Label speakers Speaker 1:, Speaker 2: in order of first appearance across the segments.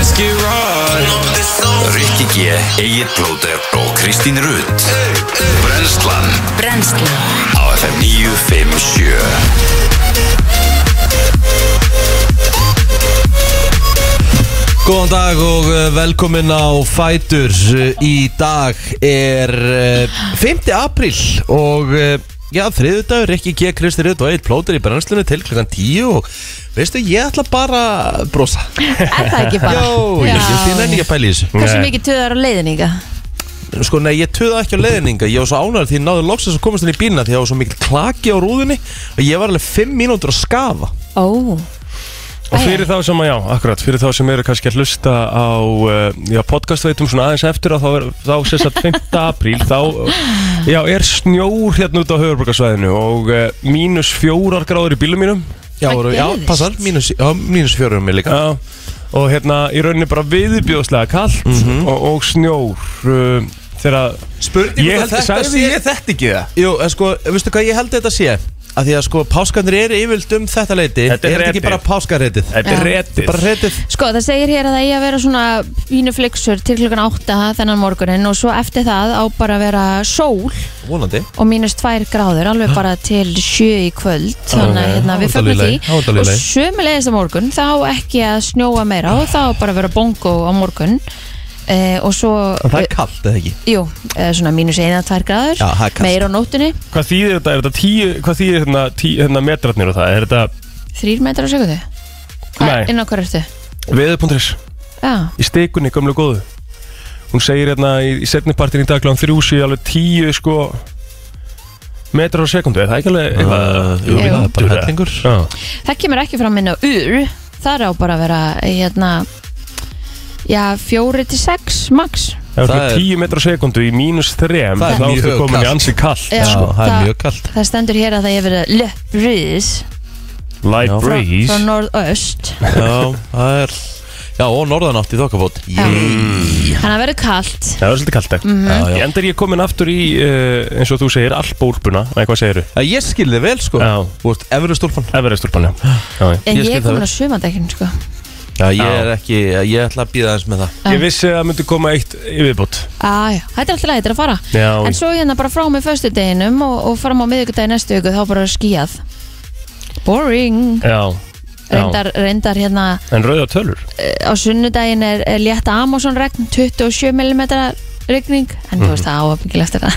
Speaker 1: ekki ráð
Speaker 2: Rikki G, Egil Blóter og Kristín Rutt Brenslan
Speaker 3: Brennslan
Speaker 2: á FM 957
Speaker 1: Góðan dag og eh, velkomin á Fætur Í dag er eh, 5. apríl og eh, já, þriðudagur, ekki G. Kristi Rutt og Eitt Plóter í brennslunni til klokkan 10 og veistu, ég ætla bara að brosa
Speaker 3: Er það ekki bara?
Speaker 1: Jó, ég sé því nenni ekki að pæla í þessu
Speaker 3: Hversu mikið töðar á leiðin ykkar?
Speaker 1: Sko, nei, ég töða ekki á leiðninga, ég var svo ánægður því ég náði loksins að komast inn í bílina því það var svo mikil klaki á rúðinni og ég var alveg 5 mínútur að skafa
Speaker 3: Ó,
Speaker 4: Og fyrir þá sem að, já, akkurat, fyrir þá sem eru kannski að hlusta á uh, já, podcastveitum svona aðeins eftir að þá, er, þá sérst að 5. apríl, þá uh, já, er snjór hérna út á höfurbrukarsvæðinu og uh, mínus fjórar gráður í bílum mínum
Speaker 1: Já,
Speaker 3: Hvað
Speaker 1: voru, já
Speaker 3: gerðist?
Speaker 1: passar, mínus, já, mínus fjórum er líka
Speaker 4: já, og hérna í rauninni bara viðbjóðslega kallt og, og snjór uh, þegar
Speaker 1: Spurning
Speaker 4: Ég held- sagði ég
Speaker 1: þetta ekki það? Jú, en sko, veistu hvað ég held þetta sé? Að því að sko, páskanir eru yfirlt um þetta leiti
Speaker 4: Þetta er
Speaker 1: Er þetta ekki
Speaker 4: retið.
Speaker 1: bara páskareitið?
Speaker 4: þetta
Speaker 3: Já.
Speaker 4: er retið
Speaker 1: Bara reitið
Speaker 3: sko það segir hér að það eigi að vera svona pínu flyksur til klukkan 8 þennan morgunin og svo eftir það á bara að vera sól
Speaker 1: Vonandi
Speaker 3: og mínus 2 gráður alveg bara til 7 í kvöld þannig að hérna, við
Speaker 1: Það var
Speaker 3: fögnum
Speaker 1: dálítið leið, það
Speaker 3: því
Speaker 1: var dálítið
Speaker 3: og
Speaker 1: leið.
Speaker 3: sömulegis á morgun þá ekki að snjóa meira og þá bara að vera bongo á morgun eh, og svo
Speaker 1: En það er kallt, eða ekki?
Speaker 3: Jú, eh, svona mínus 1-2 gráður
Speaker 1: Já, það er kalt.
Speaker 3: meira á nóttunni,
Speaker 4: hvað þýðir þetta, er þetta tíu, hvað þýðir hérna, tíu, hérna metrarnir og það, er þetta
Speaker 3: 3 metrar á sekundu
Speaker 4: Nei.
Speaker 3: Hvað, inn á hvað ertu?
Speaker 4: veður.is
Speaker 3: Já,
Speaker 4: í stikunni, gömlu góðu hún segir hérna í, í setnipartin í dag klán þrjú sé alveg tíu sko metrar á sekundu, er það ekki alveg
Speaker 1: Uh,
Speaker 4: eitthvað
Speaker 1: jú,
Speaker 3: Jú.
Speaker 1: það er bara hellingur
Speaker 4: Já.
Speaker 3: það kemur ekki fram inn á ur það er á bara að vera eh, hérna, já, 4-6 max
Speaker 4: Ef þú
Speaker 1: Það er-
Speaker 4: er tíu metrar á sekundu í mínus þrem
Speaker 1: Það er
Speaker 4: þá
Speaker 1: mjög
Speaker 4: ertu komin í
Speaker 1: kalt.
Speaker 4: ansi kallt
Speaker 3: Já,
Speaker 1: Já, Sko, það er
Speaker 3: það-
Speaker 1: mjög kallt
Speaker 3: það stendur hér að það hefur verið light breeze
Speaker 4: light
Speaker 1: Já.
Speaker 4: breeze
Speaker 3: frá norðaust
Speaker 1: Já, það er Já, og norðanátt í þokkabót
Speaker 3: þannig að það verður kallt
Speaker 4: Það var svolítið kallt ekki mm
Speaker 1: Já, já.
Speaker 4: -hmm. Endar ég komin aftur í, uh, eins og þú segir, alpbólpuna Nei, hvað segiru?
Speaker 1: Já, Ég skil þið vel, sko
Speaker 4: Já.
Speaker 1: Þú veist, efri stúlfan
Speaker 4: Everestúrpan, já Já, já.
Speaker 3: en
Speaker 1: Ég
Speaker 3: ég,
Speaker 1: skil
Speaker 3: er
Speaker 1: það
Speaker 3: komin
Speaker 1: vel.
Speaker 3: á sumandekkin sko.
Speaker 1: Já, ég
Speaker 4: Já.
Speaker 1: er ekki Ég ætla að býða eins með það
Speaker 4: Ég vissi að það myndi koma eitt yfirbót
Speaker 3: ah, já, þetta er alltaf lægt, þetta er að fara
Speaker 4: Já.
Speaker 3: en svo hérna bara frá mig föstudeginum og, og fram á miðvikudagi næstu viku þá bara skíjað boring
Speaker 4: Já, já.
Speaker 3: reyndar, reyndar hérna
Speaker 4: En rauða tölur
Speaker 3: eh, á sunnudaginn er, er létta Amazon regn 27 mm regning en þú veist það áöfningilega eftir að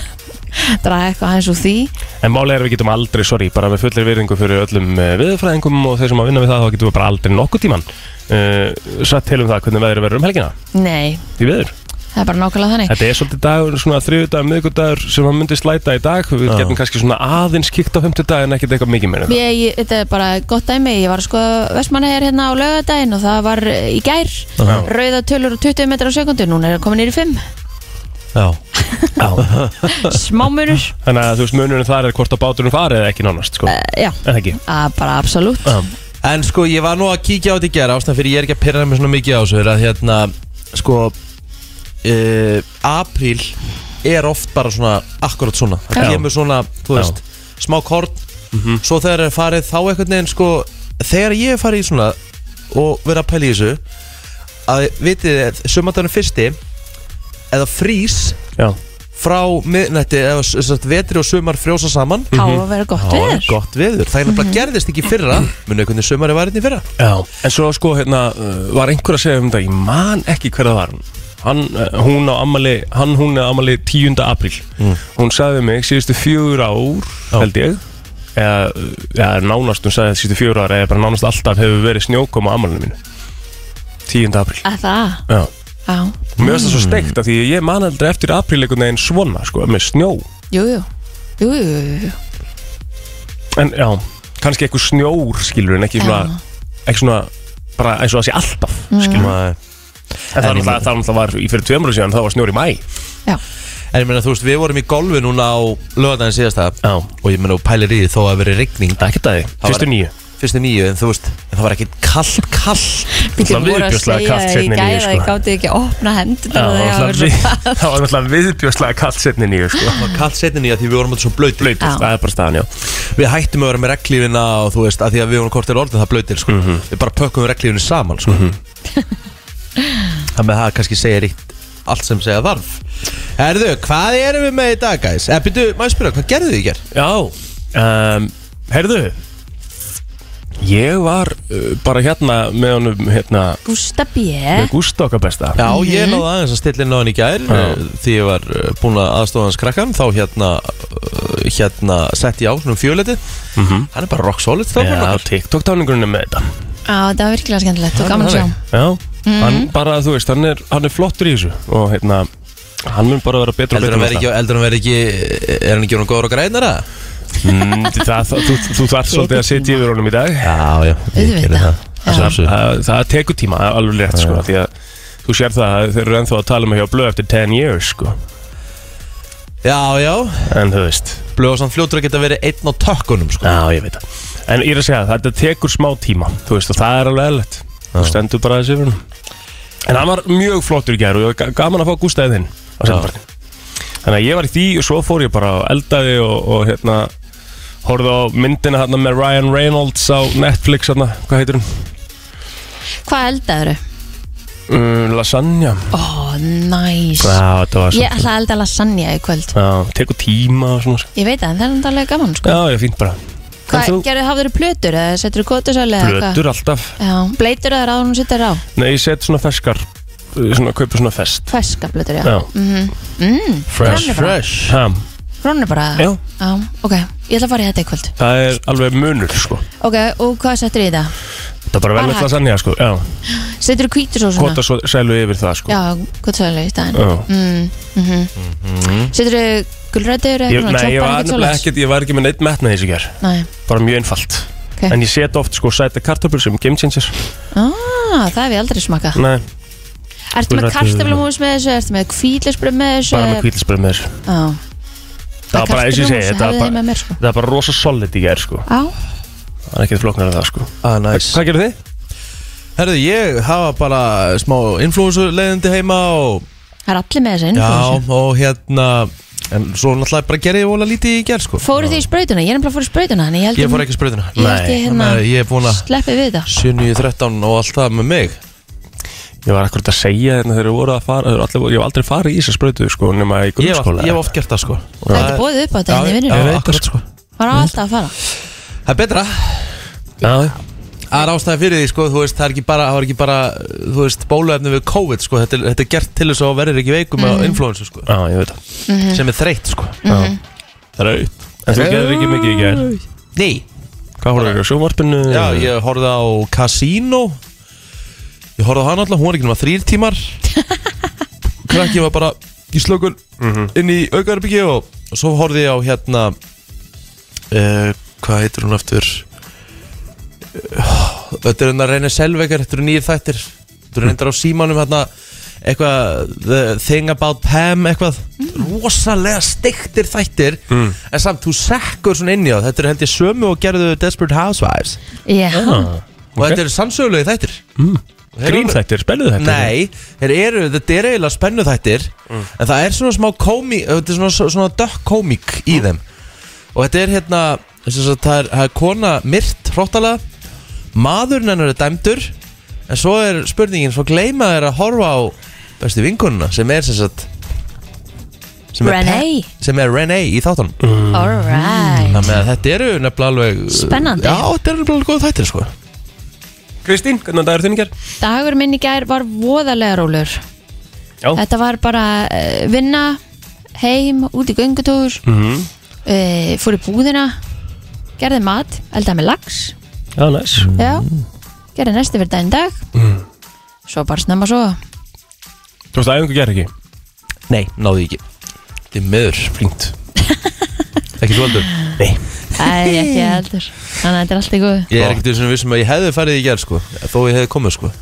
Speaker 3: draga eitthvað aðeins úr því
Speaker 4: En málega er að við getum aldrei, sorry, bara með fullir virðingu fyrir öllum eh, veðurfræðingum og þeir sem að vinna við það þá getum við bara aldrei nokkuð tíman uh, Satt til um það hvernig veður verður um helgina
Speaker 3: nei,
Speaker 4: í veður
Speaker 3: það er bara nákvæmlega þannig
Speaker 4: Þetta er svolítið dagur, svona þriðudagur, miðgudagur sem að myndi slæta í dag Við
Speaker 1: Já.
Speaker 4: getum kannski svona aðeins kíkt á fymtudag en ekkert eitthvað mikið meira en það.
Speaker 3: Ég, ég, þetta er bara gott dæmi, ég var sko vestmannægir hérna á laugardaginn og það var eh, í gær, rauða tölur og 20 metrar á sekundu, núna er það komin nýri 5
Speaker 1: Já,
Speaker 3: smámunur, Eh,
Speaker 4: Þannig að þú veist munurinn þar er hvort að báturinn farið eða ekki nánast sko.
Speaker 3: já,
Speaker 4: En ekki
Speaker 3: að bara absolutt
Speaker 4: Já.
Speaker 1: En sko, ég var nú að kíkja á þetta í gera ástæðan fyrir ég er ekki að pyrra mig svona mikið á þessu er að hérna, sko uh, apríl er oft bara svona, akkurat svona það
Speaker 4: Já.
Speaker 1: kemur svona, þú
Speaker 4: Já.
Speaker 1: veist, smá korn svo þegar það er farið þá einhvern veginn sko, þegar ég er farið í svona og verið að pæla í þessu að vitið þið, sumandarinn fyrsti eða frís
Speaker 4: Já,
Speaker 1: frá miðnætti eða s- sem sagt, vetri og sumar frjósa saman
Speaker 3: á að vera gott
Speaker 1: þá er
Speaker 3: veður
Speaker 1: gott veður, það er nefnilega gerðist ekki í fyrra munið hvernig sumari var hérna í fyrra
Speaker 4: Já. En svo sko hérna uh, var einhver að segja um þetta, ég man ekki hver það var hann, uh, hún á amali, hann hún er amali 10. apríl hún sagði við mig síðustu fjögur ár held ég eða, eða nánast, hún sagði síðustu fjögur ár eða bara nánast alltaf hefur verið snjókom á amalinu mínu 10. apríl
Speaker 3: að það,
Speaker 4: Já.
Speaker 3: já,
Speaker 4: Mér finnst það svo steikt af því ég man aldrei eftir apríl einhvern veginn svona sko, með snjó
Speaker 3: jú, jú jú, jú, jú, jú.
Speaker 4: en já, kannski eitthvað snjór skilur en ekki svona, ekki svona bara eins og það sé alltaf skilur en
Speaker 1: Nei.
Speaker 4: það er náttúrulega- það er náttúrulega var í fyrir tveimur síðan þá var snjór í mæ
Speaker 3: já,
Speaker 1: En ég meina, þú veist, við vorum í golfi núna á lögadaginn síðasta
Speaker 4: Já.
Speaker 1: Og ég meina, og pælir í því þó að veri rigning
Speaker 4: ekki það þið, fyrstu
Speaker 1: var-
Speaker 4: nýju
Speaker 1: Fyrstu nýju, en þú veist, en það var ekkit kallt, kallt
Speaker 3: Bíddu,
Speaker 4: Það var
Speaker 3: voru að
Speaker 4: viðbjóðslega
Speaker 3: segja
Speaker 4: kalt
Speaker 3: í gær
Speaker 4: seinni níu,
Speaker 3: að ég
Speaker 4: sko.
Speaker 3: gáti ekki að opna hendur
Speaker 4: það var náttúrulega- það var náttúrulega viðbjóðslega kallt setni nýju sko.
Speaker 1: Það var kallt setni nýja því við vorum alltaf svo blöytir
Speaker 4: Blöytist,
Speaker 3: Já.
Speaker 4: það er bara staðan, já
Speaker 1: Við hættum að vera með reglífina og þú veist, að því að við vorum kortir orðin það blöytir, sko Við bara pökkum reglífinu saman, sko Það með það kannski segir eitt allt sem segja þarf Herðu, hvað erum við með í dag, guys? Eh, Eða byrju, maður spyrja, hvað gerðu þið í ger?
Speaker 4: Já um, Herðu Ég var uh, bara hérna með honum hérna
Speaker 3: Gústa B
Speaker 4: með Gústa okkar besta
Speaker 1: Já, ég náði aðeins að stilla inn á hann í gær
Speaker 4: Já.
Speaker 1: eh, Því ég var eh, búinn að aðstofa hans krakkan Þá hérna, eh, hérna sett ég á svona fjöleiti Hann er bara rock solid strákurinn
Speaker 4: Já,
Speaker 1: okkar.
Speaker 4: TikTok táningurinn er með þetta
Speaker 3: Já, þetta var virkilega skemmtilegt og gaman að sjá
Speaker 4: Já, hann bara, þú veist, hann er, hann er flottur í þessu Og hérna, hann mun bara vera betur og
Speaker 1: Heldur hann
Speaker 4: betur með
Speaker 1: verið ekki, heldur hann verið ekki eh, Er hann ekki orðinn góður og grænar að?
Speaker 4: Mm, það, það, þú, þú þarf svolítið að sitja yfir honum í dag
Speaker 1: Já, já,
Speaker 3: Auðvitað.
Speaker 1: gerði
Speaker 3: Já.
Speaker 1: það Já.
Speaker 4: það, það tekur tíma, það er alveg rétt sko, því að þú sér það að þeir eru ennþá að tala um að hjá blöð eftir 10 years sko.
Speaker 1: já, já,
Speaker 4: en þú veist
Speaker 1: blöðsann fljótur að geta verið einn á tökkunum sko.
Speaker 4: já, ég veit það en ég er að segja, þetta tekur smá tíma þú veist, og það er alveg eðlert þú stendur bara þessi yfir honum. en hann var mjög flottur í gær og ég var ga- gaman að fá gústaðið þinn á seinnipartin. þannig að ég var í því og svo fór ég bara og eldaði og, og hérna horfði á myndina hérna með Ryan Reynolds á Netflix hérna, hvað heitir hún?
Speaker 3: Hvað eldaður?
Speaker 4: Uh, lasagna
Speaker 3: Ó, næs
Speaker 4: Já, þetta
Speaker 3: Ég
Speaker 4: var svona
Speaker 3: ætla að elda lasagna í kvöld
Speaker 4: Já, tekur tíma og svona sko.
Speaker 3: Ég veit það, en það er náttúrulega gaman sko.
Speaker 4: Já, ég er fínt bara
Speaker 3: Hvað,
Speaker 4: þú-
Speaker 3: gerðu, hafðu þér plötur eða setur þú kótusölu eða hvað?
Speaker 4: Blötur alltaf
Speaker 3: Já, bleitur það ráðum hún sittar á
Speaker 4: Nei, ég set svona feskar uh, Svona, kaupir svona fest
Speaker 3: Feska blötur, já Mhm. Mm,
Speaker 4: Já,
Speaker 1: Fresh,
Speaker 3: Hann er bara-
Speaker 1: fresh
Speaker 4: ha,
Speaker 3: Rónu bara
Speaker 4: Já.
Speaker 3: Já, ok, ég ætla að fara í þetta í kvöld
Speaker 4: það er alveg munur sko
Speaker 3: Ok, og hvað settur í það?
Speaker 4: Það er bara vel
Speaker 3: Bara
Speaker 4: eitthvað
Speaker 3: hægt.
Speaker 4: sannja sko Já,
Speaker 3: Setur þú kvítusósuna?
Speaker 4: kvota svo sælu yfir það sko
Speaker 3: Já, kótusölu í staðinn
Speaker 4: Já.
Speaker 3: Setur þú Mm, mhm. gulrætur
Speaker 4: Mhm. Ég,
Speaker 3: eða
Speaker 4: nei, ég
Speaker 3: eitthvað?
Speaker 4: var nefnilega ekkert, ég var ekki með neitt metna þessi ger
Speaker 3: Nei,
Speaker 4: Bara mjög einfalt
Speaker 3: Ok.
Speaker 4: En ég set oft sko sæta kartöflur sem game changer
Speaker 3: ah, það hef ég aldrei smakað
Speaker 4: Nei,
Speaker 3: Ertu með
Speaker 4: Gulrætur-
Speaker 3: kartaflumús með þessu, ertu með kvílisbröð með þessu
Speaker 4: bara með kvítilsbröð með þessu
Speaker 3: Já
Speaker 4: Það var bara eins og ég segi,
Speaker 3: kartöflumús,
Speaker 4: þetta var
Speaker 3: hafið þið
Speaker 4: bara-
Speaker 3: með mér, sko.
Speaker 4: Það er bara rosa solid í ger sko
Speaker 3: Á,
Speaker 4: Það er ekkert flóknar en það sko
Speaker 1: ah, nice.
Speaker 4: Hvað gerir þið?
Speaker 1: Herðu, ég hafa bara smá influensuleðindi heima og,
Speaker 3: það er allir með þessu sko.
Speaker 1: já,
Speaker 3: innflóðsum
Speaker 1: og hérna En svo náttúrulega bara gerði ég vola lítið í gerð sko.
Speaker 3: Fóruð þið í sprautuna? Ég er nefnilega fór í sprautuna Þannig ég held um-
Speaker 1: Ég fór ekki spröðuna
Speaker 3: Ég held ég hérna
Speaker 1: Ég er búin að
Speaker 3: Sleppi við þetta
Speaker 1: 7.13 og allt það með mig
Speaker 4: Ég var akkurat að segja hérna þegar þeir voru að fara þeir voru allir, voru- Ég hef aldrei farið í þessar sprautu sko nema í
Speaker 1: Ég hef
Speaker 4: grunnskóla
Speaker 1: ég hef oft gert það sko
Speaker 3: Það er bóðið upp á þetta hérna í vinnunum.
Speaker 1: Já, akkurat sko
Speaker 3: Var á alltaf að fara
Speaker 1: Það er betra
Speaker 4: Já,
Speaker 1: Það er ástæði fyrir því sko, þú veist, það er ekki bara, það er ekki bara, þú veist, bóluefni við COVID sko, þetta er, þetta er gert til þess að verður ekki veikum
Speaker 3: Mhm.
Speaker 1: mm. á influensu sko,
Speaker 4: já, ég veit það
Speaker 1: sem er þreytt sko.
Speaker 4: Það er auð En þú gerðir ekki mikið í gær
Speaker 1: Nei,
Speaker 4: Hvað voru þér á sjónvarpinu?
Speaker 1: Já, ég horfði á Casino Ég horfði á hann alltaf, hún var ekki nema þrýr tímar Krakki var bara í slökun inn í aukaðarbyggi og, og svo horfði ég á hérna uh, Hvað heitir hún aftur? Uh, þetta er hérna René Selvegar, þetta eru nýjir þættir Þetta eru reyndar á símanum hérna eitthvað, the thing about Pam eitthvað, rosalega stiktir þættir, en samt þú sekkur svona inn í það, þetta eru held ég sömu og gerðu Desperate Housewives
Speaker 3: Já,
Speaker 4: ah,
Speaker 1: og þetta eru sannsögulegi þættir Þeir eru-
Speaker 4: Grínþættir, spelluð þættir
Speaker 1: Nei, þeir eru, þetta er eiginlega spennu þættir En það er svona smá komík Þetta er svona, svona dökk komík í þeim Og þetta er hérna sem sagt, Það er, það er kona myrt hróttalega Maðurinn hennar er dæmdur En svo er spurningin Svo gleyma þeir að horfa á bestu vinkununa Sem er sem sagt sem er
Speaker 3: Renee.
Speaker 1: Pe- Sem er René í þáttunum
Speaker 3: alright
Speaker 1: Þannig að þetta eru nefnilega alveg
Speaker 3: Spennandi.
Speaker 1: Já, þetta eru nefnilega alveg góð þættir sko
Speaker 4: Kristín, hvernig dagur þinn í gær?
Speaker 3: Dagur minn í gær var voðalega rólur
Speaker 4: Já.
Speaker 3: Þetta var bara eh, vinna Heim, út í göngutúr
Speaker 4: Mhm.
Speaker 3: eh, Fór í búðina Gerði mat, eldaði með lax
Speaker 4: Já, næs
Speaker 1: Mm.
Speaker 3: Já, gerði næstu fyrir daginn í dag Svo bara snemma svo
Speaker 4: Þú veist, æfingu gær ekki?
Speaker 1: Nei, náðu ekki Þetta er meður, flinkt Ekki þú heldur
Speaker 4: Nei
Speaker 3: Æ, ekki heldur Þannig að þetta er allt í góðu
Speaker 1: Ég er ekkert þessum vissum að ég hefði farið í gerð sko Þó ég hefði komið sko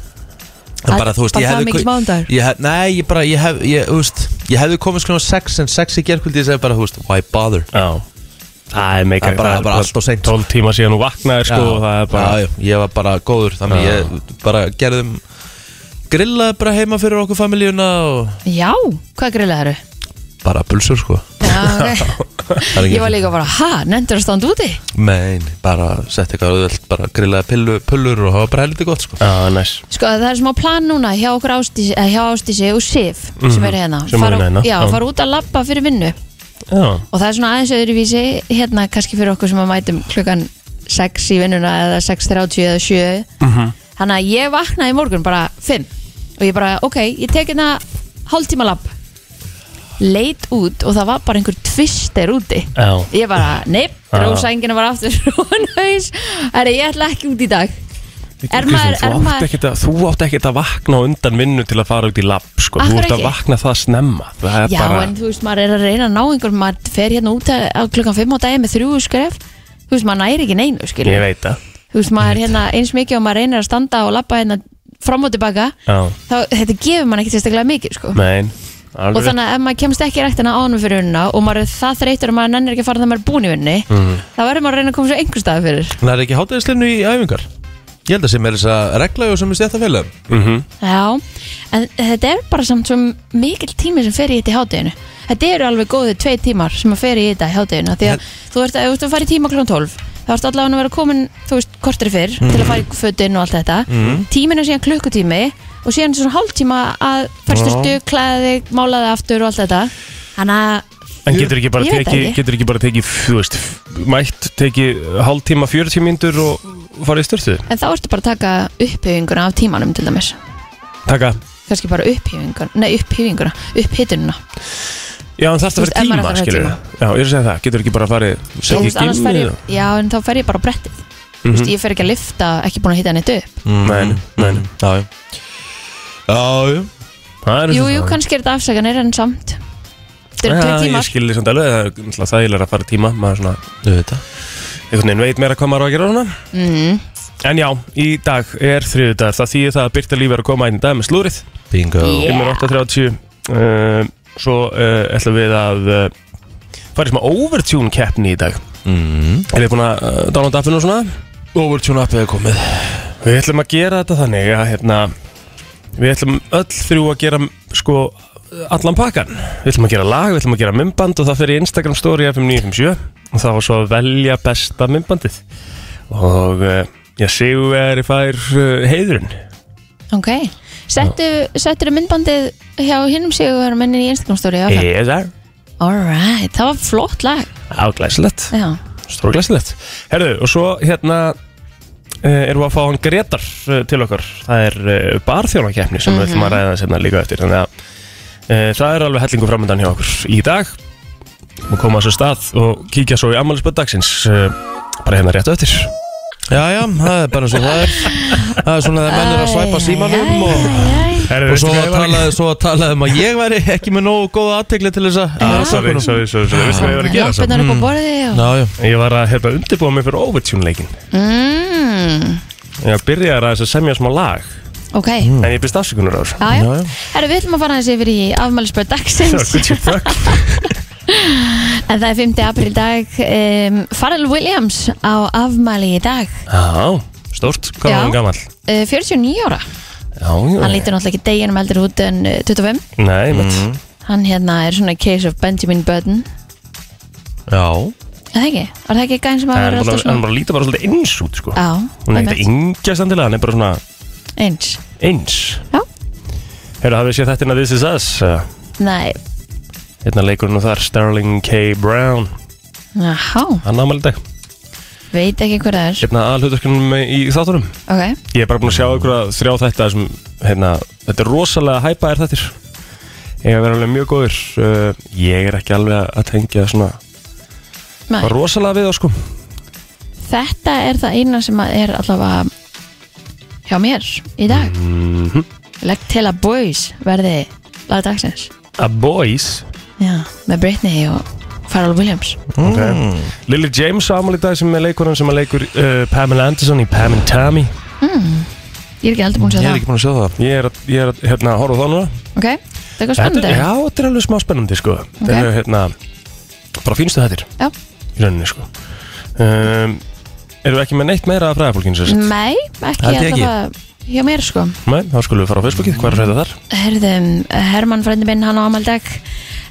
Speaker 1: En
Speaker 3: Að-
Speaker 1: bara þú veist
Speaker 3: bara
Speaker 1: ég
Speaker 3: það
Speaker 1: hefði
Speaker 3: mikill
Speaker 1: ko-
Speaker 3: mánudagur?
Speaker 1: ég hef, Nei, ég bara, ég hef, ég, þú veist Ég hefði komið sko 6 en 6 í gerðkvöldi Ég segi bara, þú veist, why bother
Speaker 4: Já Það er meika
Speaker 1: Það er bara- bara allt og seint.
Speaker 4: 12 tíma síðan þú vaknaðir sko og það er bara
Speaker 1: já, já, Ég var bara góður Þannig
Speaker 4: Já.
Speaker 1: ég bara gerðum Grillaði bara heima fyrir okkur familíuna Og
Speaker 3: Já, hvað grillaðu?
Speaker 1: bara bulsur sko
Speaker 3: Já, Já, ok Ég var líka bara, ha, nendur að standa úti?
Speaker 1: Mein, bara sett eitthvað auðvöld Bara grillaði pillu, pullur og hafa bara heldur gott sko.
Speaker 4: Já, næs
Speaker 3: Sko, það er smá plan núna hjá okkur Ástísi, eh, hjá Ástísi og Sif sem eru hérna
Speaker 4: Sem
Speaker 3: Fara-
Speaker 4: eru hérna,
Speaker 3: Já,
Speaker 4: já.
Speaker 3: fara út að labba fyrir vinnu
Speaker 4: Já,
Speaker 3: og það er svona aðeins öðruvísi hérna kannski fyrir okkur sem að mætum klukkan 6 í vinnuna eða 6.30 eða 7
Speaker 4: Mhm.
Speaker 3: þannig að ég vaknaði í morgun bara 5 og ég bara ok, ég tek hérna hálftíma lapp leit út og það var bara einhver tvister úti
Speaker 4: Já.
Speaker 3: ég bara, neip,
Speaker 4: Já.
Speaker 3: drósængina var aftur hún haus, er ég ætla ekki út í dag Er maður-
Speaker 4: Kristín,
Speaker 3: er
Speaker 4: þú, átt
Speaker 3: maður-
Speaker 4: ekkert að, þú átt ekkert að vakna á undan vinnu til að fara út í lapp sko.
Speaker 3: Af
Speaker 4: Þú
Speaker 3: hverju
Speaker 4: átt að
Speaker 3: ekki?
Speaker 4: vakna það snemma Það er
Speaker 3: já,
Speaker 4: bara,
Speaker 3: en þú veist, maður er að reyna að ná einhver maður fer hérna út að- á klukkan 5 á daginn með þrjú skref þú veist, maður næri ekki neinu, skilur
Speaker 4: ég veit það
Speaker 3: þú veist maður hérna eins mikið og maður reynir að standa og lappa hérna fram og tilbaka
Speaker 4: Já,
Speaker 3: þá þetta gefur mann ekkert sérstaklega mikið sko.
Speaker 4: nein
Speaker 3: og þannig að ef maður kemst ekki í rættina ánum fyrir unna og maður er það þreytur og maður nennir ekki að fara það maður er búin í unni
Speaker 4: Mhm.
Speaker 3: þá verður maður að reyna að koma svo einhver stað fyrir
Speaker 1: Það er ekki hátíðisleinu í æfingar Ég held að sem er þess að regla og sem er stjættafélagum
Speaker 3: já, en þetta er bara samt svo mikil tími sem fer í þetta í hátteginu þetta eru alveg góðið tvei tímar sem að fer í þetta í hátteginu því að þú ert að, ef þú ert að fara í tíma klón 12 þá ertu allavega að vera komin, þú veist, kortir fyrr til að fara í fötin og allt þetta mm. tíminu síðan klukkutími og síðan svona hálftíma að fara styrtu, klæði málaði aftur og allt þetta þannig að,
Speaker 4: En getur ekki bara
Speaker 3: Ég veit
Speaker 4: tekið,
Speaker 3: ekki.
Speaker 4: getur ekki bara tekið, þú veist, f- mætt tekið hálftíma, 40 mínútur og farið í styrtu?
Speaker 3: en þá ertu bara að taka upphefinguna af tímanum til dæmis
Speaker 4: Taka,
Speaker 3: kannski bara upphefinguna, nei upphefinguna upphitununa,
Speaker 4: já en þarf
Speaker 3: Þú
Speaker 4: það
Speaker 3: veist,
Speaker 4: að
Speaker 3: ef maður þarf
Speaker 4: vera tíma,
Speaker 3: að fara í
Speaker 4: skilur
Speaker 3: tíma.
Speaker 4: Já, ég er að segja það, getur ekki bara
Speaker 3: Þú
Speaker 4: farið,
Speaker 3: veist,
Speaker 4: tekið
Speaker 3: annars fer
Speaker 4: gimmi?
Speaker 3: ég, já, en þá fer ég bara á brettið Þú veist, ég fer ekki að lifta, ekki búin að hitta henni upp
Speaker 4: Nein, nein,
Speaker 1: Já, já Já, já
Speaker 4: það
Speaker 3: Jú,
Speaker 4: er eins
Speaker 3: jú,
Speaker 4: og það.
Speaker 3: kannski er þetta afsakanir en samt Þetta eru tvei
Speaker 4: Já, ég
Speaker 3: tímar
Speaker 4: skil því samt alveg, það er náttúrulega þægilega að fara í tíma, maður svona,
Speaker 1: Þú veit það
Speaker 4: einhvern veginn veit meira hvað maður á að gera og svona.
Speaker 3: mm.
Speaker 4: En já, í dag er þriðudagur, það þýðir það að Byrta Líf er að koma inn í dag með slúrið,
Speaker 1: Bingo
Speaker 3: Yeah.
Speaker 4: 5.30, uh, svo uh, ætlum við að uh, fara í smá overtune keppni í dag.
Speaker 1: mm.
Speaker 4: Er þið búin að uh, downloada appinu og svona?
Speaker 1: Overtune appið er komið
Speaker 4: Við ætlum að gera þetta þannig að hérna, við ætlum öll þrjú að gera sko allan pakkan. Við ætlum að gera lag, við ætlum að gera mymband og það fer í Instagram story FM957 og þá svo að velja besta mymbandið. Og uh, ég séu er í fær uh, heiðurinn.
Speaker 3: Ok, settu, settu myndbandið hjá hinnum sigur mennin í Instagram story áfram
Speaker 4: Ég er
Speaker 3: Alright, það var flott lag
Speaker 4: áglæsilegt,
Speaker 3: Já,
Speaker 4: stórglæsilegt. Herðu, og svo hérna uh, erum við að fá hann Gretar uh, til okkar. Það er uh, barþjónakeppni sem við ætlum að ræða sérna líka eftir. Þannig að uh, það er alveg hellingu framöndan hjá okkur í dag. Og koma þessu stað og kíkja svo í ammælisböð dagsins uh, bara hérna rétt á eftir.
Speaker 1: Já, já, það er bara eins og það er Það er svona þegar menn er að svæpa símanum og
Speaker 4: Herðu,
Speaker 1: Og svo að talaði, svo að talaði um að ég væri ekki með nógu góða aðtegli til þess að
Speaker 4: Ah,
Speaker 1: að
Speaker 4: sorry,
Speaker 1: sökunum.
Speaker 4: sorry, sorry, sorry, veistu hvað ég var að gera svo?
Speaker 3: Lampinnar upp á borði og...
Speaker 1: Já, já,
Speaker 4: Ég var að hérna, undirbúa mig fyrir Overtune-leikin
Speaker 3: mm.
Speaker 4: Ég byrjaði að semja smá lag
Speaker 3: Ok,
Speaker 4: En ég byrst afsökunar á þessu
Speaker 3: já, já
Speaker 1: Já, já.
Speaker 3: Herru, við ætlum að fara aðeins yfir í afmælisbörð
Speaker 4: Svo,
Speaker 3: dagsins
Speaker 4: good you fuck
Speaker 3: En það er 5. apríl í dag um, Farrell Williams á afmæli í dag
Speaker 4: Já, stórt, hvað
Speaker 3: Já.
Speaker 4: var hann gammal?
Speaker 3: uh, 49 ára
Speaker 4: Já, já
Speaker 3: Hann lítur náttúrulega ekki deginum eldur út en eh, 25
Speaker 4: Nei, mitt mm.
Speaker 3: Hann hérna er svona case of Benjamin Button
Speaker 1: já
Speaker 3: Er það ekki? Er það ekki gæn sem að vera
Speaker 4: Hann er bara,
Speaker 3: alltaf
Speaker 4: hann
Speaker 3: svona?
Speaker 4: bara lítur bara svolítið eins út, sko
Speaker 3: Já,
Speaker 4: Hún er
Speaker 3: einmitt.
Speaker 4: ekkert yngjast endilega, hann er bara svona
Speaker 3: eins
Speaker 4: eins
Speaker 3: Já.
Speaker 4: Hefur hafið séð þetta inn að This Is Us uh,
Speaker 3: Nei,
Speaker 4: Hérna leikurinn og þar, Sterling K. Brown
Speaker 3: Aha,
Speaker 4: Hann ámæli dag
Speaker 3: veit ekki hver það er
Speaker 4: Hérna aðalhuturkunum í þáttunum
Speaker 3: Ok,
Speaker 4: Ég er bara búin að sjá ykkur að þrjá þetta sem, hérna, Þetta er rosalega hæpa er þettir Ég er alveg mjög góður uh, Ég er ekki alveg að tengja svona
Speaker 3: Nei.
Speaker 4: Rosalega við þá, sko
Speaker 3: þetta er það eina sem að er allavega hjá mér í dag mm Legg til að boys verði lag dagsins
Speaker 4: A Boys
Speaker 3: Já, með Britney og Farrell Williams
Speaker 4: okay. Lily James á afmæli í dag sem er leikurinn sem að leikur uh, Pamela Anderson í Pam and Tammy
Speaker 3: Ég er ekki aldrei búin að
Speaker 1: Ég
Speaker 3: segja
Speaker 1: er
Speaker 3: það
Speaker 1: ekki búin að sjá það
Speaker 4: Ég er, að- ég er að, hérna, horfa á það núna
Speaker 3: Ok, það er eitthvað
Speaker 4: Þetta
Speaker 3: spennandi
Speaker 4: er- Já, þetta er alveg smá spennandi sko Þetta er hérna, bara fínstu þettir
Speaker 3: Já.
Speaker 4: í rauninni sko um, Erum við ekki með neitt meira af fræðafólkinu sér?
Speaker 3: Nei, ekki
Speaker 1: Held ég
Speaker 3: alltaf
Speaker 1: ekki.
Speaker 3: að hjá mér sko
Speaker 4: Nei, þá skulum við fara á Facebookið, hvað er þetta þar?
Speaker 3: Herðum, Herman frændi minn hann á amaldag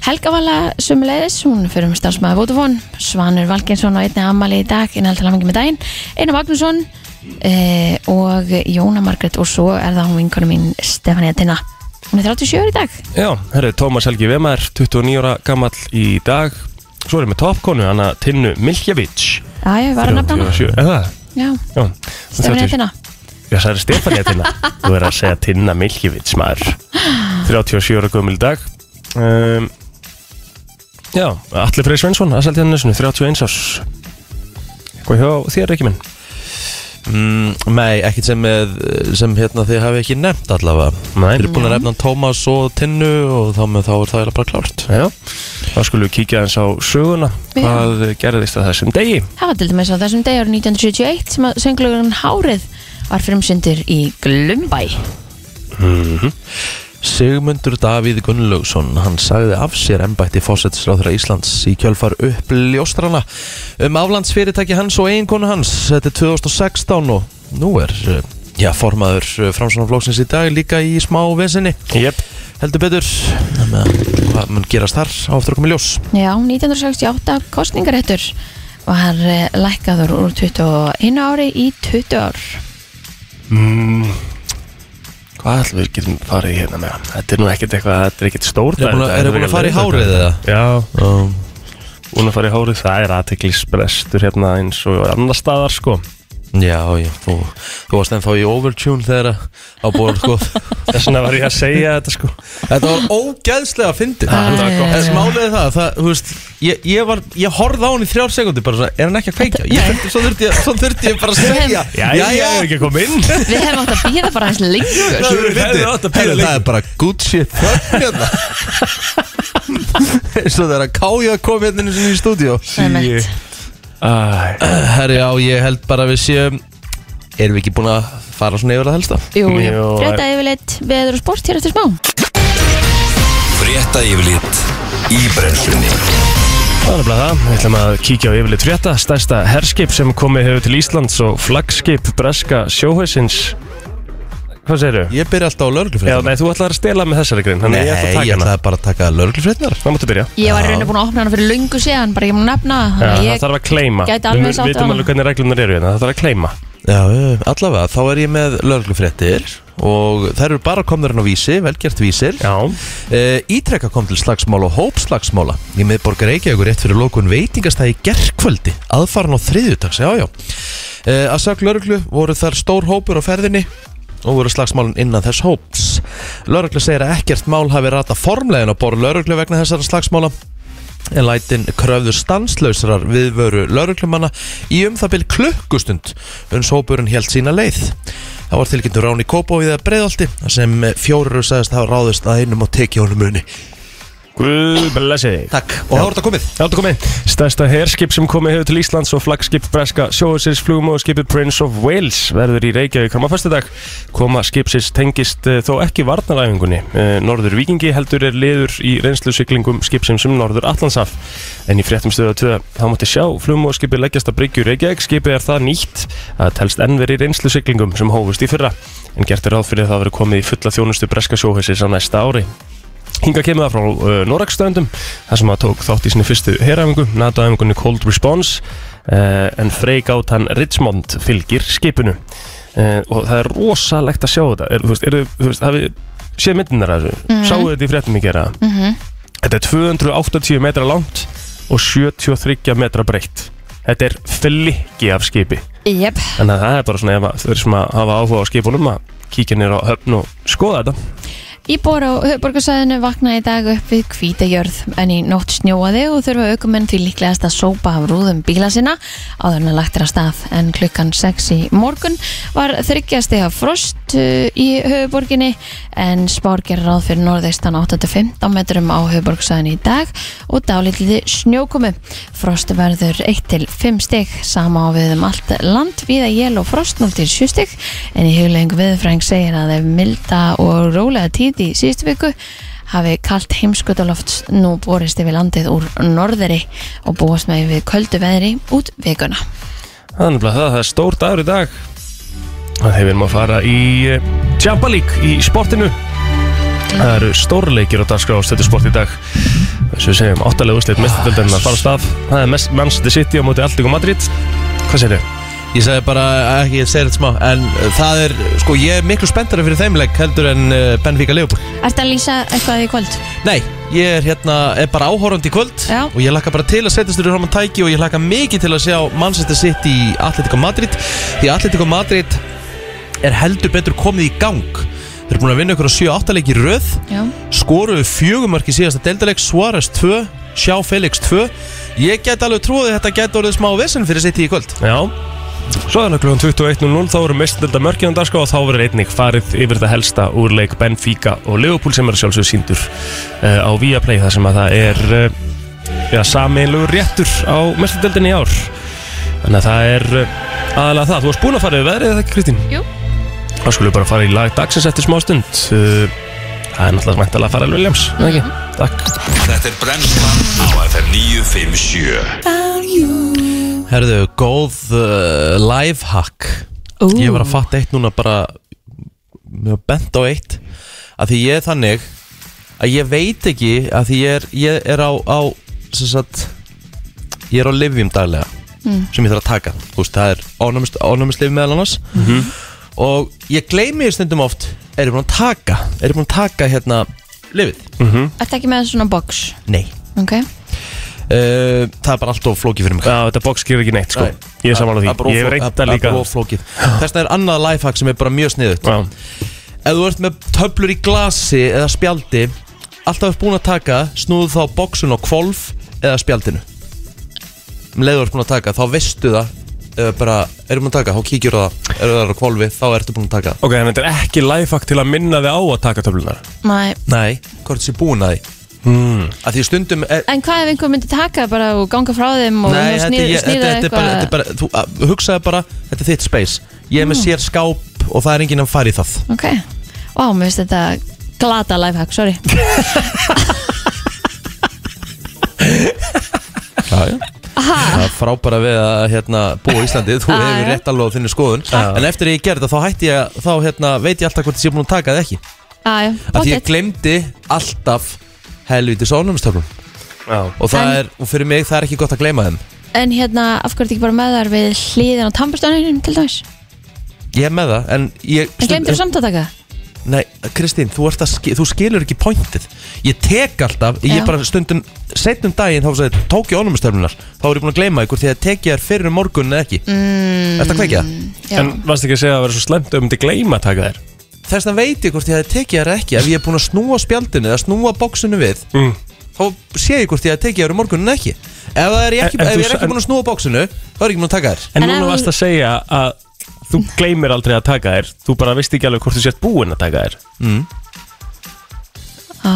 Speaker 3: Helga Vala sumulegis, hún fyrir um starfsmæða Votafón, Svanur Valkinsson og einni ammali í dag, innhald til hamingi með daginn Einar Magnússon eh, og Jóna Margrét og svo er það hún vinkonu mín Stefania Tinna Hún er 37 í dag
Speaker 4: Já, herru, Tómas Helgi Vemar, 29 ára gammal í dag Svo erum við topkonu, hana Tinnu Miljevic
Speaker 3: Já, ég var að nafna hana
Speaker 4: 37, er það?
Speaker 3: Já,
Speaker 4: Já,
Speaker 3: Stefania
Speaker 4: 37.
Speaker 3: Tinna
Speaker 4: Já, það er Stefania Tinna Þú er að segja Tinna Miljevic, maður 37 ára gömul í dag um, Já, Alli Frey Svensson, aðsaldi hann nesunu, 31 árs Hvað hjá þér, ekki minn?
Speaker 1: Mm, nei, ekkert sem, með- sem hérna, þið hafi ekki nefnt allavega
Speaker 4: Nei.
Speaker 1: Þið eru búin að nefna Tómas og Tinnu og þá, með, þá er það eiginlega bara klárt
Speaker 4: Já, þá skulum við kíkja eins á söguna
Speaker 3: Já.
Speaker 4: Hvað gerðist að þessum degi?
Speaker 3: Það var til dæmis á þessum degi árið 1971 sem að sönglugun Hárið var frumsyndur í Glumbæ
Speaker 1: Sigmundur Davíð Gunnlaugsson, hann sagði af sér embætti fósettisráðra Íslands í kjölfar uppljóstrana um aflandsfyrirtæki hans og eiginkonu hans þetta er 2016 og nú er eh, já, formaður framsvonarflóksins í dag líka í smá vesinni
Speaker 4: Jep,
Speaker 1: heldur betur Þannig að hvað mun gerast þar á eftir okkur með ljós
Speaker 3: Já, 1968 kostningaréttur var eh, lækkaður úr 21 ári í 20 ár
Speaker 4: Mm, Hvað ætlum við getum farið í hérna með hann? Þetta er nú ekkert eitthvað, þetta er ekkert stór
Speaker 1: Eru búin að- eru búin að fara í hárið eða?
Speaker 4: Já,
Speaker 1: um,
Speaker 4: búin að fara í hárið, það er aðteklisbrestur hérna eins og annar staðar sko
Speaker 1: já, já, þú, þú varst ennþá í overtune þegar að- á bóður sko
Speaker 4: Þess vegna var ég að segja þetta sko
Speaker 1: Þetta var ógeðslega fyndið
Speaker 4: þetta var gott.
Speaker 1: En smálega það, það þú veist, ég, ég, var, ég horfði á hann í þrjár sekundi bara svona, er hann ekki að kveikja? Ég þurfti, svo, þurfti ég, svo þurfti ég bara að segja
Speaker 4: Já, ég hef ekki að koma inn
Speaker 3: Við hefum átt að býða bara aðeins lengur
Speaker 1: Það er,
Speaker 4: Hefði
Speaker 1: fyndið.
Speaker 4: átt að pæla
Speaker 1: Heyrðu, það
Speaker 4: lengi.
Speaker 1: er bara good shit Þögn hérna Eins og það er að kája að koma hérna einu sinni í stúdíó
Speaker 3: Það er meitt.
Speaker 4: Æ,
Speaker 1: Herri já, ég held bara að við séum Erum við ekki búin að fara svona yfir að helsta?
Speaker 3: Jú, jú,
Speaker 4: Jú,
Speaker 3: frétta yfirleitt veður og sport hér eftir smá
Speaker 2: Frétta yfirlit í brennslunni
Speaker 4: Það er nefnilega það, við ætlum að kíkja á yfirleitt frétta Stærsta herskip sem komið hefur til Íslands og flaggskip breska sjóhausins Hvað segirðu?
Speaker 1: Ég byrja alltaf á
Speaker 4: Já,
Speaker 1: lörglufrétnar
Speaker 4: nei, þú ætlaði að stela með þessari grein,
Speaker 1: Nei,
Speaker 4: þannig að ég
Speaker 1: ég
Speaker 4: ætla að taka hana.
Speaker 1: ætlaði bara að taka lörglufrétnar
Speaker 4: Það máttu byrja.
Speaker 3: Ég var raunin búin að opna hana fyrir löngu séðan bara ekki múin að nefna það, þannig
Speaker 4: Já, það
Speaker 3: að
Speaker 4: þarf að kleima.
Speaker 3: gæti alveg
Speaker 4: Við
Speaker 3: sátt á
Speaker 4: vitum
Speaker 3: hana.
Speaker 4: alveg hvernig reglunar eru hérna, það þarf að kleima.
Speaker 1: Já, já, allavega, þá er ég með lörglufréttir og þær eru bara komnir hann á vísi, velgjart vísir
Speaker 4: Já,
Speaker 1: uh, Ítrekka kom til slagsmála og hópslagsmála í miðborg Reykjavíkur rétt fyrir lókun veitingastæði gerkvöldi aðfaran á þriðjudags, já já uh, að sag lörglu voru þar stór hópur á ferðinni og voru slagsmálin innan þess hóps Lörglu segir að ekkert mál hafi rata formlegin á borð lörglu vegna þessara slagsmála en lætin kröfðu stanslausrar viðvöru lauruglumanna í um það byrj klukkustund uns hópurinn held sína leið. Það var tilkynntur rán í Kópavið að breiðalti þar sem fjórur sagðist hafa ráðist að einum og tekið honum muni.
Speaker 4: guð blessi þig.
Speaker 1: Takk. Og það voru þetta komið.
Speaker 4: Já, þetta komið. Stærsta herskip sem komið hefur til Íslands og flaggskip breska sjóðsins flugum og skipið Prince of Wales verður í Reykjavík koma fyrstudag. Koma skipsins tengist eh, þó ekki varnaræfingunni. Eh, Norður Vikingi heldur er liður í reynslusiklingum skipsins um Norður Atlantsaf. En í fréttum stöðu að tveða, þá mátti sjá flugum og skipið leggjast að bryggju í Reykjavík. Skipið er það nýtt að telst ennveri reynslusiklingum sem hófust í fyrra. En gert er ráð fyrir að það verið komið í fulla þjónustu breska sjóhæsins á næsta ári. Hinga kemur það frá uh, Norakstöndum þar sem að tók þátt í sinni fyrstu heræfingu NATO-æfingunni Cold Response uh, en Frey Gátan Richmond fylgir skipinu uh, og það er rosalegt að sjá þetta er, þú veist, er, þú veist, hafið séð myndinar þessu sáu þetta í fréttum í gera
Speaker 3: Mhm.
Speaker 4: þetta er 280 metra langt og 73 metra breytt þetta er flikki af skipi
Speaker 3: Jep,
Speaker 4: þannig að það er bara svona ef að þau sem að hafa áhuga á skipunum að kíkja nýra á höfn og skoða þetta
Speaker 3: Íbor á höfborgarsæðinu vaknaði í dag upp við hvítagjörð en í nótt snjóaði og þurfa aukumenn því líklegast að sópa af rúðum bíla sinna áður en að lagt er að stað en klukkan 6 í morgun var þryggjast eða frost uh, í höfuborginni en spár gerir ráð fyrir norðeistan 8-15 metrum á höfuborgarsæðinu í dag og dálítið snjókomi frost verður 1-5 stig sama á við um allt land viða jél og frost 0-7 stig en í huglegingu viðfræng segir að ef milda og rólega tíð í síðustu viku hafi kalt heimskutaloft nú borist yfir landið úr norðri og búast með við köldu veðri út vikuna.
Speaker 4: Það er nefnilega það, það er stór dagur í dag Það hefur maður að fara í eh, Jamba League í sportinu Það eru stórleikir á dagskrá á stöðusport í dag Svo við segjum áttalega úrslit mestardöldin að fara af stað Það er mest- Manchester City á móti Alltingu Madrid Hvað segir þau?
Speaker 1: Ég segi bara, ekki, ég segi þetta smá En uh, það er, sko, ég er miklu spenntara fyrir þeimleik heldur en uh, Benfica Leopold
Speaker 3: Ertu að lýsa eitthvað í kvöld?
Speaker 1: Nei, ég er hérna, er bara áhorfandi í kvöld
Speaker 3: Já.
Speaker 1: Og ég hlakka bara til að setjast þurra fram að tæki Og ég hlakka mikið til að sjá Manchester City í Atletico Madrid Því Atletico Madrid er heldur betur komið í gang Þeir eru búin að vinna ykkur á 7-8 leik í röð
Speaker 3: Já
Speaker 1: skoruðu fjögumörk í síðasta deildaleg Suárez 2, Sjá Felix 2 ég get alveg trúið að þetta get orðið smá vesen fyrir sitt í kvöld
Speaker 4: Já Svo er það klukkan 21.00 Þá eru mestardölda mörkinn á dagskó Og þá verður einnig farið yfir það helsta úr leik Benfica og Liverpool Sem er sjálfsög síndur uh, á Viaplay þar sem að það er uh, Já, sameinlegur réttur á mestardöldinni í ár Þannig að það er uh, aðalega það Þú varst búin að fara yfir veðrið eða ekki Kristín?
Speaker 3: Jú.
Speaker 4: Þá skulum við bara fara í lag dagsins eftir smá stund uh, Það er náttúrulega mæntalega að fara alveg Williams mm -hmm. Takk
Speaker 2: Þetta er brennslan á FM 957
Speaker 1: herðu, góð uh, lifehack
Speaker 3: Ú.
Speaker 1: ég var að fatta eitt núna bara mér var bent á eitt að því ég er þannig að ég veit ekki að því ég er, ég er á, á sem sagt ég er á livjum daglega sem ég þarf að taka, þú veist, það er ónæmis- ónæmislif meðal annars og ég gleymi því stundum oft er ég búin að taka, er ég búin að taka hérna lifið?
Speaker 3: Ertu ekki með svona box?
Speaker 1: Nei
Speaker 3: Ok
Speaker 1: uh, Það er bara allt of flókið fyrir mig
Speaker 4: Já, þetta box gerir ekki neitt sko
Speaker 1: Nei.
Speaker 4: Ég er saman á
Speaker 1: Það er bara
Speaker 4: því,
Speaker 1: of-
Speaker 4: ég hef reynt
Speaker 1: það
Speaker 4: það
Speaker 1: er
Speaker 4: líka
Speaker 1: bara of flókið. Þess vegna er annað lifehack sem er bara mjög sniðut
Speaker 4: Já,
Speaker 1: Ef þú ert með töflur í glasi eða spjaldi Alltaf er búin að taka Snúðu þá bóksun á kvolf Eða spjaldinu Um leið þú ert búin að taka, þá veistu það eða bara, erum búin að taka, þá kíkjur það eru það á kvolfi, þá ertu búin að taka
Speaker 4: ok, en þetta er ekki lifehack til að minna þig á að taka töflunar
Speaker 3: Nei
Speaker 1: Nei, hvort sé búin að því
Speaker 4: hmm.
Speaker 1: að því stundum er,
Speaker 3: En hvað ef einhver myndi taka bara og ganga frá þeim og
Speaker 1: Nei,
Speaker 3: og
Speaker 1: þetta,
Speaker 3: sníð-
Speaker 1: ég, þetta,
Speaker 3: sníða
Speaker 1: þetta er bara, þetta er bara þú, að, hugsaðu bara, þetta er þitt space ég er með sér skáp og það er enginn að fara í það
Speaker 3: Ok Vá, mér finnst þetta glata lifehack, sorry
Speaker 1: Já, já. Það er frábæra við að hérna, búa í Íslandi Þú
Speaker 3: Já,
Speaker 1: hefur
Speaker 3: já.
Speaker 1: rétt alveg á þinni skoðun En eftir að ég gerði það þá hætti ég að- Þá hérna, veit ég alltaf hvort ég sé búin að taka það ekki
Speaker 3: Æ,
Speaker 1: Af því ég glemdi alltaf helviti sónumistöflum
Speaker 4: Já,
Speaker 1: og, það
Speaker 3: En-
Speaker 1: er- og fyrir mig það er ekki gott að gleyma þeim
Speaker 3: En hérna, af hverju ertu ekki bara með þar við hliðin á tannbúrstöðunum til dæmis?
Speaker 1: Ég er með það En, ég,
Speaker 3: En glemdur þú samt að taka? það?
Speaker 1: Nei, Kristín, þú, ert að ski- þú skilur ekki pointið Ég tek alltaf, ég
Speaker 3: Já.
Speaker 1: bara stundum Setnum daginn þá sagði, tók ég ónumistöflunar Þá er ég búin að gleyma ykkur því að tek ég þær fyrir um morgun eða ekki mm, Ertu að kveikja?
Speaker 3: Já,
Speaker 4: en varst ekki að segja að vera svo slemt um til gleyma að taka þér
Speaker 1: þess að veit ég hvort ég hefði tekið þær eða ekki ef ég er búin að snúa spjaldinu eða snúa bóksinu við
Speaker 4: Mm.
Speaker 1: þá sé ég hvort ég hefði tekið þær um morgunin ekki ef, það er ég ekki,
Speaker 4: En- en
Speaker 1: ef
Speaker 4: þú
Speaker 1: ég er
Speaker 4: sa-
Speaker 1: ekki búin að snúa bóksinu þá er ég ekki búin að taka þær
Speaker 3: En
Speaker 4: En
Speaker 3: ef
Speaker 4: núna
Speaker 3: hún-
Speaker 4: varst að segja að þú gleymir aldrei að taka þér Þú bara veist ekki alveg hvort þú sért búinn að taka þér
Speaker 3: á,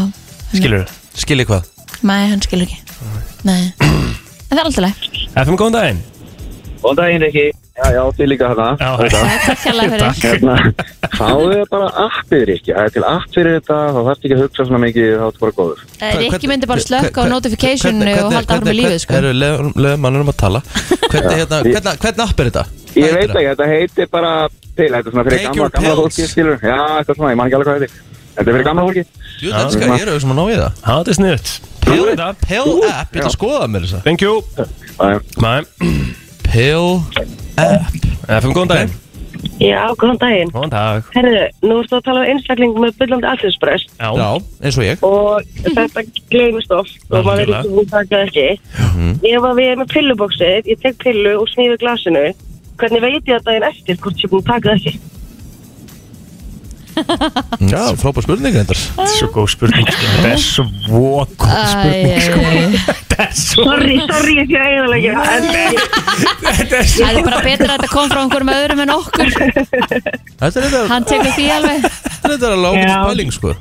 Speaker 4: Skilur þú?
Speaker 1: skil ég hvað
Speaker 3: Nei, hann skilur ekki Nei En það er alltaf leið
Speaker 4: FM, góðan daginn
Speaker 5: Góðan daginn, Rikki. Já, já, þið líka hana.
Speaker 4: Já,
Speaker 3: Takk hérlega fyrir
Speaker 5: Hérna, fáðu þið bara appið, Rikki. Það er til app fyrir þetta, þá þarfst ekki að hugsa svona mikið, þá ertu bara góður.
Speaker 3: Eh, Rikki myndi bara slökka á notificationu og halda áfram í lífið sko
Speaker 1: Eru lögum mannum að tala Hvernig, hérna, hvernig, hvernig app er þetta?
Speaker 5: Ég veit ekki, þetta heitir bara til, þetta er svona fyrir
Speaker 1: Take
Speaker 5: gamla,
Speaker 1: your
Speaker 5: gamla
Speaker 1: pills.
Speaker 5: fólki, skilur. Já, eitthvað svona, ég man ekki alveg hvað þetta er. Þetta er fyrir gamla fólki.
Speaker 1: Jú, þetta skal ég eru sem að ná í það
Speaker 4: þetta er sniðut
Speaker 1: Pill, pill app, ég ætla að skoða mér þess að
Speaker 4: Thank you
Speaker 5: Það er-
Speaker 4: Mæ,
Speaker 1: Pill
Speaker 4: FM, góðan daginn
Speaker 6: Já, góðan daginn.
Speaker 4: Góðan dag
Speaker 6: Herðu, nú ertu að tala um einstakling með byllandi allsins
Speaker 1: Já, eins og ég
Speaker 6: og þetta gleymist oft og maður er
Speaker 4: Algjörlega.
Speaker 6: ekki búin að taka það ekki. Ef að við erum með pilluboksið, ég tek pillu og smíðu glasinu, hvernig veit ég að daginn eftir hvort ég er búin að taka það ekki?
Speaker 1: Já, frábær spurning reyndar
Speaker 4: Þetta er svo góð spurning sko. Þetta er svo góð spurning sko.
Speaker 3: Æ, eh,
Speaker 4: Þetta er svo
Speaker 6: Sorry, sorry, ég sé eiginlega en
Speaker 4: Þetta er svo
Speaker 3: Það er bara betra að þetta kom frá einhverjum öðrum en okkur
Speaker 1: Þetta er þetta
Speaker 3: Hann tekur því alveg
Speaker 1: Þetta er alveg ágætt
Speaker 6: Já.
Speaker 1: spæling sko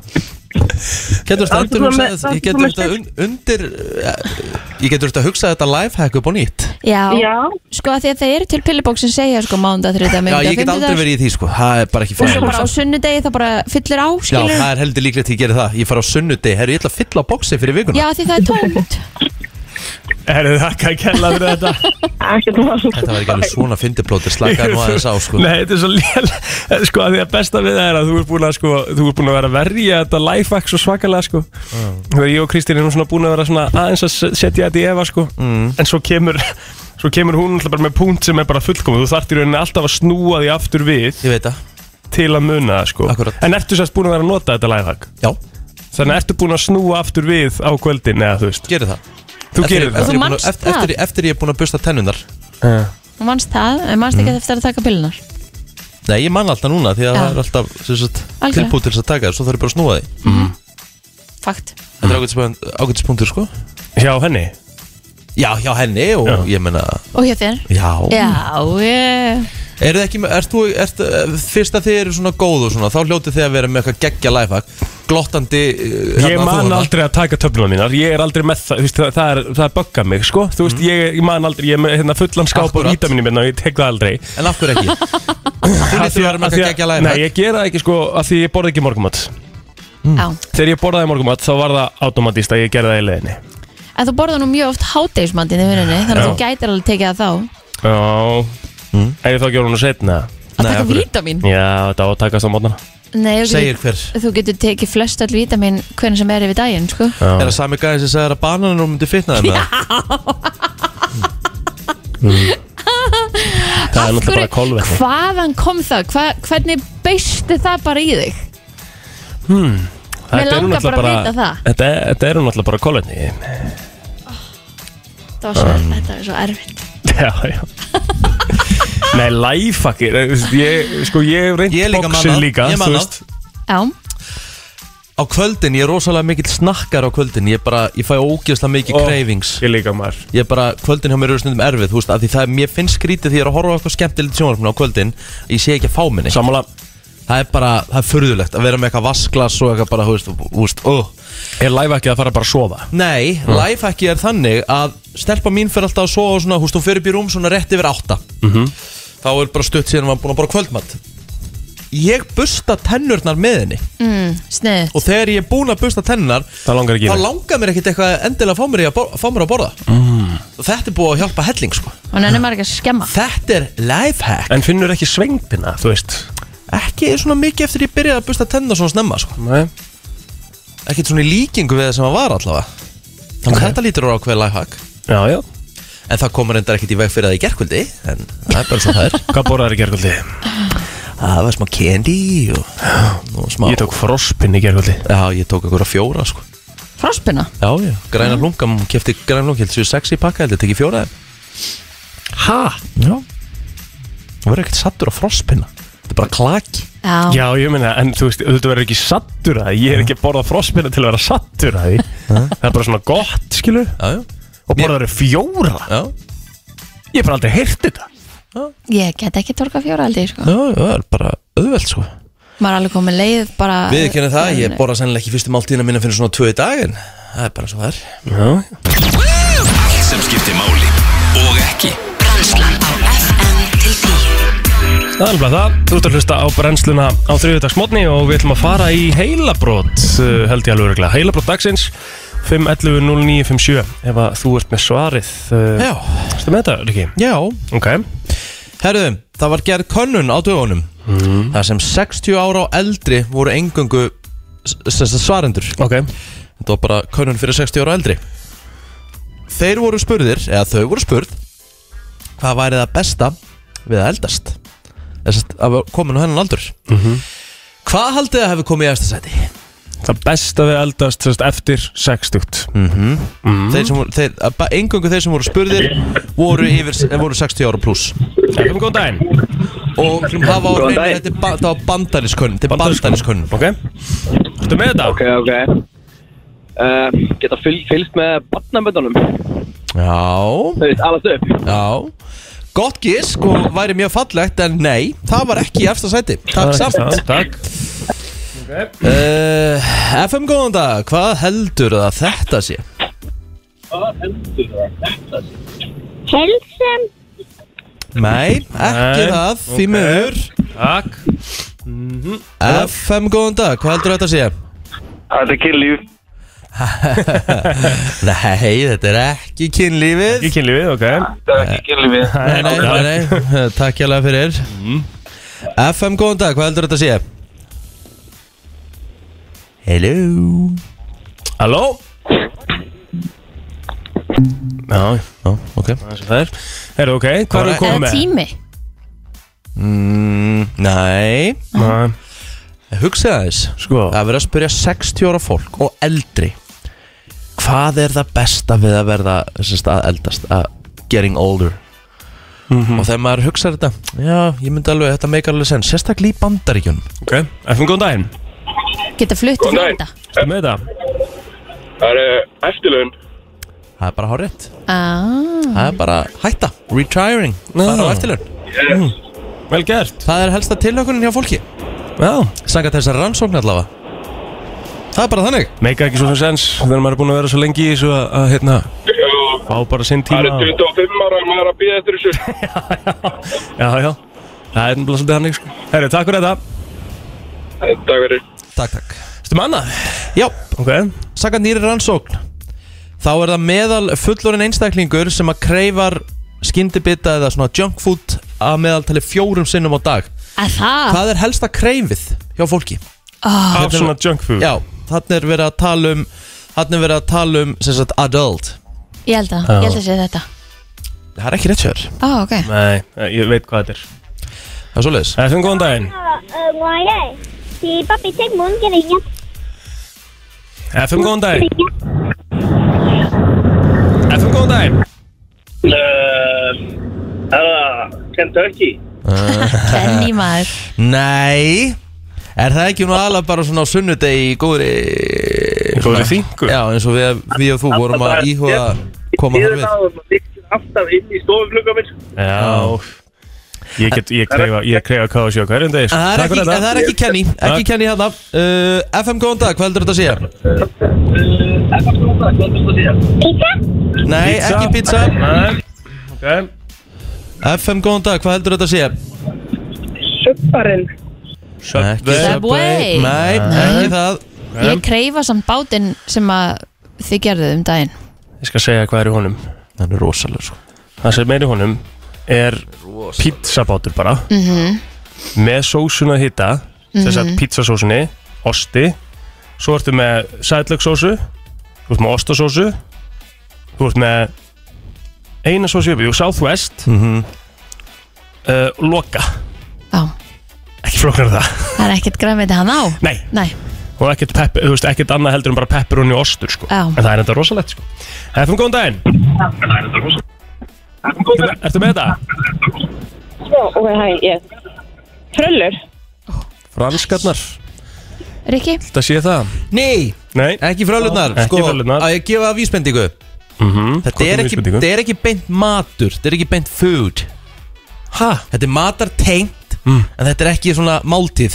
Speaker 1: Getur þetta
Speaker 6: Þarna
Speaker 1: endur
Speaker 6: með-
Speaker 1: hugsað
Speaker 6: þarna
Speaker 1: Ég getur
Speaker 6: með
Speaker 1: þetta un, undir eh, Ég getur þetta hugsað þetta lifehack upp á nýtt
Speaker 3: Já,
Speaker 6: Já,
Speaker 3: sko að því að það eru til pillibók sem segja sko mánda, þriðda,
Speaker 1: Já,
Speaker 3: mjönda,
Speaker 1: ég get aldrei verið í því sko Það er bara ekki
Speaker 3: Og svo
Speaker 1: fræðin
Speaker 3: bara á sunnudegi það bara fyllir á,
Speaker 1: Já,
Speaker 3: skilur
Speaker 1: það er heldur líklegt að ég geri það Ég fara á sunnudegi Herru, ég ætla að fylla á bóksi fyrir vikuna
Speaker 3: Já, því það er tómt
Speaker 4: Herðu þakka að kella fyrir þetta
Speaker 6: Ekkert mál
Speaker 1: Þetta var ekki alveg svona fyndiplótir slakaði nú aðeins á sko
Speaker 4: Nei, þetta er svo lél Sko, að því að besta við það er að þú ert búin að, sko, þú ert búin að vera að verja þetta lifehack svo svakalega sko. Þegar ég og Kristín erum svona búin að vera svona aðeins að se- setja þetta í efa sko.
Speaker 1: Mm.
Speaker 4: En svo kemur, svo kemur hún náttúrulega bara með punkt sem er bara fullkomið Þú þarft í rauninni alltaf að snúa því aftur við
Speaker 1: Ég veit það,
Speaker 4: til að muna það sko.
Speaker 1: Akkúrat.
Speaker 4: En ertu sérst búin að vera að nota þetta lifehack?
Speaker 1: já,
Speaker 4: Þannig að ertu búin að snúa aftur við á kvöldin eða þú veist,
Speaker 1: gerir það
Speaker 4: þú gerir
Speaker 1: eftir,
Speaker 3: Þú
Speaker 1: eftir, ég er búin
Speaker 4: það
Speaker 1: að-
Speaker 3: manst
Speaker 1: eftir,
Speaker 3: það?
Speaker 1: eftir, eftir ég er búin að busta tennunar
Speaker 3: Þú manst það, en manst ekki eftir að taka pillunar
Speaker 1: Nei, ég man alltaf núna því að
Speaker 3: Já.
Speaker 1: það er alltaf sem sagt,
Speaker 3: Algjörlega.
Speaker 1: tilbúið til þess að taka það Svo þarf ég bara að snúa því
Speaker 3: Fakt
Speaker 1: Þetta er ágætis- ágætispunktur sko
Speaker 4: hjá henni
Speaker 1: Já, hjá henni og
Speaker 4: Já.
Speaker 1: ég meina
Speaker 3: Og hjá þér
Speaker 1: Já,
Speaker 3: Já, ég...
Speaker 1: Eru þið ekki, með- ert þú, ert, eh, fyrst að þið eru svona góð og svona, þá hljótið þið að vera með eitthvað geggja lifehack, glottandi eh,
Speaker 4: Ég
Speaker 1: hérna,
Speaker 4: man
Speaker 1: þúfurnar.
Speaker 4: aldrei að taka töfluna mínar Ég er aldrei með það, þú veist, það, það er, það er bögga mig sko. Þú
Speaker 1: Mm.
Speaker 4: veist, ég, ég man aldrei, ég er með hérna, fullan skáp og
Speaker 1: Akkúrat.
Speaker 4: vítaminu minna og ég tek það aldrei
Speaker 1: En af hverju ekki? Þú
Speaker 4: Af
Speaker 1: lítur
Speaker 4: því
Speaker 1: að
Speaker 4: að-
Speaker 1: vera með
Speaker 4: af því
Speaker 1: eitthvað
Speaker 4: að-
Speaker 1: geggja
Speaker 4: Nei,
Speaker 1: lifehack
Speaker 4: ég gera það ekki sko, af því ég borði ekki morgumat
Speaker 3: Já
Speaker 4: Þegar ég borðaði morgumat, þá var það automatist að ég gerði það í leiðinni
Speaker 3: En þú borðar nú mjög oft hátegismandinn í vinnunni Þannig að
Speaker 4: Já.
Speaker 3: þú gætir alveg tekið það þá
Speaker 4: Já, Mm. er ég þá að gera hún að setna
Speaker 3: Að
Speaker 1: Nei,
Speaker 3: taka
Speaker 1: af hverju?
Speaker 3: vítamin
Speaker 4: Já, þetta á að takast á mótnana
Speaker 3: Nei, þú
Speaker 1: Segir
Speaker 3: getur,
Speaker 1: hver
Speaker 3: þú getur tekið flest all vítamin hvernig sem er yfir daginn, sko
Speaker 1: Er það sami gæði sem segir að bananum myndi fitna þeim? eða?
Speaker 4: Það er náttúrulega bara kolvetni
Speaker 3: hvaðan kom það? Hva, hvernig beistu það bara í þig?
Speaker 4: Þetta
Speaker 3: Mig
Speaker 4: er
Speaker 3: langar
Speaker 4: náttúrulega
Speaker 3: bara að vita það.
Speaker 4: Þetta þetta eru náttúrulega bara kolvetni
Speaker 3: Það var svo, þetta var svo erfitt
Speaker 4: Já, já Nei, lifehackir eh, þú veist, ég, Sko, ég
Speaker 1: Ég
Speaker 4: hef reynd
Speaker 1: líka
Speaker 4: bóksin
Speaker 1: manna,
Speaker 4: líka
Speaker 1: ég
Speaker 4: þú
Speaker 1: manna.
Speaker 4: veist.
Speaker 3: Já,
Speaker 1: Á kvöldin, ég er rosalega mikill snakkar á kvöldin Ég bara, ég fæ ógeðslega mikið
Speaker 4: Ó.
Speaker 1: cravings
Speaker 4: Ég líka maður
Speaker 1: Ég bara, kvöldin hjá mér eru stundum erfið, þú veist af Því það, mér finnst skrítið því ég er að horfa á eitthvað skemmtilegt sjónvarpinu á kvöldin Ég sé ekki að fá minni
Speaker 4: Sammála
Speaker 1: Það er bara, það er furðulegt að vera með eitthvað vasklas og eitthvað bara, þú veist, þú veist, uh.
Speaker 4: Er lifehackið að fara bara að sofa?
Speaker 1: Nei, lifehacki er þannig að stelpa mín fyrir alltaf að sofa svona, húst, hún fyrir upp í rúm svona rétt yfir átta
Speaker 4: Mhm.
Speaker 1: -hmm. Þá er bara stutt síðan var búin að bara kvöldmatt Ég busta tennurnar með henni
Speaker 3: mm, snið
Speaker 1: Og þegar ég er búin að busta tennunar
Speaker 4: Það langar ekki í
Speaker 1: Þá
Speaker 4: það.
Speaker 1: langar mér ekkit eitthvað endilega að fá mér, í að bor- fá mér að borða
Speaker 4: Mhm.
Speaker 1: Og Þetta er búið að hjálpa helling sko
Speaker 3: Og nenni maður ekki að skemma
Speaker 1: Þetta er lifehack
Speaker 4: En finnur ekki svengpina, þú veist
Speaker 1: Ekki svona mikið eftir ég byrjaði að busta tennunar svona snemma sko
Speaker 4: Nei
Speaker 1: Ekkit svona í líkingu við það sem að var allavega Þannig að þetta lítur á ákveð lifehack
Speaker 4: Já, já
Speaker 1: En það komur endar ekkit í veg fyrir það í gerkvöldi En það er bara svo það er
Speaker 4: Hvað borðaður í gergöldi?
Speaker 1: Það var smá candy og, og smá
Speaker 4: Ég tók frospinn í gergöldi
Speaker 1: Já, ég tók einhverja fjóra sko
Speaker 3: Frospina
Speaker 1: Já, já Græna hlunga, hún kefti græna hlunga Heldur séu sex í pakka, heldur tekið fjóra af þeim.
Speaker 4: Ha?
Speaker 1: Já Hún verður ekkert sattur á frospinna Þetta er bara klaki
Speaker 3: Já,
Speaker 4: Já, ég meina, en þú veist, þú verður ekki sattur að því Ég er ekki að borða frospinna til að vera sattur að því Það er bara svona gott, skilu
Speaker 1: Já, já
Speaker 4: Og borðaður fjóra
Speaker 1: Já,
Speaker 4: Ég hef bara aldrei heyrt þetta
Speaker 3: ég get ekki torka fjóra aldrei, sko
Speaker 1: já, já, það er bara auðvelt sko
Speaker 3: Maður er alveg komið leið bara
Speaker 1: Við kennum það, ég borða sennilega ekki fyrstu máltíðina minna fyrir svona tvö í dag En það er bara svo það er
Speaker 4: Já,
Speaker 2: Allt sem skiptir máli og ekki
Speaker 7: Brennslan á FM til 10
Speaker 4: Það er alveg það, þú ert að hlusta á brennsluna á þriðudagsmotni og við ætlum að fara í heilabrót, uh, held ég alveg örgulega. Heilabrót dagsins, 5.11.09.57, ef að þú ert með svarið. Uh,
Speaker 1: Já,
Speaker 4: Ertu með þetta, Riki?
Speaker 1: já,
Speaker 4: Ok.
Speaker 1: Herruðum, það var gerð könnun á dögunum þar sem 60 ára og eldri voru engöngu s- sem sagt svarendur
Speaker 4: Ok.
Speaker 1: Þetta var bara könnun fyrir 60 ára og eldri Þeir voru spurðir, eða þau voru spurð Hvað væri það besta við að eldast? Þess að vera komin á hennan aldur Hvað haldið að hefur komið í eftir sæti?
Speaker 4: Það besta við eldast sérst, eftir 60.
Speaker 1: Þeir sem voru, þeir, að ba- eingöngu þeir sem voru spurðir voru, yfir, eh, voru 60 ára pluss
Speaker 4: Efum góðan daginn.
Speaker 1: Og sem hafa á hreinu, þetta er ba- þetta var bandariskönn Þetta er bandariskönn
Speaker 4: Ok. Ertu með þetta?
Speaker 5: Ok, ok uh, Geta fylg, fylgst með barnaböndunum
Speaker 1: Já
Speaker 5: Þau veist, alast upp
Speaker 1: Já Gott gísk og væri mjög fallegt en nei, það var ekki í efsta sæti Takk samt
Speaker 4: Takk.
Speaker 1: uh, FM góðan dag, hvað heldur að þetta sé?
Speaker 8: Hilsum,
Speaker 1: Nei, ekki
Speaker 4: Nei,
Speaker 1: það, því
Speaker 4: ok.
Speaker 1: miður
Speaker 4: Takk.
Speaker 1: FM góðan dag, hvað heldur að þetta sé?
Speaker 9: Þetta er kynlíf
Speaker 1: Nei, þetta er ekki kynlífið
Speaker 4: Ég kynli við, ok
Speaker 5: Þetta er ekki kynlífi
Speaker 1: Nei, nei, nei, nei, takk hjá fyrir FM, góðan dag, hvað heldur þetta að sé? Hello
Speaker 4: Halló Já,
Speaker 1: Já, ok
Speaker 4: það er sem það er Herru, ok, hvað
Speaker 1: Bara-
Speaker 4: erum við komið
Speaker 3: Eða
Speaker 4: með?
Speaker 3: tími
Speaker 1: mm, Nei,
Speaker 4: Nei,
Speaker 1: hugsaði aðeins
Speaker 4: Sko.
Speaker 1: Það er verið að spyrja 60 ára fólk og eldri Hvað er það besta við að verða sérst, að eldast, að getting older Og þegar maður hugsaði þetta Já, ég myndi alveg, þetta meikar alveg sen Sérstaklega í bandaríkjunum
Speaker 4: Ok, FM, góðan daginn
Speaker 3: Geta flutt til
Speaker 5: Góðan
Speaker 3: Florida
Speaker 4: Ertu með þetta?
Speaker 5: Það er eftirlaun
Speaker 1: Það er bara hárétt
Speaker 3: Ah,
Speaker 1: Það er bara hætta, retiring Það er á eftirlaun
Speaker 4: Vel gert
Speaker 1: Það er helsta tilökunin hjá fólki
Speaker 4: Já
Speaker 1: Sanga þessar rannsókn allavega Það er bara þannig
Speaker 4: Meika ekki svo sem sens Þegar maður er búin að vera svo lengi í þessu að, að hérna Fá bara sinn tíma og-
Speaker 5: 25 ára og maður er að býða eftir þessu
Speaker 4: Já, já Það er náttúrulega svolítið hannig sko Herru, takk fyrir þetta
Speaker 5: Þetta verður
Speaker 1: Takk, takk
Speaker 4: Ertu með annað?
Speaker 1: Já,
Speaker 4: Ok
Speaker 1: sanga nýri rannsókn Þá er það meðal fullorinn einstaklingur sem að kreifar skyndibita eða svona junk food að meðaltali fjórum sinnum á dag
Speaker 3: að það
Speaker 1: Hvað er helsta kreifið hjá fólki?
Speaker 4: Af svona junk food
Speaker 1: Já, þannig er verið að tala um þannig er verið að tala um sem sagt adult
Speaker 3: Ég held að, ég held að sé þetta
Speaker 1: Það er ekki rétt hjá þér
Speaker 3: Á, ok
Speaker 4: Nei, ég veit hvað þetta er
Speaker 1: Það er svoleiðis
Speaker 4: FM, góðan daginn
Speaker 8: Ờ, ngồi đây thì papi thích muốn cái này nhất
Speaker 4: FM, góðan daginn FM, góðan daginn
Speaker 5: Ehm,
Speaker 3: Kenny maður
Speaker 1: Nei Er það ekki nú alveg bara svona á sunnudegi í góðri
Speaker 4: Góðri þingu.
Speaker 1: Já, eins og við, við og þú vorum að íhuga
Speaker 4: hérna
Speaker 1: að koma þar við
Speaker 4: Já Ég get, ég kreifa, ég kreifa KFC á hverjum degi sko.
Speaker 1: En það er
Speaker 4: Takk
Speaker 1: ekki,
Speaker 4: fyrir
Speaker 1: en það er ekki Kenny, ekki
Speaker 4: Takk.
Speaker 1: Kenny hérna uh, FM góðan dag, hvað heldur þetta að segja?
Speaker 8: pizza
Speaker 1: Nei, ekki pizza
Speaker 4: Nei, ok
Speaker 1: FM góðan dag, hvað heldur þetta að segja?
Speaker 6: Subbarinn
Speaker 1: Ekki
Speaker 3: Subway.
Speaker 1: Nei, ekki það
Speaker 3: Ég kreifa samt bátinn sem að þið gerðuð um daginn
Speaker 4: Ég skal segja hvað er í honum
Speaker 1: Hann er rosalega sko
Speaker 4: Það sem er í honum er pizzabátur bara -hmm. með sósun að hitta þess að pizzasósunni, osti svo ertu með sætlöksósu þú ert með ostasósu þú ert með eina sósu uppi, jú, Southwest mm loka
Speaker 3: Á,
Speaker 4: ekki flóknar það,
Speaker 3: það er ekkert græmiti hann á
Speaker 4: nei
Speaker 3: Nei,
Speaker 4: og ekkert, pepper, þú veist, ekkert annað heldur en bara pepperoni og ostur sko.
Speaker 3: Já.
Speaker 4: en það er þetta rosalegt sko. Hefum góðan daginn Ertu- Ertu með þetta?
Speaker 6: Ok, hæ, ég Fröllur
Speaker 4: Franskarnar,
Speaker 3: Rikki,
Speaker 4: þetta sé það
Speaker 1: Nei,
Speaker 4: Nei,
Speaker 1: ekki frölurnar
Speaker 4: Ekki
Speaker 1: sko,
Speaker 4: frölurnar.
Speaker 1: Að ég gefa vísbendingu
Speaker 4: Mhm.
Speaker 1: þetta
Speaker 4: Hvað
Speaker 1: er,
Speaker 4: er
Speaker 1: ekki,
Speaker 4: vísbendingu?
Speaker 1: þetta er ekki beint matur Þetta er ekki beint food
Speaker 4: hæ?
Speaker 1: Þetta er matartengt
Speaker 4: Mm.
Speaker 1: En þetta er ekki svona máltíð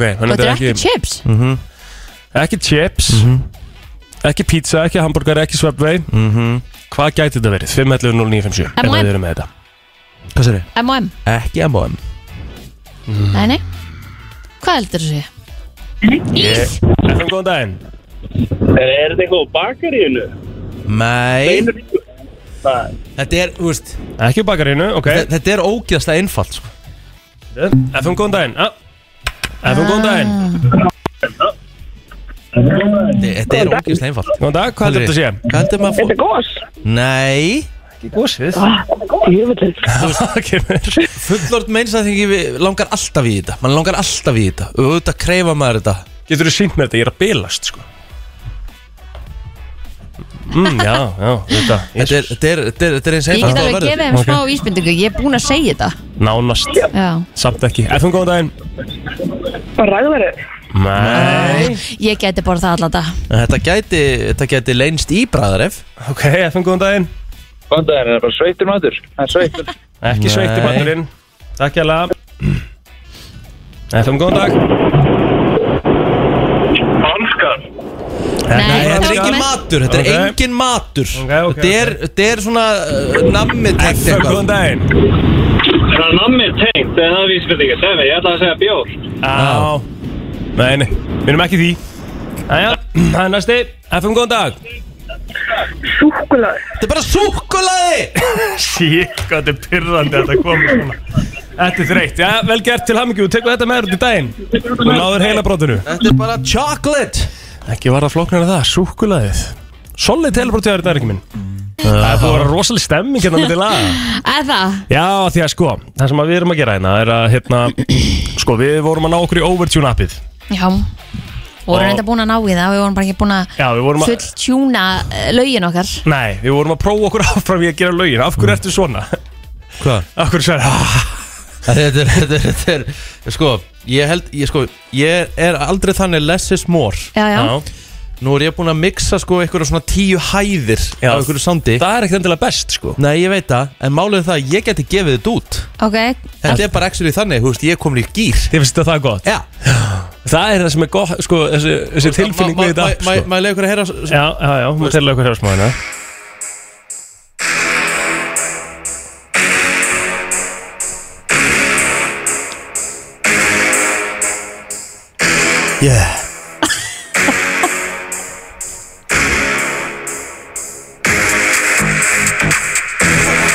Speaker 3: og
Speaker 4: þannig
Speaker 3: þetta er ekki chips
Speaker 4: ekki chips Ekki pizza, ekki hambúrgar, ekki svepvei Hvað gæti þetta verið? 511-0957 En
Speaker 3: M&M.
Speaker 4: það eru með Mhm. þetta
Speaker 1: Hvað sér þau?
Speaker 3: M&M,
Speaker 1: Ekki M&M
Speaker 3: nei, nei Hvað heldur þú sé? Ís,
Speaker 4: Efum góðan daginn
Speaker 5: Er þetta eitthvað á bakaríinu?
Speaker 1: Nei
Speaker 5: Nei.
Speaker 1: Þetta er, þú veist
Speaker 4: Ekki bakarinu, ok
Speaker 1: þe- Þetta er ógeðslega einfalt sko.
Speaker 4: Efum góðan daginn Efum
Speaker 3: Ah.
Speaker 4: góðan daginn
Speaker 1: Þe- Þetta er ógeðslega einfalt
Speaker 4: Góðan dag, hvað heldur þetta að sé?
Speaker 1: Hvað heldur maður að fó-
Speaker 6: Gós
Speaker 1: Nei
Speaker 4: Ekki gósið
Speaker 6: Jöfullin
Speaker 1: Fullort meinsæðingi langar alltaf í þetta Man langar alltaf í þetta Og auðvitað kreifa maður þetta
Speaker 4: Getur þú sínt mér þetta? Ég er að bilast sko mm, Já, já, þetta
Speaker 1: Þetta er, þetta er, þetta er, þetta er eins
Speaker 3: ég get
Speaker 1: einfalt og það
Speaker 3: alveg
Speaker 1: verður.
Speaker 3: gefið þeim
Speaker 4: Ok.
Speaker 3: smá ísbindingu Ég er búin að segja þetta
Speaker 4: Nánast,
Speaker 3: Já.
Speaker 4: samt ekki Efum góðan daginn
Speaker 6: Ræðverður
Speaker 4: Nei
Speaker 3: Ég geti borð það alltaf dag
Speaker 1: En Þetta gæti, þetta gæti leynst í bræðaref
Speaker 4: Ok, efum góðan daginn
Speaker 5: Hvað það er? Er það bara sveittur matur? Það er sveittur.
Speaker 4: Ekki
Speaker 1: Nei.
Speaker 4: sveittur maturinn Takk ég alveg Efum góðan dag
Speaker 5: Hanskar.
Speaker 4: Eh,
Speaker 3: Nei,
Speaker 1: Nei, þetta er
Speaker 3: þetta var
Speaker 1: engin
Speaker 3: með-
Speaker 1: matur, þetta
Speaker 4: Ok.
Speaker 1: er engin matur
Speaker 4: Ok, ok,
Speaker 1: Þetta er, þetta er svona uh, nammi tækt
Speaker 4: Efum
Speaker 1: eitthvað
Speaker 4: góðan daginn
Speaker 5: Það er nammi tengt. Það er það vísbendinga. Segð mig, ég ætla að segja bjór.
Speaker 4: Á Nei, nei, við erum ekki í því Jæja, það er næsti FM, góðan dag
Speaker 6: Súkulag
Speaker 1: Þetta er bara súkkulaði
Speaker 4: Sjík, hvað þetta er pyrrandi að þetta komi svona Þetta er þreytt, já, vel gert til hamingju Þú tekur þetta með þér út í daginn Þú náður heila brotinu
Speaker 1: Þetta er bara chocolate
Speaker 4: Ekki var það flokknar en það, súkulaðið Solid teleportið er þetta er ekki minn Það er búin að vera rosalega stemming hérna með til laga
Speaker 3: Eða,
Speaker 4: Já, því að sko, það sem að við erum að gera hérna er að hérna, sko, við vorum að ná okkur í Overtune appið
Speaker 3: já vorum
Speaker 4: Og-
Speaker 3: reynda búin að ná í það, við vorum bara ekki búin að
Speaker 4: Já, við vorum að,
Speaker 3: full tjúna lögin okkar
Speaker 4: nei, við vorum að prófa okkur áfram í að gera lögin, af hverju ertu svona?
Speaker 1: Hvað?
Speaker 4: Af hverju sér,
Speaker 1: Þetta er, þetta er, þetta er Sko, ég held, ég sko Ég er aldrei þannig less is more
Speaker 3: Já, já,
Speaker 1: Nú er ég búin að mixa sko einhverja svona tíu hæðir
Speaker 4: Já.
Speaker 1: Af einhverju sandi
Speaker 4: það er ekkert endilega best, sko
Speaker 1: Nei, ég veit það, en málið er það að ég geti gefið þetta út
Speaker 3: ok
Speaker 1: Þetta er bara actually þannig, þú veist, ég er komin í gýr
Speaker 4: Þið finnst þetta það gott?
Speaker 1: Já,
Speaker 4: Það er það sem er gott, sko, þessi, þessi tilfinning við þetta app,
Speaker 1: Má- má-
Speaker 4: sko
Speaker 1: má- Má ég leiða ykkur að heyra s- s-
Speaker 4: Já, já, já, maður telur okkur hér á smáðina
Speaker 1: Yeah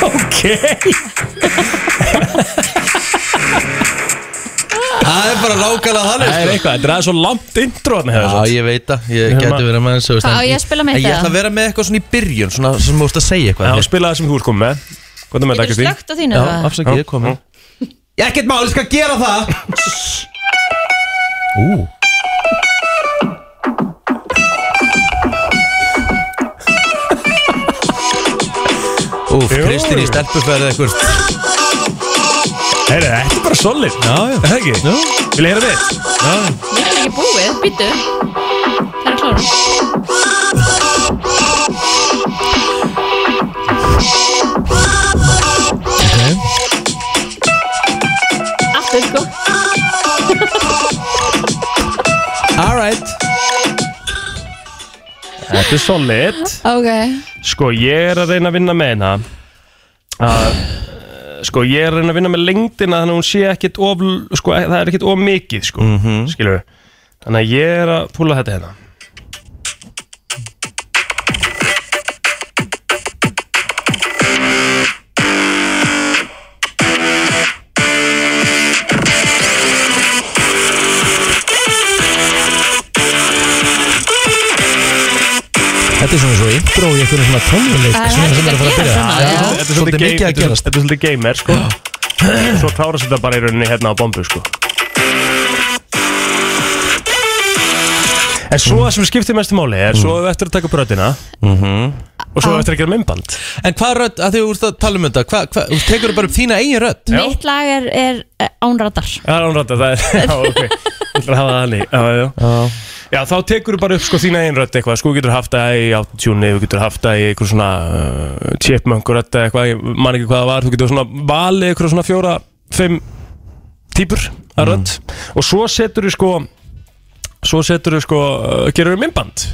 Speaker 4: Ok,
Speaker 1: Það er bara nákvæmlega
Speaker 4: það er
Speaker 1: þannig sko
Speaker 4: eitthvað, þetta er aðeins svo langt intro hérna
Speaker 1: Já,
Speaker 4: hefur
Speaker 1: ég veit það, ég
Speaker 4: Hérna-
Speaker 1: geti verið með þessu
Speaker 3: Hvað, á ég að spila mitt
Speaker 1: Ég
Speaker 3: eða?
Speaker 1: ætla að vera með eitthvað svona í byrjun, svona sem þú ert að segja
Speaker 4: Já,
Speaker 1: eitthvað
Speaker 4: spila það sem þú ert komið með Hvað er með þetta,
Speaker 3: Getur
Speaker 4: Kristýn?
Speaker 3: slögt á þínu? eða?
Speaker 1: afsakið, ég komin Ég ekkert máli, ég skal gera það Ú Úf,
Speaker 4: Jú.
Speaker 1: Kristín í stelpuferð eitthvað
Speaker 4: Heyrðu, þetta er bara solid
Speaker 1: Já, já
Speaker 4: Er það ekki? Já Vil ég heyra þitt?
Speaker 3: Ég er ekki búið, býttu Það er klára Aftur sko
Speaker 1: Alright
Speaker 4: Þetta er solid
Speaker 3: Ok
Speaker 4: Sko, ég er að reyna að vinna með hérna að Sko, ég er að reyna að vinna með lengdina Þannig að hún sé ekkit of Sko, það er ekkit of mikið, sko mm -hmm. Þannig að ég er að púla þetta hérna
Speaker 1: Þetta er svona svo intro í einhverjum svona tónleik
Speaker 3: Það er heldur að gera svona já.
Speaker 4: Þetta er
Speaker 1: Svolítið
Speaker 4: game-
Speaker 1: mikið að
Speaker 4: þetta er-
Speaker 1: gerast.
Speaker 4: Þetta er svolítið gamer, sko Svo klárast þetta bara í rauninni hérna á bombu, sko En svo sem skiptir mestu máli er svo hefur eftir að taka bröðina
Speaker 1: Mhm.
Speaker 4: og svo hefur eftir að gera mymband
Speaker 1: En hvað rödd, að því þú ert að tala um þetta hvað, hvað, Þú tekur bara upp þína eigin rödd
Speaker 3: Mitt lag er, er eh, án radar
Speaker 4: Já, hann rönda, það er, já, ok Þú ætlar að hafa það þannig, já, já, já Já, þá tekur þú bara upp sko þína einn rödd eitthvað Sko þú getur haft það í autotune Þú getur haft það í einhver svona uh, chipmunk rödd eða eitthvað, ég man ekki hvað það var Þú getur svona valið einhver svona fjóra, fimm típur að rödd Og svo setur þú sko Svo setur þú sko, uh, gerur þú mymband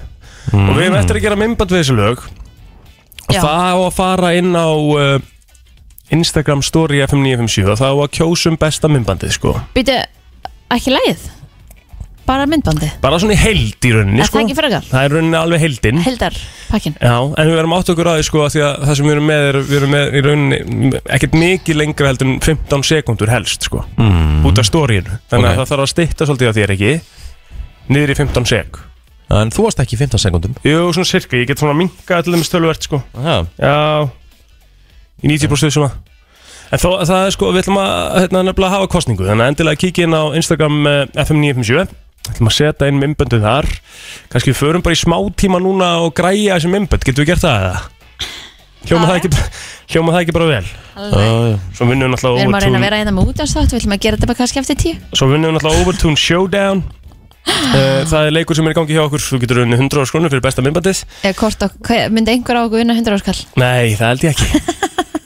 Speaker 4: Og við erum eftir að gera mymband við þessi lög Og
Speaker 3: Já.
Speaker 4: það á að fara inn á uh, Instagram story FM 957 og Það á að kjósum besta mymbandið sko
Speaker 3: Býttu, ekki lagið Bara myndbandi
Speaker 4: bara svona í heild í rauninni
Speaker 3: Er
Speaker 4: sko.
Speaker 3: það ekki frekar?
Speaker 4: það er rauninni alveg heildin
Speaker 3: Heldar pakkin
Speaker 4: Já, en við erum átt okkur að því sko af því að það sem við erum með er, við erum með í rauninni ekkert mikið lengra heldur en 15 sekundur helst sko mm. út af stóriðinu þannig
Speaker 1: Ok.
Speaker 4: að það þarf að stytta svolítið á þér ekki niður í 15 sek
Speaker 1: En þú varst ekki í 15 sekundum
Speaker 4: Jú, svona sirka, ég get svona minkað allir með stöluvert sko
Speaker 1: Já,
Speaker 4: Já, í 90% svona En þó, það er sko, við ætlum að hérna, nefnilega hafa kostningu Þannig að endilega kíkja inn á Instagram eh, FM957 ætlum að setja inn mymböndu þar Kannski við förum bara í smá tíma núna og græja þessi mymbönd Getum við gert það eða? Hljóma, það ekki, hljóma það ekki bara vel
Speaker 1: já, já.
Speaker 4: Svo vinnum við
Speaker 3: Við erum að reyna að
Speaker 4: náttúrulega
Speaker 3: vera hérna með útjánstátt Við ætlum að gera þetta bara kannski eftir tíu
Speaker 4: Overtune Svo vinnum við náttúrulega Overtune Showdown Eh, Það er leikur sem er í gangi hjá okkur Þú getur unni 100 skrunum fyrir besta mymbandið
Speaker 3: Eða hvort ok- hvað- myndi einhver á okkur vinna 100 áskall
Speaker 4: Nei, það held ég ekki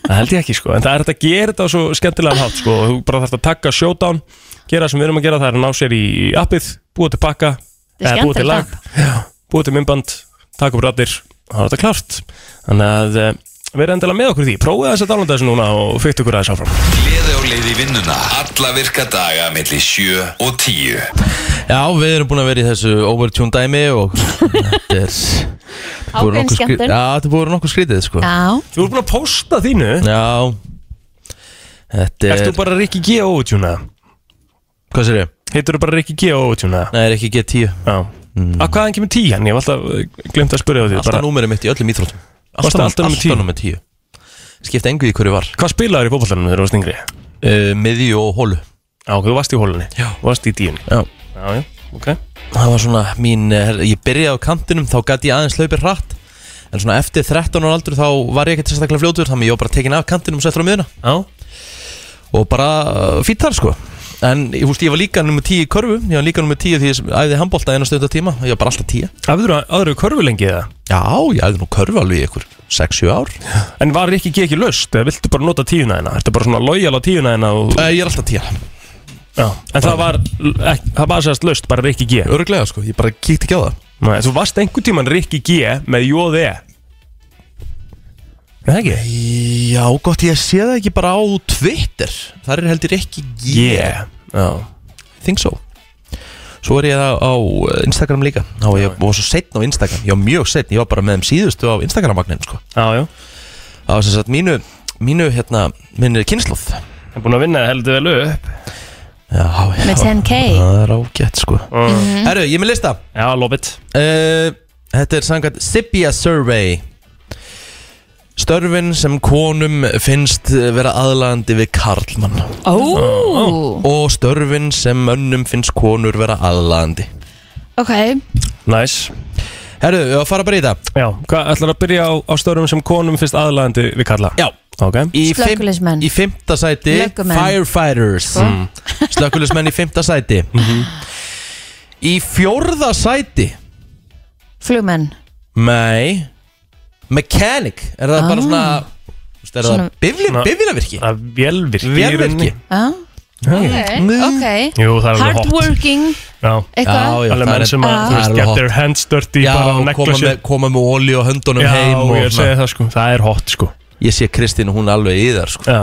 Speaker 4: Það held ég ekki sko En það er hægt að gera þetta á svo skemmtilega hátt sko Þú bara þarfst að taka showdown Gera það sem við erum að gera það er að ná sér í appið Búa til pakka
Speaker 3: Þetta er
Speaker 4: eða Búa til lag
Speaker 3: skemmtilegt
Speaker 4: Já, Búa til myndband Takk upp rættir Það er þetta klárt Þannig að eh, verið endilega með okkur í því prófið þess að dálanda þessu núna og fyrst ykkur aðeins áfram
Speaker 2: Gleði á leið í vinnuna Alla virka daga millir 7 og 10
Speaker 1: Já, við erum búin að vera í þessu overtune dæmi og þetta er búið
Speaker 3: Ákveðin
Speaker 1: nokkuð skrí-
Speaker 3: skemmtun.
Speaker 1: Já, þetta er búin nokkuð skrítið sko Já,
Speaker 3: Já,
Speaker 4: Þú ert búin að posta þínu
Speaker 1: þetta er
Speaker 4: Ertu bara Rikki G. óutjúna?
Speaker 1: Hvað sér ég?
Speaker 4: Heitur þú bara Rikki G. óutjúna?
Speaker 1: Nei, er ekki G10
Speaker 4: Já Að hvaðan kemur tían? Ég hef alltaf glemt að spyrja á því
Speaker 1: Alltaf
Speaker 4: bara,
Speaker 1: númerið mitt í öllum íþróttum
Speaker 4: Varstu með alltaf númer 10?
Speaker 1: númer 10 Skipta engu í hverju var
Speaker 4: Hvað spilaður í fótbollanum þegar þú varst yngri?
Speaker 1: uh, Miðju og hólu
Speaker 4: Já, þú varst í hólunni
Speaker 1: Já.
Speaker 4: Þú varst í tíun
Speaker 1: Já
Speaker 4: Já, já, ok
Speaker 1: það var svona mín, eh, ég byrjaði á kantinum þá gæti ég aðeins hlaupið hratt en svona eftir 13 ára aldur þá var ég ekkert sérstaklega fljótur þannig ég var bara tekin af kantinum og settur á miðuna
Speaker 4: Já
Speaker 1: og bara uh, fýtt þar sko en ég, húst, ég var líka nummer 10 í körfu ég var líka nummer 10 því ég sem- æfði handbólta einu stund á tíma ég var bara alltaf 10
Speaker 4: Aðru, aðru körfulengi eða?
Speaker 1: já, ég æfði nú körfu alveg í ykkur 6-7 ár
Speaker 4: En var Rikki G. ekki löst? Eða viltu bara nota tíuna þeina? Ertu bara svona lojal á tíuna þeina? Og...
Speaker 1: uh, ég er alltaf 10
Speaker 4: Já En það var, ek, það var sérst löst bara Rikki G.
Speaker 1: öruglega sko, ég bara kíkti ekki á það
Speaker 4: Nei, þú varst einhvern tíman Rikki G. með jóði Það ekki?
Speaker 1: já, gott, ég sé það ekki bara á Twitter þar er heldur ekki
Speaker 4: Yeah Já
Speaker 1: think so Svo er ég á, á Instagram líka Þá var ég var svo setn á Instagram Ég var mjög setn, ég var bara með þeim síðustu á Instagram-vagnin sko.
Speaker 4: Já, já
Speaker 1: Það var sem sagt mínu, mínu hérna, minni kynnslóð
Speaker 4: Það er búin að vinna heldur vel upp
Speaker 1: Já, já
Speaker 3: með 10k
Speaker 1: Það er ágætt sko
Speaker 4: Mhm.
Speaker 1: Herru, ég er með lista
Speaker 4: Já, lobit
Speaker 1: uh, Þetta er samkvæmt Sibia Survey Störfin sem konum finnst vera aðlandi við karlmann
Speaker 3: Ó,
Speaker 1: Og störfin sem önnum finnst konur vera aðlandi
Speaker 3: ok
Speaker 4: Næs
Speaker 1: Herru, við að fara bara í þetta
Speaker 4: Já, hvað ætlar að byrja á, á störum sem konum finnst aðlandi við kalla?
Speaker 1: Já,
Speaker 4: Ok
Speaker 1: Í fim-
Speaker 3: Slökkviliðsmenn.
Speaker 1: Í fymta sæti
Speaker 3: Löggumenn.
Speaker 1: Firefighters mm. Slökkulismenn í fymta sæti Í fjórða sæti
Speaker 3: Flugmenn
Speaker 1: Nei Mechanic Er það
Speaker 3: Ah.
Speaker 1: bara svona veist, Er
Speaker 3: Svona-
Speaker 1: það bifli,
Speaker 4: Svona-
Speaker 1: biflaverki
Speaker 4: Það er vélvirk í
Speaker 1: Vélverki
Speaker 4: rauninni.
Speaker 3: ah, okay. ok
Speaker 4: Jú, það er alveg hot
Speaker 3: Hardworking
Speaker 4: Já
Speaker 3: Eitthvað
Speaker 4: Alveg menn sem að,
Speaker 3: Já.
Speaker 4: þú veist,
Speaker 1: alveg
Speaker 4: get
Speaker 1: hot.
Speaker 4: their hands dirty
Speaker 1: Já,
Speaker 4: bara á
Speaker 1: koma
Speaker 4: neglusi
Speaker 1: með, koma með olíu á höndunum
Speaker 4: Já,
Speaker 1: heim og
Speaker 4: ég
Speaker 1: svona.
Speaker 4: segi það sko, það er hot sko
Speaker 1: Ég sé Kristín og hún er alveg í þar sko.
Speaker 4: Já,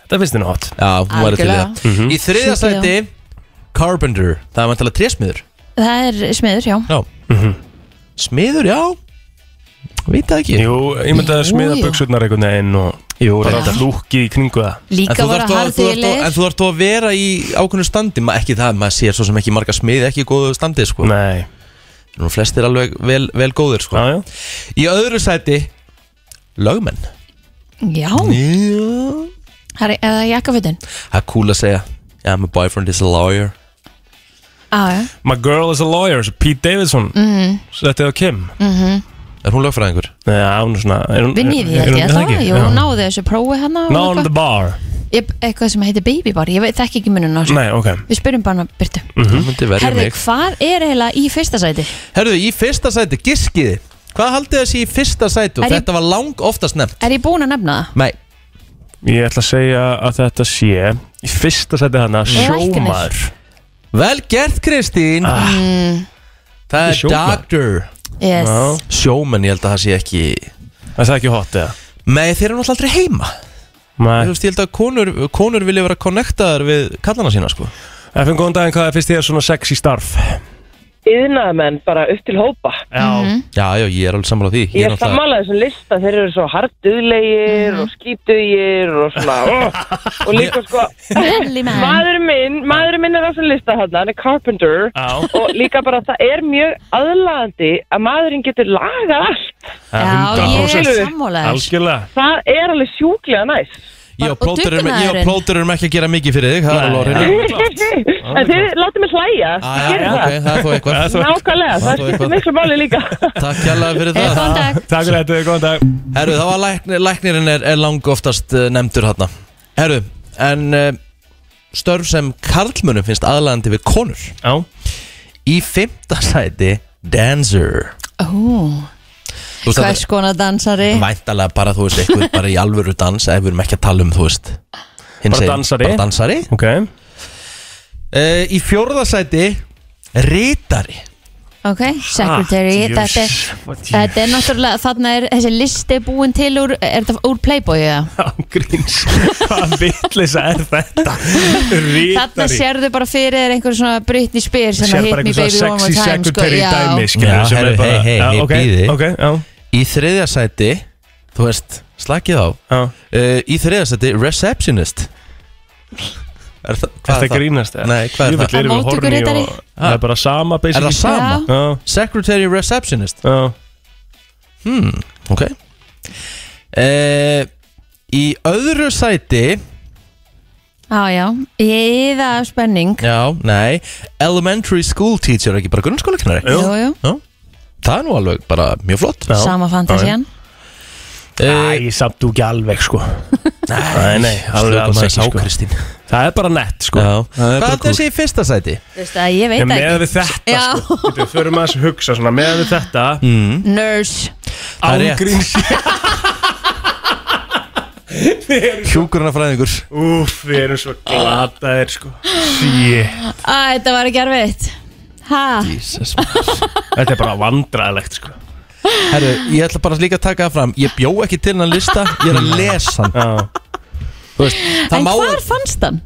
Speaker 4: þetta finnst þínu hot
Speaker 1: Já, hún var til í
Speaker 3: Algjörlega.
Speaker 1: það Í þriðja
Speaker 3: Sjúklega.
Speaker 1: sæti Carpenter Það er mæntalega trésmiður
Speaker 3: Það er smiður, já
Speaker 1: Já Smiður, já Veit það ekki
Speaker 4: Jú, ég myndi að
Speaker 3: Jú,
Speaker 4: smíða
Speaker 3: jú.
Speaker 4: buksutnar einhvern veginn og Jú,
Speaker 1: reyndar.
Speaker 4: bara lúkið í kringu það
Speaker 1: En
Speaker 3: Líka
Speaker 1: þú
Speaker 3: voru
Speaker 1: þarft að- þú þarft að- en
Speaker 3: hardilegir
Speaker 1: þú þarf að vera í ákveðnu standi Ma, ekki það, maður sér svo sem ekki marga smiði ekki í góðu standi sko.
Speaker 4: Nei,
Speaker 1: Nú, flestir alveg vel, vel góðir sko.
Speaker 4: já, já
Speaker 1: í öðru sæti lögmenn
Speaker 3: Já,
Speaker 1: Já.
Speaker 3: það er eða jakkafutin
Speaker 1: það er cool að segja yeah, my boyfriend is a lawyer
Speaker 3: Já, já
Speaker 4: My girl is a lawyer, so Pete Davidson mm.
Speaker 3: Mhm.
Speaker 4: Settið á Kim
Speaker 1: er hún lögfræðingur?
Speaker 4: Nei, hún er svona er hún-
Speaker 3: Vinn Mm. í því,
Speaker 4: er- er
Speaker 3: held
Speaker 4: hún-
Speaker 3: ég
Speaker 4: er
Speaker 3: það
Speaker 4: ekki?
Speaker 3: Jú,
Speaker 4: Já.
Speaker 3: hún náði þessu prófi hana og
Speaker 4: Ná on the
Speaker 3: eitthvað.
Speaker 4: bar
Speaker 3: Ég- Eitthvað sem heitir baby bar Ég veit þekki ekki munun á þessu
Speaker 4: Nei, ok
Speaker 3: Við spyrjum bara hana, Byrtu
Speaker 1: hún
Speaker 4: Mhm.
Speaker 1: myndi verja
Speaker 3: Herði,
Speaker 1: um mig
Speaker 3: hvað er eiginlega í fyrsta sæti?
Speaker 1: herðu, í fyrsta sæti, giskiði hvað haldið þessi í fyrsta sæti og
Speaker 3: Er ég-
Speaker 1: þetta var lang oftast nefnt
Speaker 3: Er ég búin að nefna það?
Speaker 1: nei,
Speaker 4: Ég ætla að segja að þetta sé Í fyrsta seti hana sjómaður
Speaker 1: vel gert Kristín
Speaker 4: Ah.
Speaker 1: það er
Speaker 4: Sjómaður.
Speaker 1: doctor
Speaker 3: Yes
Speaker 4: Já.
Speaker 1: sjómenn, ég held að það sé ekki
Speaker 4: Er það ekki hot eða?
Speaker 1: Nei, þeir eru náttúrulega aldrei heima Þú
Speaker 4: Nei
Speaker 1: veist, ég held að konur, konur vilja vera connectaðar við kallana sína, sko
Speaker 4: Efum góðan daginn, hvað er fyrst þér svona sexy starf?
Speaker 9: yðnaðamenn bara upp til hópa.
Speaker 4: Já
Speaker 3: Mhm.
Speaker 1: Já, já, ég er alveg sammála því
Speaker 9: Ég er sammála þessum lista, þeir eru svo harduðlegir og skítugir og svona oh, og líka sko
Speaker 3: Manly man
Speaker 9: maðurinn minn, maðurinn minn er á þessum lista þarna, hann er carpenter
Speaker 4: Já,
Speaker 9: og líka bara það er mjög aðlaðandi að maðurinn getur lagað allt
Speaker 3: Já, ég er
Speaker 4: 100%.
Speaker 3: sammála þess
Speaker 4: Algjörlega
Speaker 9: það er alveg sjúklega næst
Speaker 1: Ég og
Speaker 3: Og dugnaðurinn.
Speaker 1: plótur erum ekki að gera mikið fyrir þig Það er
Speaker 4: Nei,
Speaker 1: alveg
Speaker 4: já.
Speaker 1: orðinu
Speaker 9: en þið látið mig hlæja
Speaker 1: Já,
Speaker 9: Gerið
Speaker 1: já, ok, það
Speaker 9: það.
Speaker 1: er þó eitthvað
Speaker 4: Það er þó-
Speaker 9: nákvæmlega,
Speaker 1: Það er
Speaker 9: það
Speaker 1: þó
Speaker 9: skiptir
Speaker 1: eitthvað.
Speaker 9: miklu máli líka
Speaker 1: Takk hérlega fyrir
Speaker 3: Eh,
Speaker 1: það
Speaker 3: Góðan dag
Speaker 4: Takk fyrir þetta, góðan dag
Speaker 1: Herru, það var læknir, læknirinn er, er lang oftast eh, nefndur hérna Herru, en uh, störf sem karlmönum finnst aðlandi við konur
Speaker 4: Já
Speaker 1: Í fymta sæti, dancer
Speaker 3: Ó,
Speaker 1: Þú veist,
Speaker 3: Hvers
Speaker 1: þetta
Speaker 3: konar dansari
Speaker 1: er væntalega bara, þú veist, eitthvað bara í alvöru dans Ef við erum ekki að tala um, þú veist
Speaker 4: Bara
Speaker 1: hinsegin-
Speaker 4: dansari.
Speaker 1: Bara dansari Eh,
Speaker 4: Ok
Speaker 1: Uh, í fjórðasæti Rítari
Speaker 3: Ok, secretary,
Speaker 10: Ah,
Speaker 3: þetta er,
Speaker 10: djöss, what djöss.
Speaker 3: þetta er náttúrulega, þarna er þessi listi búin til úr, er þetta úr Playboy eða?
Speaker 10: Ángríns, hvað vitlisa er þetta?
Speaker 3: Þarna
Speaker 10: Rítari
Speaker 3: sérðu bara fyrir þér einhver svona Britney Spears sem
Speaker 10: Sér
Speaker 3: að hit
Speaker 10: bara
Speaker 3: me
Speaker 10: einhver
Speaker 3: baby
Speaker 10: svona
Speaker 3: one more
Speaker 10: sexy
Speaker 3: time sko,
Speaker 10: secretary
Speaker 3: já.
Speaker 10: dæmi, skilur
Speaker 1: Já,
Speaker 10: við, sem er
Speaker 1: herru,
Speaker 10: bara-
Speaker 1: hei, hei,
Speaker 10: Já,
Speaker 1: hei,
Speaker 10: ok,
Speaker 1: bíði.
Speaker 10: Ok, já,
Speaker 1: Í þriðja sæti Þú veist, slakið á
Speaker 10: já
Speaker 1: uh, Í þriðja sæti, receptionist Er það,
Speaker 4: Er
Speaker 1: hvað
Speaker 4: það
Speaker 1: er það?
Speaker 4: grínast? eða?
Speaker 1: Nei, hvað er
Speaker 4: Jöfull,
Speaker 1: það?
Speaker 4: erum við
Speaker 3: Móttökur
Speaker 4: horny
Speaker 3: ritari?
Speaker 4: og- Það er bara sama
Speaker 1: Er það
Speaker 4: basically
Speaker 1: sama?
Speaker 3: Já.
Speaker 4: Já,
Speaker 1: Secretary receptionist
Speaker 4: já
Speaker 1: Hmm, ok uh, Í öðru sæti
Speaker 3: Já, já, eða spenning
Speaker 1: Já, nei Elementary school teacher, ekki bara grunnskólakennari
Speaker 3: Jú, jú,
Speaker 1: Það er nú alveg bara mjög flott
Speaker 10: Já.
Speaker 3: sama fantasían
Speaker 1: Eh,
Speaker 10: Æ, samt þú ekki alveg, sko Nei, nei, alveg
Speaker 1: Slökum
Speaker 10: alls
Speaker 1: aðeins á
Speaker 10: ekki, sko
Speaker 1: Kristín
Speaker 4: Það er bara nett sko
Speaker 1: Já.
Speaker 4: Það er
Speaker 1: Hvað
Speaker 4: bara
Speaker 1: er þessi í fyrsta sæti?
Speaker 3: Þú veist að ég veit
Speaker 4: En
Speaker 3: það
Speaker 4: með
Speaker 3: ekki
Speaker 4: við þetta
Speaker 3: Já.
Speaker 4: sko Við förum aðeins að hugsa svona Með við þetta
Speaker 1: Mm.
Speaker 3: Nurse
Speaker 1: Það er rétt.
Speaker 4: Ángríns
Speaker 1: Hjúkurnafræðingur
Speaker 4: Úf, við erum svo glataðir sko Shit
Speaker 3: Æ, þetta var ekki erfitt Ha,
Speaker 4: Þetta er bara vandræðilegt sko
Speaker 1: Herru, ég ætla bara líka að taka það fram Ég bjó ekki til hann lista, ég er að lesa hann
Speaker 4: Já.
Speaker 1: Þú veist, það
Speaker 3: en
Speaker 1: má
Speaker 3: hvar fannst hann?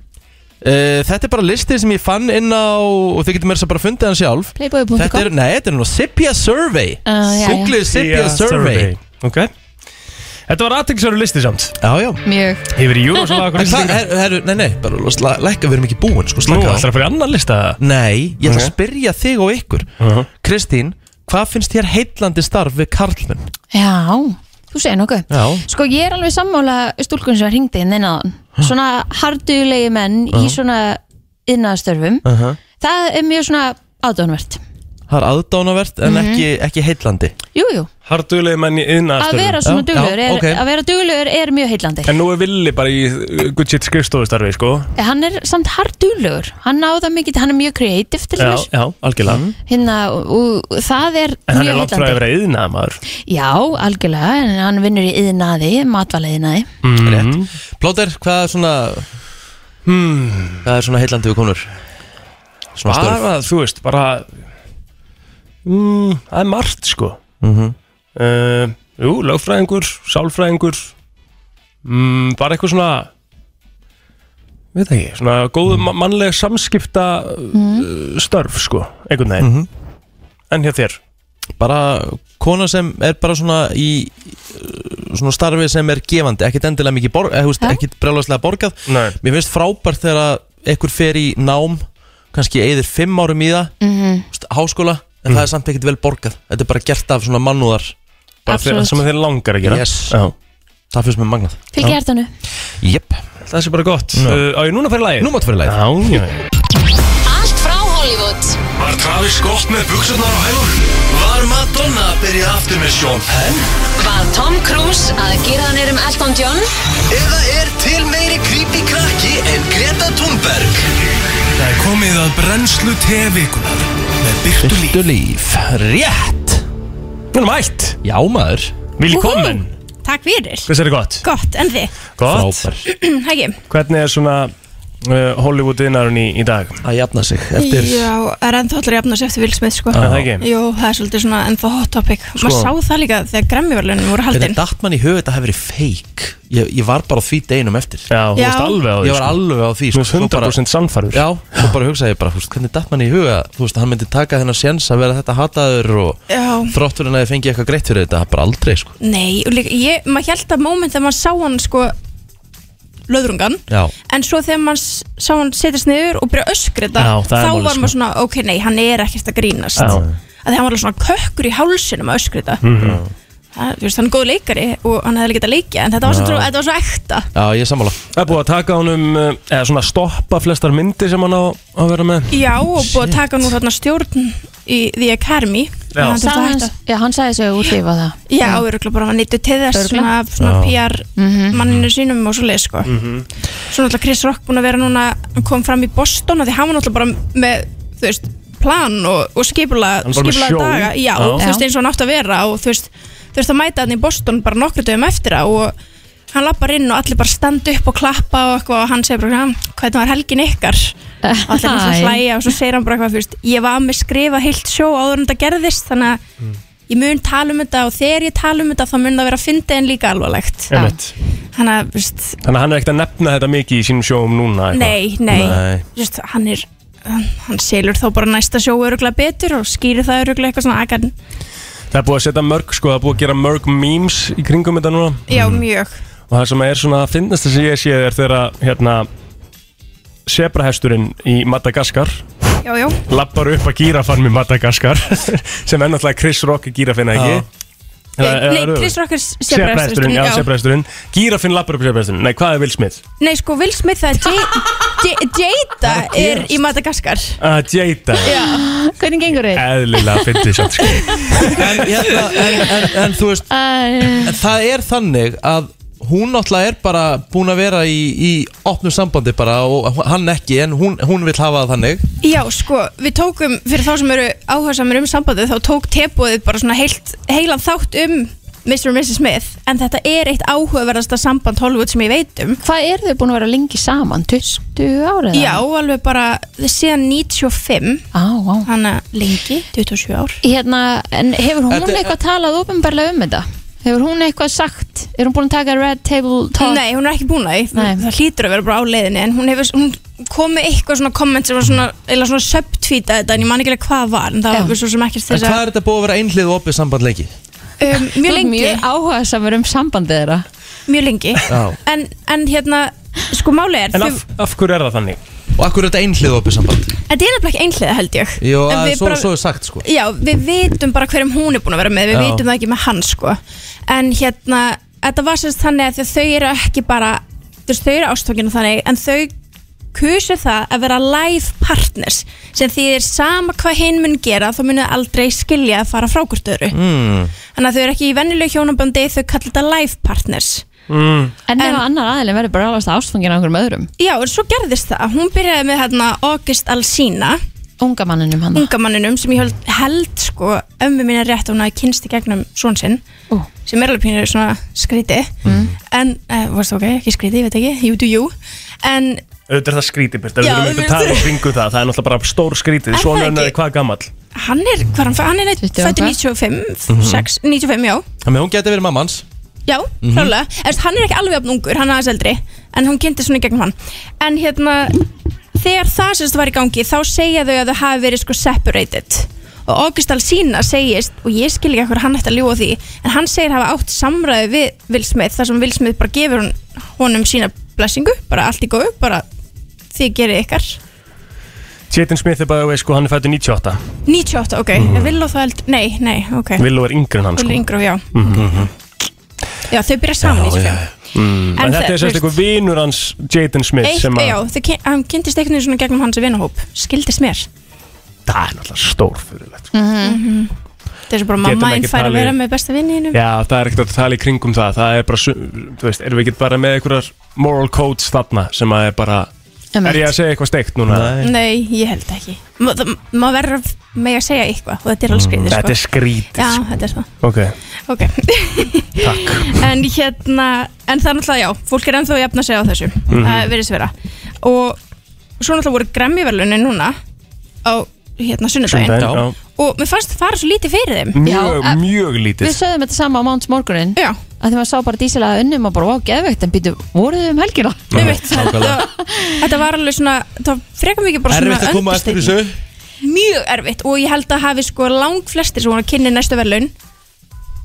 Speaker 1: Eh, Þetta er bara listi sem ég fann inn á Og þið getur mér þess að bara fundið hann sjálf Þetta er,
Speaker 3: Playboy.com
Speaker 1: nei, þetta er nú Sipia Survey
Speaker 3: Ah, já, já.
Speaker 1: Googlið Sipia Survey
Speaker 4: Ok Þetta var aðtilsverðu listi samt
Speaker 1: Já, já
Speaker 3: Mjög
Speaker 4: Yfir í Júrós
Speaker 1: En
Speaker 4: og
Speaker 1: hvað,
Speaker 4: lagur
Speaker 1: her- herru, nei, nei, bara sla- lækka, við erum ekki búin, sko,
Speaker 4: Nú,
Speaker 1: slaka á
Speaker 4: ætlar að fara í annan lista
Speaker 1: Nei, ég ætla að
Speaker 4: Ok.
Speaker 1: spyrja þig og ykkur
Speaker 4: Mhm.
Speaker 1: Kristín, hvað finnst þér heitlandi starf við karlmenn?
Speaker 3: Já, þú segir nokkuð
Speaker 1: Já
Speaker 3: Sko ég er alveg sammála stúlkun sem hringdi inn innan svona hardugulegi menn í svona innastörfum það er mjög svona ádónvert
Speaker 1: Það er aðdánavert en ekki, ekki heitlandi
Speaker 3: Jú, jú,
Speaker 4: Hardulegi menn í
Speaker 3: að
Speaker 4: yðnaðarstöðum
Speaker 3: vera svona
Speaker 1: Já,
Speaker 3: duglegur
Speaker 1: já,
Speaker 3: er,
Speaker 1: ok.
Speaker 3: að vera duglegur er mjög heillandi
Speaker 4: En nú er Villi bara í uh, good shit skrifstofustarfi sko
Speaker 3: hann er samt harduglegur hann á það mikið, hann er mjög kreatív til
Speaker 4: Já,
Speaker 3: þess
Speaker 4: já, algjörlega
Speaker 3: hérna, og, og það er
Speaker 4: En hann
Speaker 3: mjög
Speaker 4: er langt frá að
Speaker 3: heillandi
Speaker 4: vera yðnaðar maður
Speaker 3: Já, algjörlega, en hann vinnur í yðnaði matvaliðnaði
Speaker 1: mm. Plóter, hvað er svona Hvað er svona heitlandi við konur? Svona störf
Speaker 4: bara, þú veist, bara mm, það er margt, sko uh, Jú, lögfræðingur, sálfræðingur mm, bara eitthvað svona við það ekki, svona góð mm. mannleg samskipta uh, störf, sko, einhvern veginn En hjá þér
Speaker 1: Bara kona sem er bara svona í uh, Svona starfi sem er gefandi Ekkert endilega mikið borg, eh, þú veist,
Speaker 3: Já.
Speaker 1: Ekkert brjálagslega borgað
Speaker 4: Nei.
Speaker 1: Mér finnst frábært þegar að ekkur fer í nám kannski eðir fimm árum í það mm -hmm. Háskóla En það er samt ekkert vel borgað Þetta er bara gert af svona mannúðar
Speaker 4: bara þeirra
Speaker 3: Absolutt.
Speaker 4: sem þeir langar að gera
Speaker 1: Yes.
Speaker 4: Já.
Speaker 1: Það finnst mér magnað
Speaker 3: Fylgja hærtanu
Speaker 1: Jep,
Speaker 4: Það sé bara gott uh, Á ég núna að fara í lagið?
Speaker 1: nú máttu fyrir lægð
Speaker 4: Já, já, já
Speaker 7: Allt frá Hollywood
Speaker 2: Var Travis gott með buksunar á hælunum? Var Madonna að byrja aftur með Sean Penn?
Speaker 7: Var Tom Cruise að gera hann erum Elton John?
Speaker 2: Eða er til meiri creepy krakki en Greta Thunberg? Það er komið að brennslu tevikunar með byrtu
Speaker 1: Viltu líf Rétt
Speaker 4: Nú erum ætt
Speaker 1: Já maður
Speaker 4: Vili komin
Speaker 11: Takk fyrir
Speaker 4: Hvers er þið gott?
Speaker 11: Gott, en þið?
Speaker 4: Gott
Speaker 1: Frábær
Speaker 11: Hægi
Speaker 4: Hvernig er svona uh, Hollywood innarinn í, í dag?
Speaker 1: Að jafna sig eftir
Speaker 11: Já, er ennþá allir jafn að sé eftir vilsmið sko
Speaker 4: Er það ekki?
Speaker 11: Jú, það er svolítið svona ennþá hot topic Maður sá það líka þegar Grammy-verlunum voru
Speaker 1: Þetta
Speaker 11: haldin
Speaker 1: Sko- datt mann í höfu þetta hefur verið feik ég, ég var bara á því deginum eftir
Speaker 4: Já, þú
Speaker 11: Já.
Speaker 4: veist alveg á því
Speaker 1: Ég var alveg á því
Speaker 4: Þú
Speaker 1: sko,
Speaker 4: veist
Speaker 1: svo bara-
Speaker 4: 100% sannfærður
Speaker 1: Já, svo bara hugsaði ég bara, húst, hvernig datt mann í huga Þú veist, hann myndi taka þennan séns að vera þetta hataður og
Speaker 11: Já.
Speaker 1: þrótturinn að þið fengi eitthvað greitt fyrir þetta, bara aldrei sko
Speaker 11: Nei, og líka, ég, maður held að moment þegar maður sá hann sko löðrungan
Speaker 1: Já,
Speaker 11: En svo þegar maður s- sá hann setjast niður og byrja að öskra þetta
Speaker 4: Já, það er
Speaker 11: Þá
Speaker 4: málið,
Speaker 11: var
Speaker 4: sko.
Speaker 11: maður svona, ok, nei, hann er ekkert að grínast
Speaker 4: Já. Mhm.
Speaker 11: Að því hann var alveg svona kökkur í hálsinum að öskra þetta mm -hmm. Það, þú veist, hann er góð leikari og hann hefði líka að leikja En þetta var, svo, þetta var svo ekta
Speaker 1: já, ég er sammála
Speaker 4: Það er búið að taka honum uh, eða svona stoppa flestar myndir sem hann á að vera með
Speaker 11: Já, og búið að taka nú þarna stjórn í The Academy
Speaker 4: Já.
Speaker 11: Hann þurfti að
Speaker 3: Hann,
Speaker 11: hætta.
Speaker 3: já, hann sagði sig úr því var það
Speaker 11: Já, öruglega bara hann nýttu til þess svona,
Speaker 3: Örugglega.
Speaker 11: svona PR manninu sínum og svo leið sko.
Speaker 4: Mhm.
Speaker 11: Svo náttúrulega Chris Rock búin að vera núna hann kom fram í Boston af því hann var náttúrulega bara með þú veist, plan og, og skipula,
Speaker 4: Hann var með
Speaker 11: skipula
Speaker 4: show.
Speaker 11: daga Já,
Speaker 4: Já.
Speaker 11: þú veist eins og hann átti að vera og þú veist, þú veist að mæta hann í Boston bara nokkru dögum eftir það og hann lappar inn og allir bara standa upp og klappa og eitthvað og hann segir bara "Hm, hvernig var helgin ykkar og allir hann
Speaker 3: Æ.
Speaker 11: að hlæja og svo segir hann bara eitthvað fyrst ég var með skrifa heilt sjó áður en þetta gerðist þannig að ég mun tala um þetta og þegar ég tala um þetta þá mun það vera fyndið en líka alvarlegt
Speaker 4: Einmitt.
Speaker 11: þannig að veist,
Speaker 4: Þannig að hann er ekkert að nefna þetta mikið í sínum sjóum núna eitthvað.
Speaker 11: nei, nei, Just, hann er hann selur þá bara næsta sjó öruglega betur og skýrir það öruglega eitthvað svona agan
Speaker 4: Það er búið að setja mörg, sko, það er búið að gera mörg memes í kringum þetta núna
Speaker 11: já, mjög
Speaker 4: Og það sem er svona að finnast þess að ég séð er þegar að, hérna, sebrahesturinn í Madagaskar
Speaker 11: já, já,
Speaker 4: Lappar upp að gírafan með Madagaskar Sem er náttúrulega Chris Rock gírafinn,
Speaker 11: Já.
Speaker 4: ekki? Eða-
Speaker 11: nei,
Speaker 4: eða-
Speaker 11: Chris Rock er
Speaker 4: Sebrahesturinn,
Speaker 11: sebrahesturinn,
Speaker 4: já,
Speaker 11: já.
Speaker 4: sebrahesturinn Gírafinn lappar upp sebrahesturinn, nei, hvað er Will Smith?
Speaker 11: Nei, sko, Will Smith það er J- J- Jada er í Madagaskar
Speaker 4: Ah, Jada
Speaker 3: Hvernig gengur þetta?
Speaker 4: Eðlilega fyndið samt, sko
Speaker 1: en, hérna, en, en, en þú veist en Það er þannig að hún náttúrulega er bara búin að vera í, í opnu sambandi bara og hann ekki en hún, hún vil hafa það þannig
Speaker 11: Já, sko, við tókum, fyrir þá sem eru áhersamir um sambandið, þá tók tebúið bara svona heilt, heilan þátt um Mr. og Mrs. Smith, en þetta er eitt áhugaverðasta samband Hollywood sem ég veit um
Speaker 3: Hvað eru þau búin að vera lengi saman? 20 árið?
Speaker 11: Já, alveg bara síðan 95
Speaker 3: Á, á
Speaker 11: Þannig að lengi, 27 ár
Speaker 3: Hérna, en hefur hún
Speaker 11: Þetta-
Speaker 3: eitthvað talað ofinbarlega um þetta? Hefur hún eitthvað sagt? Er hún búin að taka Red Table Talk?
Speaker 11: Nei, hún er ekki búin að því
Speaker 3: Nei.
Speaker 11: Það hlýtur að vera bara á leiðinni En hún, hefur, hún kom með eitthvað svona komment sem var svona, eða svona subtweetað þetta En ég man ekki alveg hvað það var En það var svo sem ekkert
Speaker 1: En
Speaker 11: þess
Speaker 1: hvað
Speaker 11: að
Speaker 1: er þetta búið að vera einhlið og opið samband lengi?
Speaker 11: um, Mjög lengi
Speaker 3: Mjög áhuga samur um sambandið þeirra
Speaker 11: Mjög lengi
Speaker 1: Já.
Speaker 11: en, en hérna, sko máli er
Speaker 4: En
Speaker 11: þau-
Speaker 4: af, af hverju er það þannig?
Speaker 1: Og akkur er þetta einhlið opið samband?
Speaker 11: Þetta er nefnilega ekki einhlega held ég
Speaker 1: Jó,
Speaker 11: En
Speaker 1: að,
Speaker 11: við
Speaker 1: svo,
Speaker 11: bara-
Speaker 1: svo er sagt sko
Speaker 11: Já, við vitum bara hverjum hún er búin að vera með Við
Speaker 1: Já.
Speaker 11: vitum það ekki með hann sko En hérna, þetta var sérst þannig að því að þau eru ekki bara þú veist, Þau eru ástókinu þannig En þau kusu það að vera live partners Sem því er sama hvað hinn mun gera Þá munið þau aldrei skilja að fara frá hvort öðru
Speaker 1: Hmm.
Speaker 12: Mm.
Speaker 11: Þannig að þau eru ekki í venjulegu hjónabandi Þau kalla þetta live partners
Speaker 12: Mm.
Speaker 3: En ef annar aðilin verður bara alveg ástfangin á einhverjum öðrum
Speaker 11: Já, en svo gerðist það. Hún byrjaði með hérna August Alsina.
Speaker 3: Unga manninum hann.
Speaker 11: Unga manninum sem ég held, held sko ömmu mín er rétt að hún hafi kynst í gegnum svon sinn.
Speaker 3: Uh.
Speaker 11: Sem er alveg pínur svona skríti. En, uh, varst ok, ekki skríti, ég veit ekki, you do you. En,
Speaker 4: Auðvitað er það skrítið, Birta,
Speaker 11: Já,
Speaker 4: við erum
Speaker 11: auðvitað.
Speaker 4: eitthvað tala í kringu það, það er náttúrulega bara stór skrítið,
Speaker 11: Er
Speaker 4: svona
Speaker 11: það
Speaker 4: hennar er
Speaker 11: ekki?
Speaker 4: hvað gamall
Speaker 11: hann er, hvað er hann, hann er
Speaker 3: og
Speaker 11: fættur
Speaker 3: eitthvað?
Speaker 11: 95,
Speaker 1: Mhm.
Speaker 11: 6, 95, já.
Speaker 1: Þannig að hún geti verið mammans
Speaker 11: Já,
Speaker 1: Mhm.
Speaker 11: klálega. Mm -hmm. Hann er ekki alveg jafn ungur, hann er aðeins eldri En hún kynnti svona í gegnum hann En hérna, þegar það sérst var í gangi Þá segja þau að þau hafi verið sko separated Og August Alsina segist Og ég skil ekki hver hann ætti að ljúa því En hann segir hafa átt samræði við Will Smith Þar sem Will Smith bara gefur hún, honum sína blessingu Bara allt í góðu, bara þið gerir ykkar
Speaker 4: Jaden Smith er bara, veist, sko, hann er fættur 98
Speaker 11: 98, ok, mm
Speaker 4: Mhm.
Speaker 11: -hmm. Will og það eld Nei, nei, ok
Speaker 4: Willow er yngri en hann,
Speaker 11: Will
Speaker 4: sko
Speaker 11: er yngri, já.
Speaker 4: Mhm.
Speaker 11: já, þau byrja saman í 95
Speaker 4: Mm.
Speaker 11: sko. En
Speaker 4: En þetta
Speaker 11: það-
Speaker 4: er sérst
Speaker 11: þú
Speaker 4: eitthvað vinur hans, Jaden Smith,
Speaker 11: Eitt,
Speaker 4: sem að
Speaker 11: já, þau kyn, hann kynntist einhvern veginn svona gegnum hans vinahóp skildist mér
Speaker 4: Það er náttúrulega sko. stórfyrirlegt
Speaker 11: mm -hmm. það er svo bara
Speaker 4: Getum
Speaker 11: mamma einn
Speaker 4: ekki
Speaker 11: fær að
Speaker 4: talið-
Speaker 11: vera með besta vinninum
Speaker 4: Já, það er ekkert að tala í kringum það, það er bara, sum- þú veist, erum við ekki bara með einhverjar moral codes þarna sem að er bara
Speaker 3: um
Speaker 11: Einmitt.
Speaker 4: Er ég að segja eitthvað steikt núna?
Speaker 11: nei, ég held ekki Ma- það- maður verður að með að segja eitthvað og þetta er alveg skrítið sko.
Speaker 4: Mm, Þetta er skrítið,
Speaker 11: já, þetta er það
Speaker 4: Ok,
Speaker 11: ok en hérna, en það er náttúrulega já fólk er ennþá að jafna sig á þessu það
Speaker 4: Mhm.
Speaker 11: mm virðist vera og svo náttúrulega voru gremmiverlunni núna á hérna sunnudaginn
Speaker 4: Sunnudaginn, já. Mm.
Speaker 11: og mér fannst fara svo lítið fyrir þeim
Speaker 4: mjög, mjög
Speaker 3: Við
Speaker 4: lítið
Speaker 3: sögðum þetta sama á Máns morgunin
Speaker 11: Já
Speaker 3: Að því maður sá bara dísilega unnum og bara Vá, geðveikt, en býtu, voruð þau um helgina?
Speaker 1: Nei, veit það
Speaker 11: þetta var alveg svona, það var frekar mikið bara svona
Speaker 1: Erfitt að koma eftir
Speaker 11: understatement.
Speaker 1: þessu
Speaker 11: mjög erfitt og ég held að hafi sko lang flestir sem voru að kynni næstu verðlaun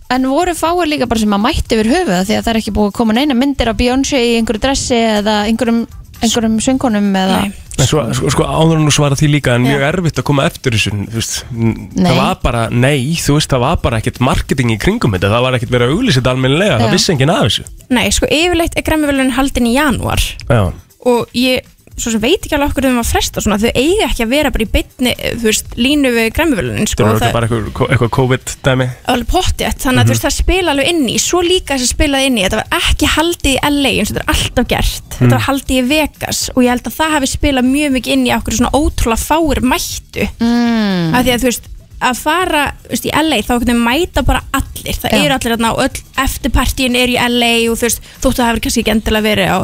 Speaker 3: En voru fáir líka bara sem að mætti yfir höfuða Því að það er ekki búið að koma neina myndir af Beyoncé í einhverju dressi eða einhverjum, einhverjum söngunum eða
Speaker 4: En svo, sko, sko áður en þú svara því líka en mjög erfitt að koma eftir þessu þú veist, n-
Speaker 3: Nei.
Speaker 4: það var bara, nei, þú veist það var bara ekkert marketing í kringum þetta það var ekkert verið að auglýsa þetta almennilega,
Speaker 11: Já.
Speaker 4: það vissi enginn af þessu
Speaker 11: Nei, sko yfirleitt er græmiverðlaun haldin í janúar
Speaker 4: Já,
Speaker 11: og ég svo sem veit ekki alveg okkur þeim að fresta svona, þau eiga ekki að vera bara í bytni þú veist, línu við græmiverðlaunin
Speaker 4: það
Speaker 11: sko,
Speaker 4: var
Speaker 11: það
Speaker 4: bara eitthvað, eitthvað COVID-dæmi
Speaker 11: alveg pottjætt, þannig að þú
Speaker 4: Mhm.
Speaker 11: veist það spila alveg inn í, svo líka þess að spilaði inn í þetta var ekki haldið í LA eins og þetta er alltaf gert
Speaker 1: Mhm.
Speaker 11: þetta var
Speaker 4: Mm.
Speaker 11: haldið í Vegas og ég held að það hafi spilað mjög mikið inn í okkur svona ótrúlega fáir mættu
Speaker 3: mm.
Speaker 11: að því að þú veist að fara, veist, í LA þá hvernig mæta bara allir, það
Speaker 3: Já.
Speaker 11: eru allir þarna og öll eftirpartíin eru í LA og þú veist, þóttu það hefur kannski ekki endilega verið á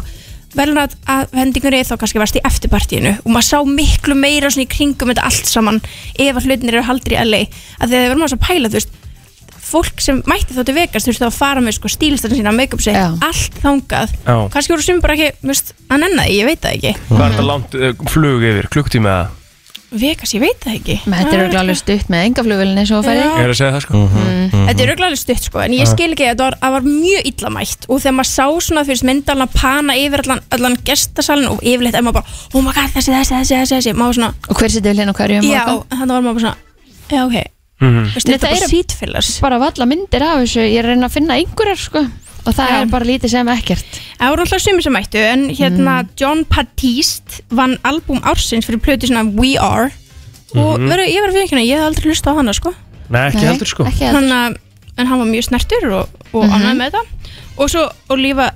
Speaker 11: velun að, að hendingur þá kannski varst í eftirpartíinu og maður sá miklu meira svona í kringum þetta allt saman ef að hlutinir eru haldir í LA að þegar við verðum að pæla, þú veist fólk sem mætti þá til Vegas, þú veist, þá að fara með sko stílistarinn sína, make-up sig, allt þangað
Speaker 4: Já.
Speaker 11: kannski voru sum bara ekki, þú veist, að nenna því, ég veit það ekki
Speaker 4: Hvað er þetta langt eh, flug yfir, klukktími eða?
Speaker 11: Vegas, ég veit það ekki
Speaker 3: Þetta er örugglega alveg stutt með engaflugvölinni svo færið
Speaker 4: Ég er að segja það sko
Speaker 11: Þetta er auðvitað stutt sko, en ég
Speaker 4: Já.
Speaker 11: skil ekki að þetta var, að var mjög illamætt og þegar maður sá svona fyrst myndalna pana yfir allan, allan gestasalinn og yfirleitt er maður bara, oh my god, þessi, þessi, þessi, þessi, þessi. maður svona,
Speaker 3: Og hver sittur við hérna og hverjum
Speaker 11: já, þannig var maður bara svona, já, ok,
Speaker 4: Mhm.
Speaker 11: Veistu, þetta er bara sítfélars
Speaker 3: Bara valla myndir af þessu, ég er að reyna að finna einhverjar sko Og það er bara lítið sem ekkert
Speaker 11: Það voru alltaf sumir sem mættu, en hérna John Patiste vann albúm ársins fyrir plötu svona We Are og
Speaker 4: Mhm.
Speaker 11: veru, ég verið fyrir ekki hana, ég hef aldrei hlusta á hana sko
Speaker 4: Nei, ekki heldur sko
Speaker 11: Þannig að- en hann var mjög snertur og, og
Speaker 3: Mhm.
Speaker 11: annað með þetta og svo Olivia,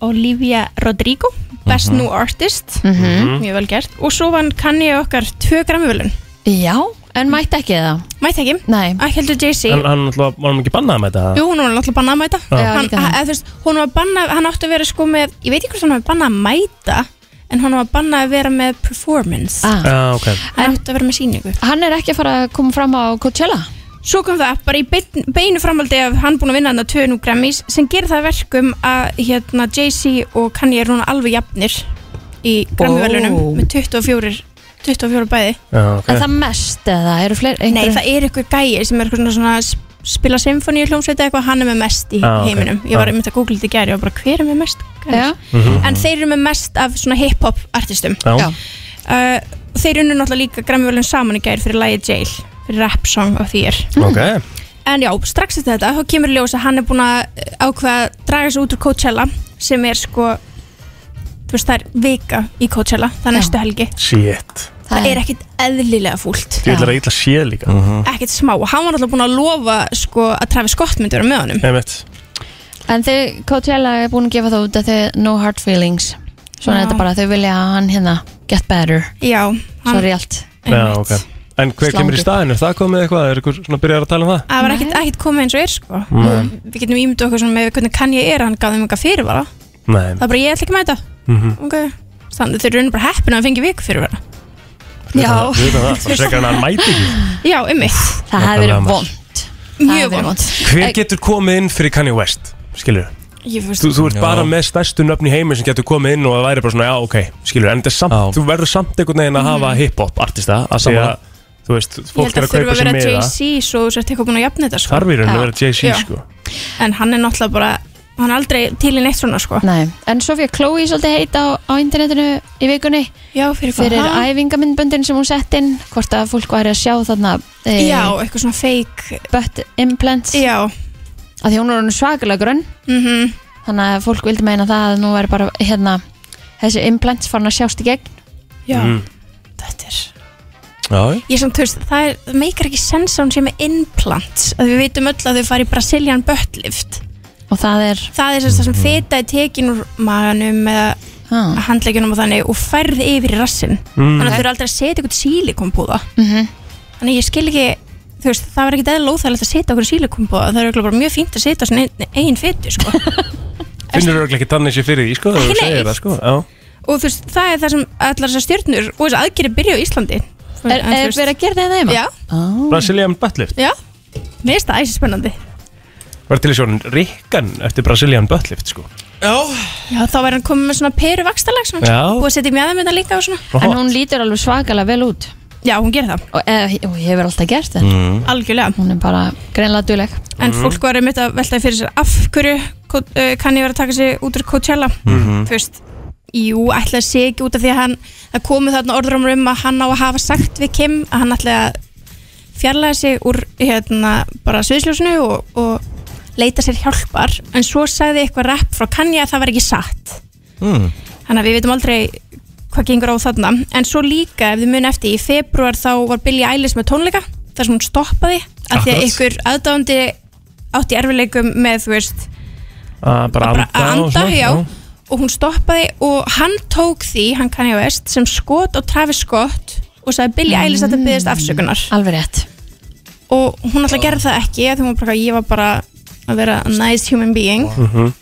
Speaker 11: Olivia Rodrigo Best
Speaker 3: Mhm.
Speaker 11: New Artist
Speaker 4: Mm.
Speaker 3: Mhm.
Speaker 11: mjög vel gert og svo vann Kanye okkar 2 grammivölun
Speaker 3: Já, en mætti ekki það
Speaker 11: Mætti ekki,
Speaker 3: Nei.
Speaker 11: ekki heldur Jay-Z
Speaker 4: En hann náttúrulega, var hann ekki bannað með þetta?
Speaker 11: Jú, hún var náttúrulega bannað að mæta
Speaker 4: Já. Já,
Speaker 11: hann,
Speaker 4: líka það.
Speaker 11: að, þú veist, hún var bannað, hann átti að vera sko með ég veit ekki hvort hann var bannað að mæta en hann var bannað að vera með performance
Speaker 3: ah.
Speaker 4: Já, ok
Speaker 11: hann átti að vera með síningu
Speaker 3: Hann er ekki að fara að koma fram á Coachella
Speaker 11: Svo kom það bara í beinn- beinu framhaldi af hann búin að vinna hann að tönu Grammys sem gerir það að verkum að hérna, Jay-Z og Kanye er núna alveg jafnir í Grammy-verlunum
Speaker 3: Ó.
Speaker 11: með 24, 24 bæði
Speaker 4: Já, ok
Speaker 3: En það mest eða, eru fleiri
Speaker 11: Nei, það er ykkur gæi sem er eitthvað svona, svona s- spila symfóníu hljómsveita eitthvað, hann er með mest í
Speaker 4: Já, ok.
Speaker 11: heiminum ég var
Speaker 4: Já.
Speaker 11: einmitt að googla þetta í gæri og bara hver er með mest Grammys?
Speaker 4: Mhm.
Speaker 11: en þeir eru með mest af svona hip-hop artistum
Speaker 4: Já. Mm. Já.
Speaker 11: Uh, þeir unnu náttúrulega líka Grammy-verlun saman í gæri fyrir lagið Jail fyrir rap song of the year
Speaker 4: Ok
Speaker 11: En já, strax eftir þetta, þá kemur í ljós að hann er búin að eh, ákveða að draga sig út úr Coachella sem er sko þú veist, það er vika í Coachella það er næstu helgi.
Speaker 4: Shit
Speaker 11: Það er ekkit eðlilega fúlt
Speaker 4: Þú ætlar að illa séð líka
Speaker 11: ekkit smá og hann var alltaf búin að lofa sko að Travis Scott myndi vera með honum
Speaker 4: Einmitt
Speaker 3: En þau, Coachella er búin að gefa það út að þau no hard feelings Svona
Speaker 11: Já.
Speaker 3: er þetta bara, þau vilja að hann hérna get better
Speaker 11: Já, hann-
Speaker 3: Sorry allt
Speaker 4: Já, ok En hver
Speaker 3: Slangur.
Speaker 4: kemur í staðinu? Er það komið eitthvað? Er ykkur svona byrjar að tala um það?
Speaker 11: það var ekkit, ekkit komið eins og er sko
Speaker 4: Nei.
Speaker 11: við getum ímyndu okkur svona með hvernig kann ég er hann gaf þeim eitthvað fyrirvara
Speaker 4: Nei
Speaker 11: það er bara ég ætla ekki að mæta
Speaker 4: Mhm.
Speaker 11: ok, þannig þau eru bara heppin að hann fengi viku fyrirvara Já.
Speaker 4: Við veitum það, bara frekar en hann mæti ekki
Speaker 11: Já, ymmið
Speaker 3: Það hefði verið vond
Speaker 11: Mjög vond
Speaker 4: Hver getur komið inn fyrir Kanye West? Skilur
Speaker 11: Ég
Speaker 4: Þú, þú ert bara með stærstu nöfn í heimi sem getur komið inn og það væri bara svona, já, ok, skilur En þetta er samt, þú verður samt einhvern veginn að hafa hip-hop artista að því
Speaker 10: Sammála.
Speaker 4: að, þú veist,
Speaker 11: Mm. Ég
Speaker 4: fólk
Speaker 11: held
Speaker 4: er
Speaker 11: að
Speaker 4: að
Speaker 11: þurfa
Speaker 4: kaupa
Speaker 11: að
Speaker 4: sér
Speaker 11: vera
Speaker 4: miða
Speaker 11: Jay-Z svo þú sért eitthvað búin að jafna þetta sko.
Speaker 4: Þarf í raun að
Speaker 11: Já.
Speaker 4: vera Jay-Z,
Speaker 11: Já.
Speaker 4: sko.
Speaker 11: En hann er náttúrulega bara, hann er aldrei til í neitt svona sko
Speaker 3: Nei, en svo fyrir Chloe svolítið heita á, á internetinu í vikunni
Speaker 11: Já, fyrir hvað?
Speaker 3: Fyrir
Speaker 11: Ha?
Speaker 3: æfingamindböndin sem hún sett inn Hvort að fólk væri að sjá þarna eh,
Speaker 11: Já, eitthvað svona fake
Speaker 3: Butt implants
Speaker 11: Já
Speaker 3: Af því hún er hún svakalega grönn
Speaker 11: -hmm.
Speaker 3: Þannig að fólk vildi meina það að nú væri bara hérna Þessi implants farin að sjást í gegn
Speaker 11: Já,
Speaker 4: Mm.
Speaker 11: þetta er
Speaker 4: Já,
Speaker 11: Ég sem þú veist, það, er, það meikar ekki sens að hún sé með implant að við veitum öll að þau fara í Brazilian butt lift
Speaker 3: Og það er
Speaker 11: Það er sem það sem
Speaker 4: Mhm.
Speaker 11: feta er tekin úr maganum eða Ah. handleggjunum og þannig og færð yfir í rassin
Speaker 4: Mm.
Speaker 11: þannig að þau eru aldrei að setja eitthvað sílikompúða
Speaker 3: -hmm.
Speaker 11: Þannig að ég skil ekki þú veist, það var ekkert eðla óþægilegt að setja okkur sílikumbóða það er örugglega bara mjög fínt að setja svona ein, ein fytu sko.
Speaker 4: finnur örglega ekki þannig sér fyrir því, sko, þegar
Speaker 11: Ekki
Speaker 4: þú segir
Speaker 11: neitt.
Speaker 4: það, sko Já,
Speaker 11: og þú veist, það er það sem allar þessar stjörnur og þessar aðgerið byrja á Íslandi
Speaker 3: Er- er verið að gera það heima?
Speaker 11: Já,
Speaker 4: Brazilian Buttlift
Speaker 11: já, mér finnst það æsir spennandi
Speaker 4: Var til í sjónin Rikkan eftir Brazilian Buttlift, sko
Speaker 11: Já Já, þá verður hann komið með svona peru vakstalag svona,
Speaker 4: Já.
Speaker 11: og að setja mjöðamönda líka og svona
Speaker 4: Hot. En
Speaker 3: hún lítur alveg svakalega vel út
Speaker 11: Já, hún gerir það
Speaker 3: Og, e, og hefur alltaf gert þetta
Speaker 4: Mm.
Speaker 11: Algjörlega
Speaker 3: Hún er bara greinlega duleg
Speaker 11: En
Speaker 3: Mhm.
Speaker 11: fólk var einmitt að veltaði fyrir sér af hverju Ko- uh, kann ég vera að taka sig út úr Coachella
Speaker 3: Mhm.
Speaker 11: Þú veist, jú, ætla að sé ekki út af því að hann það komu þarna orðrumur um að hann á að hafa sagt við Kim að hann ætla að fjarlæða sig úr hérna bara sviðsljósinu og, og leita sér hjálpar en svo sagði eitthvað rap frá Kanye að það var ekki satt
Speaker 12: Mm.
Speaker 11: þannig að við veitum aldrei hvað gengur á þarna en svo líka ef þið mun eftir í februar þá var Billie Eilish með tónleika þar sem hún stoppaði af því að
Speaker 4: Akkurat.
Speaker 11: ykkur aðdáðandi átti erfileikum með þú veist
Speaker 4: Að bara anda,
Speaker 11: að
Speaker 4: og
Speaker 11: anda
Speaker 4: svona,
Speaker 11: já, og hún stoppaði og hann tók því, hann kann ég veist sem skot á Travis Scott og sagði Billie Eilish að þetta byggðist afsökunar
Speaker 3: alveg rétt
Speaker 11: og hún alltaf gerði það ekki af því hún var bara, ég var bara að vera a nice human being
Speaker 4: Mhm.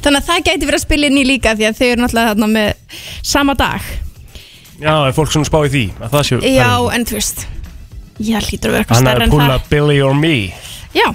Speaker 11: þannig að það gæti verið að spila inn í líka því að þau eru náttúrulega þarna með sama dag
Speaker 4: Já, er fólk svona spáið því að það sé
Speaker 11: já, en þú veist ég hlýtur að vera eitthvað
Speaker 4: Hann er
Speaker 11: stærra
Speaker 4: að
Speaker 11: en
Speaker 4: púla
Speaker 11: það
Speaker 4: Billy or me
Speaker 11: já,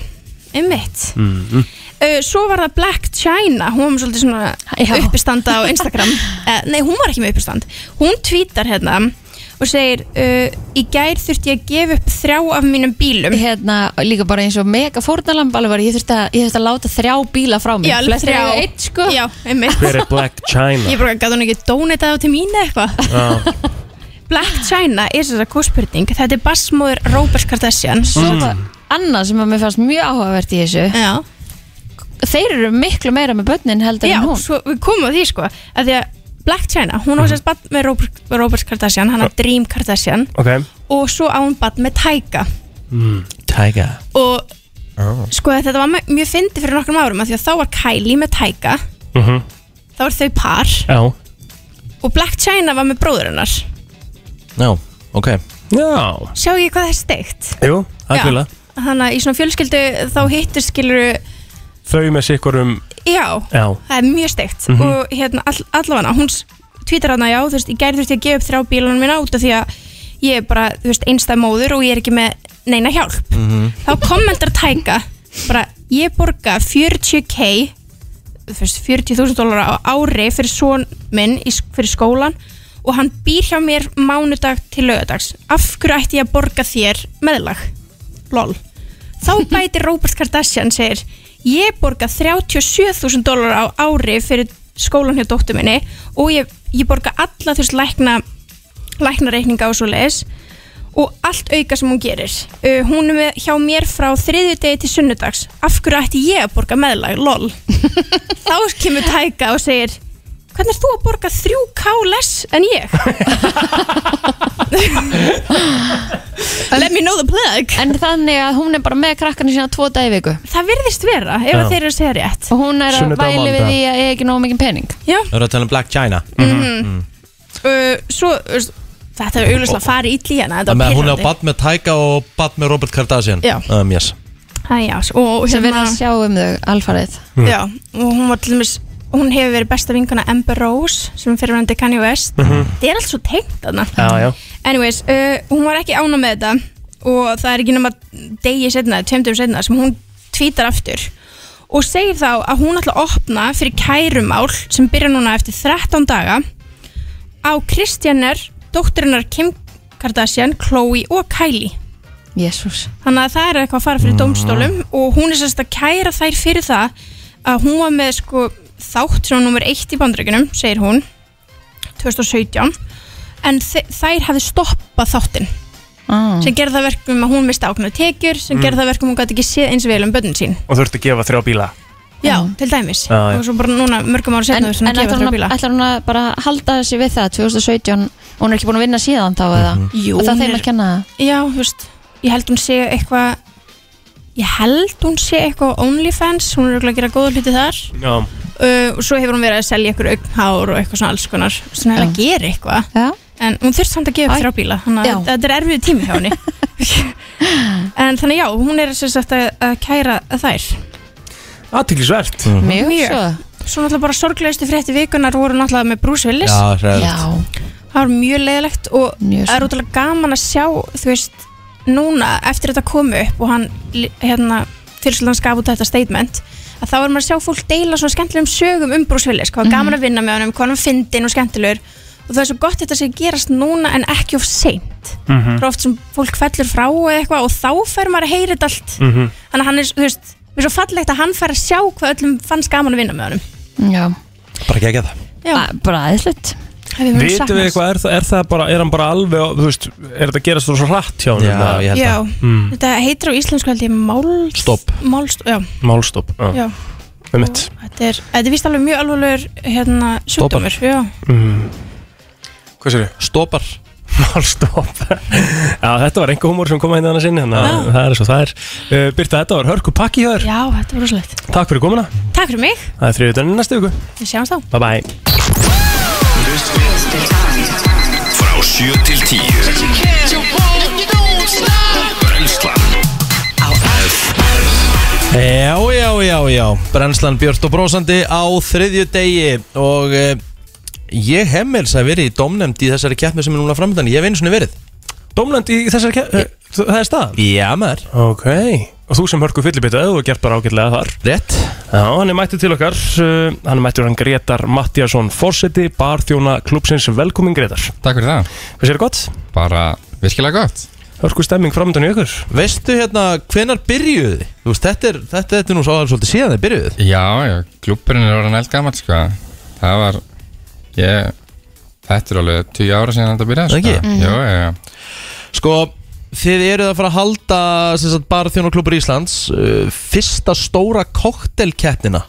Speaker 11: einmitt
Speaker 4: mm.
Speaker 11: uh, svo var það Black China hún var með svolítið svona uppistanda á Instagram uh, nei, hún var ekki með uppistand hún tweetar hérna og segir uh, í gær þurfti ég að gefa upp þrjá af mínum bílum
Speaker 3: hérna, líka bara eins og mega fórnalamb alveg var, ég þurfti að, ég þurfti að láta þrjá bíla frá mér
Speaker 11: Já, alveg
Speaker 3: Flestir
Speaker 11: þrjá.
Speaker 3: eiga einn, sko.
Speaker 11: já, einmitt
Speaker 4: Hver er Black China?
Speaker 11: Ég bara gæti hún ekki dónitað á til mín eða eitthvað
Speaker 4: Já,
Speaker 11: Black China er þess að kóspurning Þetta er bassmóður Robert Kardashian
Speaker 3: Svo
Speaker 1: Mm.
Speaker 3: er það annað sem að mér fannst mjög áhugavert í þessu
Speaker 11: Já.
Speaker 3: Þeir eru miklu meira með börnin heldur
Speaker 11: Já,
Speaker 3: en hún
Speaker 11: svo við komum að því sko að Því að Black China, hún á sérst bann með Robert, Robert Kardashian Hann á Dream Kardashian
Speaker 4: ok
Speaker 11: Og svo á hún bann með Tyga
Speaker 1: Tiger
Speaker 11: Og
Speaker 1: oh.
Speaker 11: sko þetta var mjög- mjög fyndi fyrir nokkrum árum af Því að þá var Kylie með Tyga
Speaker 4: Mhm.
Speaker 11: Þá er þau par
Speaker 4: Já
Speaker 11: Og Black China var með bróður hennar
Speaker 1: Já, ok
Speaker 4: Já
Speaker 11: Sjá ekki hvað það er steikt
Speaker 4: Jú,
Speaker 11: Já.
Speaker 4: algjörlega
Speaker 11: Þannig að í svona fjölskyldu þá hittir skiluru
Speaker 4: Þau með sikkurum
Speaker 11: Já,
Speaker 4: Já
Speaker 11: það er mjög steikt
Speaker 4: Mhm.
Speaker 11: og hérna all, allavega hún tvítar hana já, þú veist, ég gæri þurfti að gefa upp þrjá bílunum minna út af því að ég er bara, þú veist, einstæð móður og ég er ekki með neina hjálp. Þá kommentar tæka bara, ég borga 40k þú veist, 40.000 dólar á ári fyrir són minn í, sk- fyrir skólan og hann býr hjá mér mánudag til lögadags. Af hverju ætti ég að borga þér meðlag? Lol. Þá bætir Robert Kardashian segir ég borga 37.000 dólar á ári fyrir skólan hjá dóttur minni og ég, ég borga alla þú veist lækna læknareikninga og svo leis og allt auka sem hún gerir uh, hún er með, hjá mér frá þriðju degi til sunnudags af hverju ætti ég að borga meðlag, lol þá kemur tæka og segir hvernig er þú að borga 3k less en ég Let me know the plug
Speaker 3: En þannig að hún er bara með krakkarnir sína tvo dag í viku
Speaker 11: Það virðist vera, ef
Speaker 1: Já.
Speaker 11: þeir eru að segja rétt
Speaker 3: Og hún er að
Speaker 1: Sunnudag og
Speaker 3: væli við
Speaker 1: mánudag.
Speaker 3: því að eiga ekki nóg mikið pening
Speaker 11: Já
Speaker 1: Það eru að tala um Black China
Speaker 11: Mhm. uh, Svo, uh, þetta er auðvitað að fara ítli hérna
Speaker 1: Það
Speaker 11: Þetta
Speaker 1: með
Speaker 11: var
Speaker 1: að hún er á
Speaker 11: pirrandi
Speaker 1: bad með Tiger og bad með Robert Kardashian
Speaker 11: Já.
Speaker 1: um, yes.
Speaker 11: Æ, já, s- og,
Speaker 3: Sem við
Speaker 11: hérna,
Speaker 3: erum að sjá um þau alfarið
Speaker 1: Mm.
Speaker 11: já, og hún var til dæmis Hún hefur verið besta vinkana Amber Rose sem fyrir hann til Kanye West
Speaker 4: Mhm.
Speaker 11: Þetta er allt svo tengt þarna
Speaker 4: Já, já
Speaker 11: Anyways, uh, hún var ekki ána með þetta og það er ekki nema degi setna, tveimtum setna sem hún tvítar aftur og segir þá að hún ætla að opna fyrir kærumál sem byrja núna eftir 13 daga á Kristjaner, dótturinnar Kim Kardashian, Khloe og Kylie
Speaker 3: Jésús
Speaker 11: þannig að það er eitthvað að fara
Speaker 4: Mhm.
Speaker 11: fyrir dómstólum og hún er sérst að kæra þær fyrir það að hún var með sko þátt sem nummer eitt í bandreikunum, segir hún 2017 en þe- þær hafði stoppað þáttin sem gerði það verkum að hún misti ákveðna tekjur sem
Speaker 4: Mm.
Speaker 11: gerði það verkum að hún gæti ekki séð eins vel um börnin sín
Speaker 4: Og þurfti að gefa þrjá bíla
Speaker 11: já, til dæmis
Speaker 4: Mm. Já, já.
Speaker 11: og svo bara núna mörgum ára
Speaker 3: En,
Speaker 11: setna
Speaker 3: en ætlar, hún að,
Speaker 11: bíla
Speaker 3: ætlar hún að bara halda sig við það 2017, hún er ekki búin að vinna síðan þá eða
Speaker 4: Mhm.
Speaker 11: Jú,
Speaker 3: Og það
Speaker 11: hún
Speaker 3: þeim
Speaker 11: er-
Speaker 3: að kenna það
Speaker 11: já, þú veist, ég held hún sé eitthvað ég held hún sé eitthvað á OnlyFans, hún er örugglega að gera góða hluti þar
Speaker 4: Já
Speaker 11: uh, og svo hefur hún verið að selja ykkur augnhár og eitthvað svona alls konar sem hefur að gera eitthvað
Speaker 3: Já.
Speaker 11: en hún þurft samt að gefa upp
Speaker 3: Æ.
Speaker 11: þrjá bíla þannig
Speaker 3: Já.
Speaker 11: að þetta er erfið tími hjá henni en þannig já, hún er sem sagt að, að kæra þær
Speaker 4: Aðtiklisvert
Speaker 3: Mjög svo.
Speaker 11: Svo náttúrulega bara sorglegustu frétti vikunar voru náttúrulega með Bruce Willis
Speaker 4: Já, hræðilegt. Já.
Speaker 11: Það var mjög leiðilegt og
Speaker 3: Mjög
Speaker 11: það er
Speaker 3: svo.
Speaker 11: útrúlega gaman að sjá þú veist, núna eftir þetta komu upp og hann, li- hérna, fjölskyldan hans gaf út þetta statement að þá er maður að sjá fólk deila svona skemmtilegum sögum um Bruce Willis, hvað var gaman að vinna með honum hvað hann var fyndin og skemmtilegur og það er svo gott þetta sé að gerast núna en ekki of seint það er oft sem fólk fellur frá eða eitthvað og þá fer maður að heyra þetta allt
Speaker 4: Mhm.
Speaker 11: þannig að hann er, þú veist, mér er svo fallegt að hann fær að sjá hvað öllum fannst gaman að vinna með honum
Speaker 3: Já
Speaker 1: Bara ekki ekki það
Speaker 11: Já.
Speaker 3: Bara aðeinslegt
Speaker 4: Vitum við eitthvað, er, það- er það bara, er hann bara alveg, á- þú veist, er þetta að gerast svo hratt hjá hann?
Speaker 1: Já, ég held
Speaker 11: Já,
Speaker 4: Mm.
Speaker 11: þetta heitir á íslensku held ég mál...
Speaker 4: Stopp.
Speaker 11: Málstopp, já,
Speaker 4: Málstopp,
Speaker 11: já.
Speaker 4: með mitt
Speaker 11: Þetta er, þetta er vist alveg mjög alveglegur hérna sjúkdómur, já.
Speaker 4: mm. Hvað sér þau?
Speaker 1: Stoppar
Speaker 4: Málstopp Já, þetta var einhver humor sem kom hérna annars inn Þannig að það er svo það er uh, Birta, þetta var hörku pakki hjá þér
Speaker 11: Já, þetta var rosalegt.
Speaker 4: Takk fyrir komuna,
Speaker 11: Takk fyrir mig,
Speaker 4: það er þriðutöndin næstu viku
Speaker 11: við sjáumst
Speaker 4: Bye
Speaker 11: þá.
Speaker 4: bye
Speaker 2: Frá 7 til 10 Brenslan
Speaker 1: Já, já, já, já Brennslan Björn og Brósandi á þriðju degi Og eh, ég hef með þess að verið í domnemnd í þessari keppni sem er núna framöndan Ég hef einu sinni verið
Speaker 4: Dómland í þessari kepp, það er staðan?
Speaker 1: Já, maður
Speaker 4: Ok, og þú sem hörku fyllibita, þú er gert bara ágætlega þar
Speaker 1: Rétt
Speaker 4: Já, hann er mættur til okkar, uh, hann er mættur hann Gretar Mattíasson Forseti, barþjóna klúpsins Velkomin Gretar
Speaker 12: Takk fyrir það
Speaker 4: Hvað sér gott?
Speaker 12: Bara virkilega gott
Speaker 4: Hörku stemming framöndan í ykkur
Speaker 1: Veistu hérna, hvenar byrjuðu þið? Þú veist, þetta er, þetta, þetta er nú svo svolítið síðan þið byrjuðu
Speaker 12: Já, já, klúppurinn er orðin eldgammal sko. Það var ég, Þetta er alveg tíu ára síðan þetta byrjaði
Speaker 1: Ekki?
Speaker 12: sko.
Speaker 1: Mhm.
Speaker 12: Já, já, já
Speaker 1: Sko, þið eruð að fara að halda sem sagt, barþjónaklubur Íslands uh, Fyrsta stóra koktelkeppnina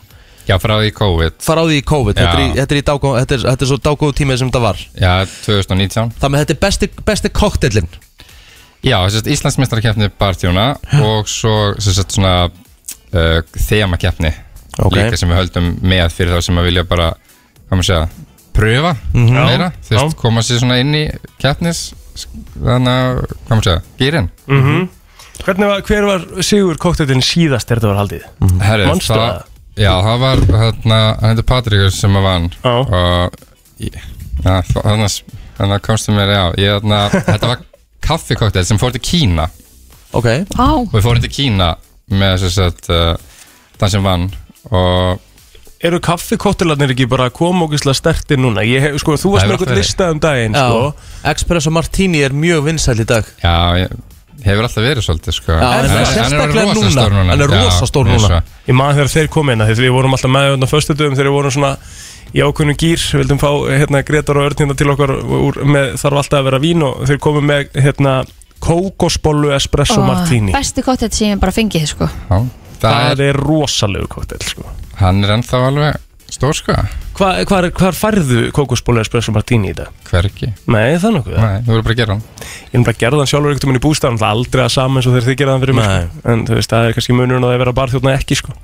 Speaker 12: Já, frá því COVID
Speaker 1: Frá því COVID, þetta er, í- þetta, er í dágó, þetta, er, þetta er svo dágóðu tímið sem þetta var
Speaker 12: Já, 2019
Speaker 1: Þannig að þetta er besti, besti koktelin
Speaker 12: Já, sérst, Íslandsmeistarkeppni barþjóna og svo sérst, svona uh, þemakeppni
Speaker 1: Ok.
Speaker 12: líka sem við höldum með fyrir þá sem að vilja bara, hvað maður segja pröfa
Speaker 1: Mhm. Já,
Speaker 12: meira, þú veist, koma sér svona inn í keppnis þannig að, hvað maður segja, gýrin
Speaker 4: mm Hvernig var, hver var Sigur kokteilin síðast þegar þetta var haldið? Mm
Speaker 12: Herri,
Speaker 4: Manstu það?
Speaker 12: Já, það var hérna, hann heitir Patrikur sem að vann og ég- já, þannig að komstu mér, já ég, hérna, þetta var kaffikoktel sem fór til Kína
Speaker 1: Ok
Speaker 3: Á.
Speaker 12: og við fórum til Kína með þess að uh, þann sem vann og
Speaker 4: Eru kaffikottilarnir ekki bara komókislega stertir núna? Ég hef, sko, þú varst
Speaker 12: Það
Speaker 4: með
Speaker 12: hefur
Speaker 4: eitthvað
Speaker 12: alltaf
Speaker 4: lista um daginn,
Speaker 1: Já.
Speaker 4: sko
Speaker 1: Espresso Martini er mjög vinsæl í dag
Speaker 12: Já, ég, hefur alltaf verið svolítið sko.
Speaker 1: Já, en það
Speaker 12: Hann-
Speaker 1: er
Speaker 12: hann orðinn
Speaker 1: sérstaklega
Speaker 12: rosa
Speaker 1: núna.
Speaker 12: stór
Speaker 1: Hann er
Speaker 12: Já,
Speaker 1: rosa stór
Speaker 12: eins og-
Speaker 1: núna.
Speaker 4: Ég maður þegar þeir komið inn að því við vorum alltaf með hérna á föstudöfum þegar við vorum svona í ákveðnum gýr, við vildum fá hérna Gretar og Örn hérna til okkar úr, með, þarf alltaf að vera vín og þeir komið með hérna kókosbollu espresso
Speaker 3: Ó,
Speaker 4: martini
Speaker 3: Besti kottet sem ég bara fengið sko
Speaker 12: Já,
Speaker 4: það, er rosalegu koktel sko.
Speaker 12: Hann er ennþá alveg stór sko
Speaker 4: Hva, hvar, hvar færðu kókosbollu espresso martini í dag?
Speaker 12: Hverki
Speaker 4: Nei, það er nokkuð
Speaker 12: Nei, þú voru bara að gera hann
Speaker 4: Ég er bara að gera hann sjálfur einhvern veginn í bústafn Það er aldrei að sama eins og þeir þið gera hann fyrir mig sko. En þú veist, það er kannski munurinn á því að vera barþjóðna ekki sko.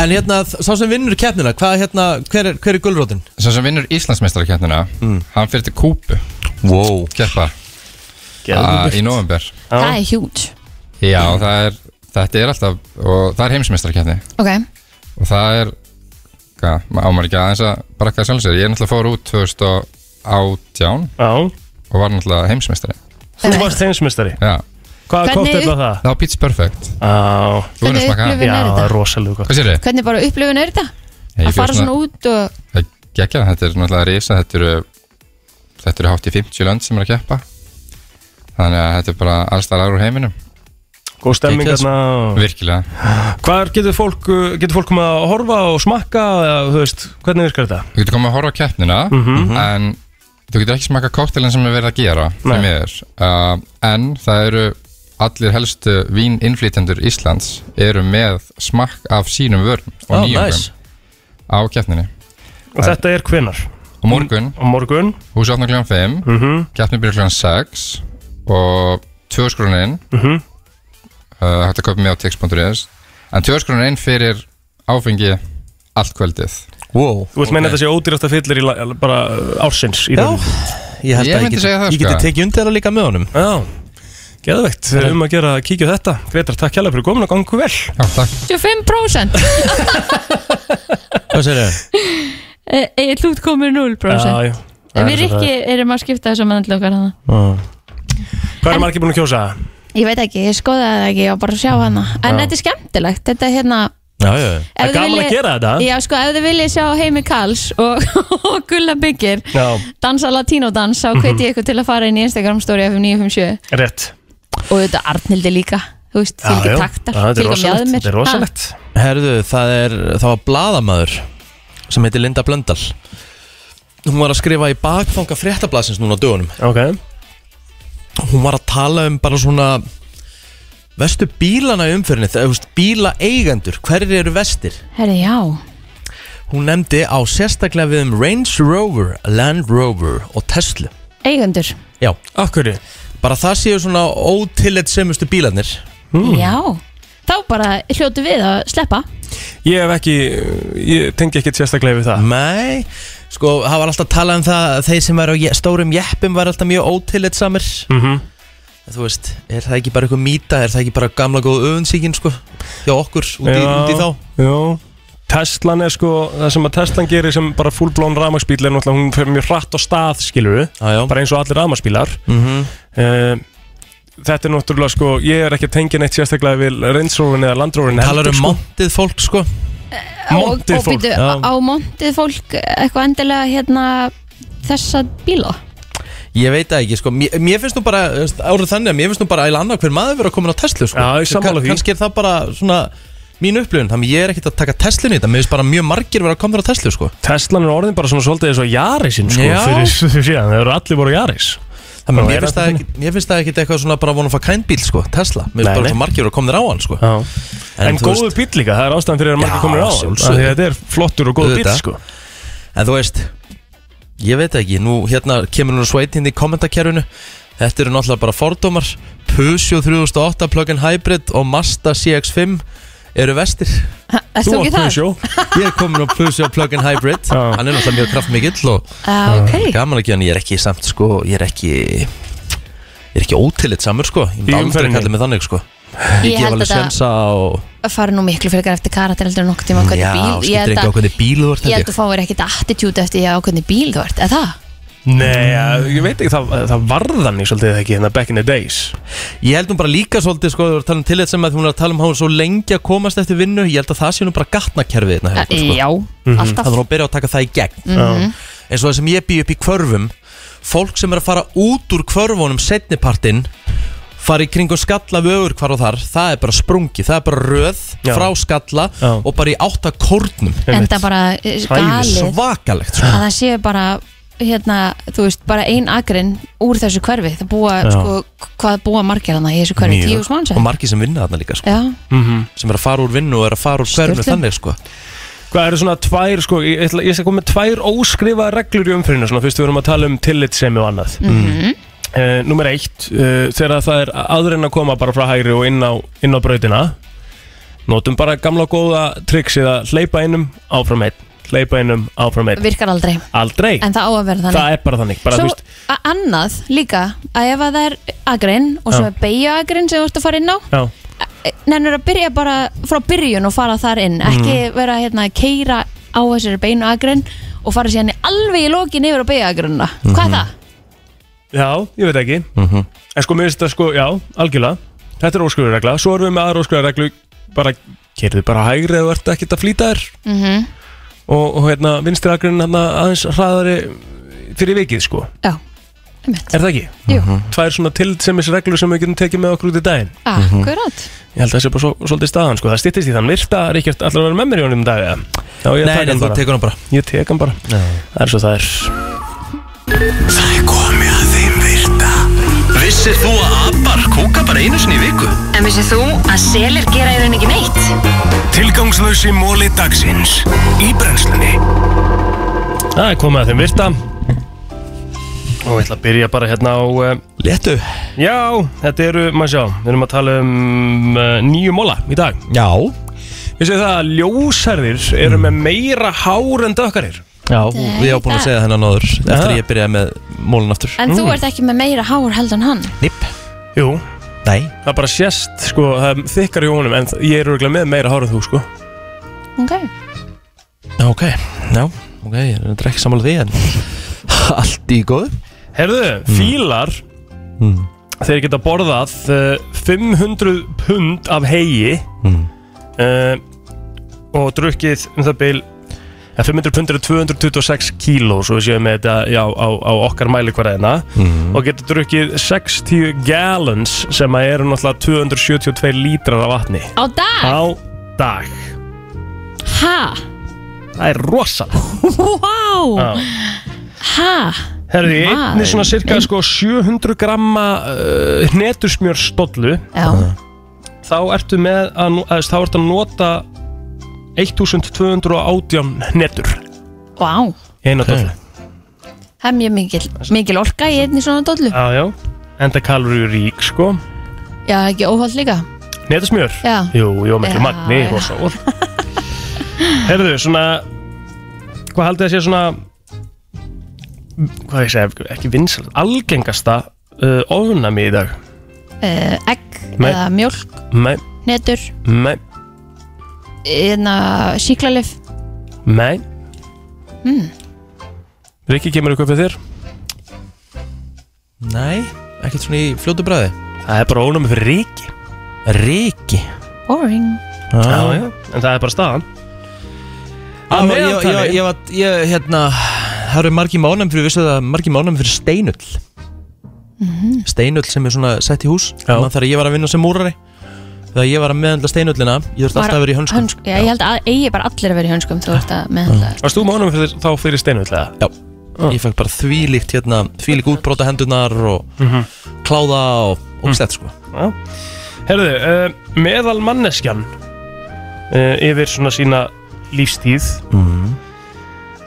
Speaker 1: En hérna, sá sem vinnur keppnina, hvað hérna, hver er, hver er gulrótin?
Speaker 12: Svo sem vinnur Íslandsmeistarkeppnina
Speaker 1: Mm.
Speaker 12: Hann fyrir til Kúpu
Speaker 1: wow.
Speaker 12: Keppa
Speaker 1: Geðveikt.
Speaker 12: Ah, Í november
Speaker 3: Það er hjút
Speaker 12: Já, það er, þetta er alltaf Og það er heimsmeistarkeppni
Speaker 3: Ok,
Speaker 12: Og það er Hvað, ma- á maður ekki aðeins að brakka sjálf sér Ég er náttúrulega fór út 2018
Speaker 4: Já
Speaker 12: Og var náttúrulega heimsmeistari
Speaker 4: Þú varst heimsmeistari
Speaker 12: Já
Speaker 4: Hvaða
Speaker 3: Hvernig-
Speaker 4: koktel var það?
Speaker 12: Það var Pizza Perfect
Speaker 4: Á,
Speaker 12: Þú erum
Speaker 3: Hvernig
Speaker 12: smakað
Speaker 3: upplifun er Já, þetta?
Speaker 4: rosalega gott
Speaker 12: Hvað sér þið?
Speaker 3: hvernig bara upplifun er þetta?
Speaker 12: Ég
Speaker 3: Að
Speaker 12: fyrir
Speaker 3: fara
Speaker 12: svona-
Speaker 3: svona út og
Speaker 12: Það er geggjað, þetta er náttúrulega risa, þetta eru, þetta eru hátt í 50 lönd sem er að keppa. Þannig að þetta er bara allstar aðra úr heiminum.
Speaker 4: Góð stemming
Speaker 12: Geggjað,
Speaker 4: þarna
Speaker 12: sko.
Speaker 4: og-
Speaker 12: Virkilega.
Speaker 4: Hvar getur fólk, uh, getur fólk komið að horfa og smakka eða, þú veist, hvernig virkar þetta?
Speaker 12: Þú getur komið að horfa á keppnina,
Speaker 4: Mhm.
Speaker 12: en þú getur ekki smakað koktelin sem er verið að gera, því
Speaker 4: Nei.
Speaker 12: miður. Uh, en það eru allir helstu víninflytjendur Íslands eru með smakk af sínum vörnum
Speaker 4: Ó,
Speaker 12: og nýjungum
Speaker 4: nice.
Speaker 12: á keppninni.
Speaker 4: Og þetta er hvenar?
Speaker 12: Og morgun
Speaker 4: Og morgun
Speaker 12: Hús opnar kljóðan 5 mm -hmm. Keppni byrjar kljóðan 6 Og tvöskrónin mm -hmm. uh, Hætti að köpa mig á tix.is En tvöskrónin fyrir áfengi Allt kvöldið
Speaker 1: wow.
Speaker 4: Þú vilt meina þetta sé ódýrasta fyllir í la- bara uh, ársins í
Speaker 1: Já,
Speaker 4: rauninni?
Speaker 1: Ég held að ég geti, ég geti tekið undir það sko. líka með honum
Speaker 4: Já, geðveikt, við erum að gera kíkja á þetta Gretar, takk hérlega fyrir komin og gangu vel Já,
Speaker 12: takk
Speaker 3: 25%
Speaker 1: Hvað sér þau?
Speaker 3: Egil, Eh, þú ert komið 0%
Speaker 4: Já, já
Speaker 3: En við Rikki erum að skipta þessu með allokkar hana
Speaker 4: Hvað er margir búin að kjósa?
Speaker 3: Ég veit ekki, ég skoðaði það ekki, ég var bara að sjá hana En
Speaker 4: Já.
Speaker 3: þetta er skemmtilegt, þetta er hérna
Speaker 1: Já, já
Speaker 4: Það er
Speaker 3: ef þið
Speaker 4: gaman að
Speaker 3: viljið-
Speaker 4: gera þetta
Speaker 3: Já, sko, ef þið viljið sjá Heimi Karls og, og Gulla Byggir
Speaker 4: Já,
Speaker 3: dansa latínodans, þá hveti
Speaker 1: Mhm.
Speaker 3: ég ykkur til að fara inn í Instagram story FM 957
Speaker 4: rétt
Speaker 3: og þetta Arnildi líka, þú veist,
Speaker 1: Já,
Speaker 3: fylgir
Speaker 1: já.
Speaker 3: taktar
Speaker 1: Já, þetta er
Speaker 3: fylgir
Speaker 1: rosalegt,
Speaker 3: mjaðmir.
Speaker 1: þetta er
Speaker 3: Ha?
Speaker 1: rosalegt. Herðu, það er, það var bladamaður sem heitir Linda Blöndal Hún var að skrifa í bakfanga fréttablasins núna á dögunum
Speaker 4: okay.
Speaker 1: Hún var að tala um bara svona Vestu bílana í umfyrinni, það er bíla eigendur, hverjir eru vestir?
Speaker 3: Herri, já,
Speaker 1: Hún nefndi á sérstaklega við um Range Rover, Land Rover og Tesla
Speaker 3: eigendur
Speaker 1: Já
Speaker 4: Akkurri
Speaker 1: Bara það séu svona ótillit semustu bílarnir Hmm.
Speaker 3: Já, þá bara hljótu við að sleppa
Speaker 4: Ég hef ekki, ég tengi ekkert sérstaklega við það
Speaker 1: Nei, sko, það var alltaf talað um það að þeir sem var á je- stórum jeppum var alltaf mjög ótillit samir
Speaker 4: Mhm.
Speaker 1: Þú veist, er það ekki bara eitthvað mýta, er það ekki bara gamla góð öfunnsíkin sko hjá okkur út í, út í þá?
Speaker 4: já. Teslan er sko, það sem að Teslan gerir sem bara fullblón rafmagsbíl er náttúrulega hún fyrir mjög hratt á stað, skilur við bara eins og allir rafmagsbílar
Speaker 1: Ah, Mhm.
Speaker 4: Eh, Þetta er náttúrulega sko, ég er ekki að tengja neitt sérstaklega við reynsrófin eða landrófin
Speaker 1: Talar um montið fólk sko
Speaker 4: Montið
Speaker 3: og, og
Speaker 4: fólk,
Speaker 3: býtu,
Speaker 4: já.
Speaker 3: á montið fólk eitthvað endilega hérna þessa bíla
Speaker 1: Ég veit það ekki sko, mér, mér finnst nú bara þú veist, árið þannig að mér finnst nú bara æla annað hver maður vera komin á Tesla sko Já, ég
Speaker 4: sammála því.
Speaker 1: Kannski er það bara svona mín upplifun, þannig að ég er ekkert að taka Teslinu í þetta Mér finnst bara mjög margir vera komin á Tesla sko
Speaker 4: Teslan er orðin bara svona svolítið eins og Jarisin sko,
Speaker 1: Já.
Speaker 4: fyrir, fyrir síðan, þeir eru allir voru Jaris
Speaker 1: Þannig að mér finnst það ekkert- mér finnst það ekkert eitthvað svona bara vona að fá kændbíl sko, Tesla Mér
Speaker 4: Nei,
Speaker 1: finnst bara
Speaker 4: nei.
Speaker 1: svo margir vera komin á hann sko
Speaker 4: Já. En,
Speaker 1: þú
Speaker 4: góðu
Speaker 1: veist-
Speaker 4: bíl líka, það er ástæðan fyrir að margir
Speaker 1: Já,
Speaker 4: komur á hann
Speaker 1: sjálfsögðu.
Speaker 4: Því þetta er flottur og góð bíl
Speaker 1: Auðvitað.
Speaker 4: sko
Speaker 1: En þú veist, ég veit ekki, nú hérna kemur nú sveit hinn í kommentarkerfinu Þetta eru náttúrulega bara fordómar Peugeot 3008 plug-in hybrid og Mazda CX-5 eru vestir
Speaker 3: ert þú Þú ekki átt þar?
Speaker 1: Ég er komin á Peugeot plug-in hybrid Hann er náttúrulega mjög kraftmikill og
Speaker 3: Já, Ah, ok.
Speaker 1: gaman ekki hann Ég er ekki samt sko, ég er ekki Ég er ekki ótillit samur sko Ég
Speaker 4: Í
Speaker 1: myndi aldrei
Speaker 4: umferðinni?
Speaker 1: kalla mig þannig sko
Speaker 3: Ég
Speaker 1: Ég gef
Speaker 3: held að
Speaker 1: alveg
Speaker 3: það-
Speaker 1: sensa og
Speaker 3: að fara nú miklu fyrir eftir karakter heldur en okkur tíma hvernig
Speaker 1: Já,
Speaker 3: bíl ég
Speaker 1: skiptir
Speaker 3: held að-
Speaker 1: ekki á hvernig bíl þú
Speaker 3: ég
Speaker 1: ert held
Speaker 3: held að þú fáir ekkit attitude eftir því á hvernig bíl þú ert, eða það?
Speaker 4: Nei, að- ég veit ekki, það, það varðan í svolítið ekki, þannig back in the days
Speaker 1: Ég held hún bara líka svolítið sko, þú voru að tala um tillit sem að hún er að tala um hún svo lengi að komast eftir vinnu Ég held að það sé nú bara gatnakerfið hérna hjá okkur, sko.
Speaker 3: Já, alltaf.
Speaker 1: Það er nú að byrja að taka það í gegn
Speaker 3: Mhm.
Speaker 1: Eins og það sem ég býð upp í kvörfum Fólk sem er að fara út úr kvörfunum setnipartinn fara í kringum skalla vögur hvar og þar það er bara sprungi, það er bara röð
Speaker 4: Já.
Speaker 1: frá skalla og bara í átta kórnum
Speaker 3: en það bara eh, galið
Speaker 1: svakalegt sko.
Speaker 3: að það séu bara hérna, þú veist, bara ein agrinn úr þessu hverfi, það búa
Speaker 1: Já.
Speaker 3: sko, hvað búa margir hana í þessu hverfi, tíu smanns
Speaker 1: og margir sem vinna þarna líka sko.
Speaker 3: Já.
Speaker 4: Mhm.
Speaker 1: sem er að fara úr vinnu og er að fara úr hverfinu
Speaker 4: Sturlun.
Speaker 1: þannig sko.
Speaker 4: Hvað eru svona tvær, sko, ég, ætla, ég skal koma með tvær óskrifaða reglur í umfyrirna Svona fyrst við erum að tala um tillitsemi og annað
Speaker 3: Mhm.
Speaker 4: Eh, Númer eitt, uh, þegar það er aður en að koma bara frá hægri og inn á, inn á brautina Notum bara gamla og góða triksið að hleypa einum áfram einn Hleypa einum áfram einn
Speaker 3: virkar aldrei
Speaker 4: Aldrei
Speaker 3: en það á að vera þannig
Speaker 4: Það er bara þannig bara,
Speaker 3: svo
Speaker 4: þú veist,
Speaker 3: a- annað líka að ef að það er agrinn og svo
Speaker 4: Já.
Speaker 3: er beigja agrinn sem þú ert að fara inn á
Speaker 4: já,
Speaker 3: nefnir að byrja bara frá byrjun og fara þar inn ekki vera hérna að keira á þessari beinu agrinn og fara síðan í alveg í lokin yfir á beigja agrinna hvað er það?
Speaker 4: já, ég veit ekki En sko, mér finnst þetta sko, já, algjörlega Þetta er óskrifurregla, svo erum við með aðra óskrifurreglu Bara, kerðu bara á hægri eða verður ekkert að flýta þér
Speaker 3: Mm -hmm.
Speaker 4: og, og hérna, vinstri agrinn hérna, aðeins hraðari fyrir vikið sko
Speaker 3: Já,
Speaker 4: Er það ekki?
Speaker 3: Jú.
Speaker 4: Tvær svona tildsemisreglur sem við getum tekið með okkur út í daginn
Speaker 3: Akkurat
Speaker 4: Ég held að það sé bara svo, svolítið staðan sko Það styttist í þann virta, Ríkjart allar að vera með mér í honum í dag eða? Já, ég
Speaker 1: Nei,
Speaker 4: taka
Speaker 1: nei,
Speaker 4: hann
Speaker 1: þú tekur hann bara
Speaker 4: Ég tek hann bara Það er svo það er
Speaker 2: Það er komið að þeim virta Vissir þú að abar kúka bara einu sinni í viku?
Speaker 7: En vissið þú að selir gera í raun ekki neitt?
Speaker 2: Tilgangslösi móli dagsins Í brennslunni
Speaker 4: Það er komið að þeim virta Og ég ætla að byrja bara hérna á uh,
Speaker 1: Letu
Speaker 4: Já, þetta eru, maður sjá Við erum að tala um uh, nýju móla í dag
Speaker 1: Já
Speaker 4: Ég segi það að ljósherðir eru með meira hár en dökkarir
Speaker 1: Já, ég var búin að segja þennan áður eftir að ég byrjaði með mólun aftur
Speaker 3: En þú ert ekki með meira hár heldur en hann
Speaker 1: Nipp
Speaker 4: Jú
Speaker 1: Nei
Speaker 4: Það bara sést, sko, það er þykkar í honum En þ- ég er örgulega með meira hár en þú, sko
Speaker 3: Ok
Speaker 1: Ok, já, ok, ég er reyndar ekki sammála því en allt í góðu
Speaker 4: Herðu,
Speaker 1: Mm.
Speaker 4: fílar Þeir geta borðað uh, 500 pund af hegi
Speaker 1: Mm.
Speaker 4: uh, Og drukkið um það bil ja, 500 pund eru 226 kíló Svo við séum með þetta já, á, á okkar mælikvarðina
Speaker 1: Mm.
Speaker 4: Og geta drukkið 60 gallons Sem að eru náttúrulega 272 lítrar af vatni
Speaker 3: Á dag?
Speaker 4: Á dag
Speaker 3: Ha?
Speaker 4: Það er rosalega
Speaker 3: Wow
Speaker 4: Já.
Speaker 3: Ha?
Speaker 4: Herði, í einni
Speaker 3: Maður
Speaker 4: svona cirka
Speaker 3: minn.
Speaker 4: sko 700 gramma uh, hnetusmjörstollu
Speaker 3: Já.
Speaker 4: þá ertu með að, nú- að þá ertu að nota 1218 hnetur
Speaker 3: Vá
Speaker 4: í eina dollu
Speaker 3: Það er mjög mikil, mikil orka í einni svona dollu
Speaker 4: Já, já, enda kaloríu rík sko
Speaker 3: Já, ekki óhald líka
Speaker 4: Hnetusmjör?
Speaker 3: Já.
Speaker 4: Jú, jú, miklu
Speaker 3: Já,
Speaker 4: magni,
Speaker 3: já.
Speaker 4: rosa orð Herðu, svona hvað haldið að sé svona hvað ég segi, ekki vinsal algengasta uh, ofnami í dag
Speaker 3: uh, egg
Speaker 4: Nei.
Speaker 3: eða mjólk,
Speaker 4: Nei,
Speaker 3: netur,
Speaker 4: nei,
Speaker 3: hérna, síklarlif
Speaker 4: nei
Speaker 3: mm.
Speaker 4: Rikki, kemur eitthvað fyrir þér?
Speaker 1: Nei, ekkert svona í fljótu bræði
Speaker 4: Það er bara ónæmi fyrir Rikki
Speaker 1: Rikki
Speaker 3: Boring
Speaker 4: Já, já, en það er bara staðan
Speaker 1: Já,
Speaker 4: Að
Speaker 1: ég, ég,
Speaker 4: meðaltali-
Speaker 1: ég, ég, var- ég, hérna, það eru margir mánum fyrir, vissu það, margir mánum fyrir steinull
Speaker 3: Mhm.
Speaker 1: Steinull sem er svona sett í hús Þannig þegar ég var að vinna sem múrari Þegar ég var að meðhandla steinullina Ég þurfti alltaf að vera í hönskum
Speaker 3: Hönsk- já, ég held að eigi bara allir að vera í hönskum þú ert að meðhandla
Speaker 4: Varst þú mánum fyrir, þá fyrir steinvillega?
Speaker 1: Já, ég fekk bara þvílíkt hérna, þvílík útbróta hendurnar og
Speaker 4: Mhm.
Speaker 1: kláða og ógstætt sko
Speaker 4: Já. Herðu, uh, meðal manneskjan uh, yfir svona sína lífstíð
Speaker 1: Mhm.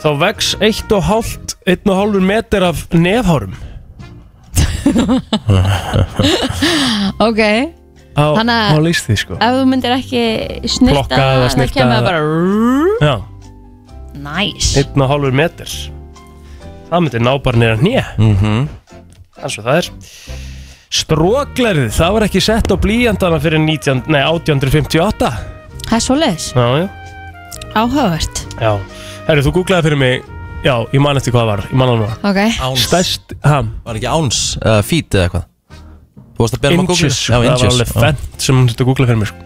Speaker 4: þá vex 1,5 1,5 meter af nefhárum
Speaker 3: ok,
Speaker 4: á,
Speaker 3: Þannig
Speaker 4: á
Speaker 3: að-
Speaker 4: lífstíð sko
Speaker 3: ef þú myndir ekki snirta
Speaker 4: Plokka eða snyrta
Speaker 3: þá kemur það
Speaker 4: eða-
Speaker 3: bara
Speaker 4: Já,
Speaker 3: nice
Speaker 4: 1,5 meter það myndi ná bara nýra hnjö
Speaker 1: Mhm.
Speaker 4: eins og það er Stróklerið, það var ekki sett á blíjandana fyrir 19, nei, 1858
Speaker 3: það er svoleiðis,
Speaker 4: Já, já
Speaker 3: áhugavert
Speaker 4: Já, herru, þú googlaði fyrir mig Já, ég man eftir hvað það var, ég man á núna
Speaker 3: ok,
Speaker 1: Áns
Speaker 4: Stærst, ham
Speaker 1: Var ekki áns, uh, feet eða eitthvað Þú varst að bera um að googla
Speaker 4: Inches, sko, það var alveg fenn sem hún þetta googlaði fyrir mig sko.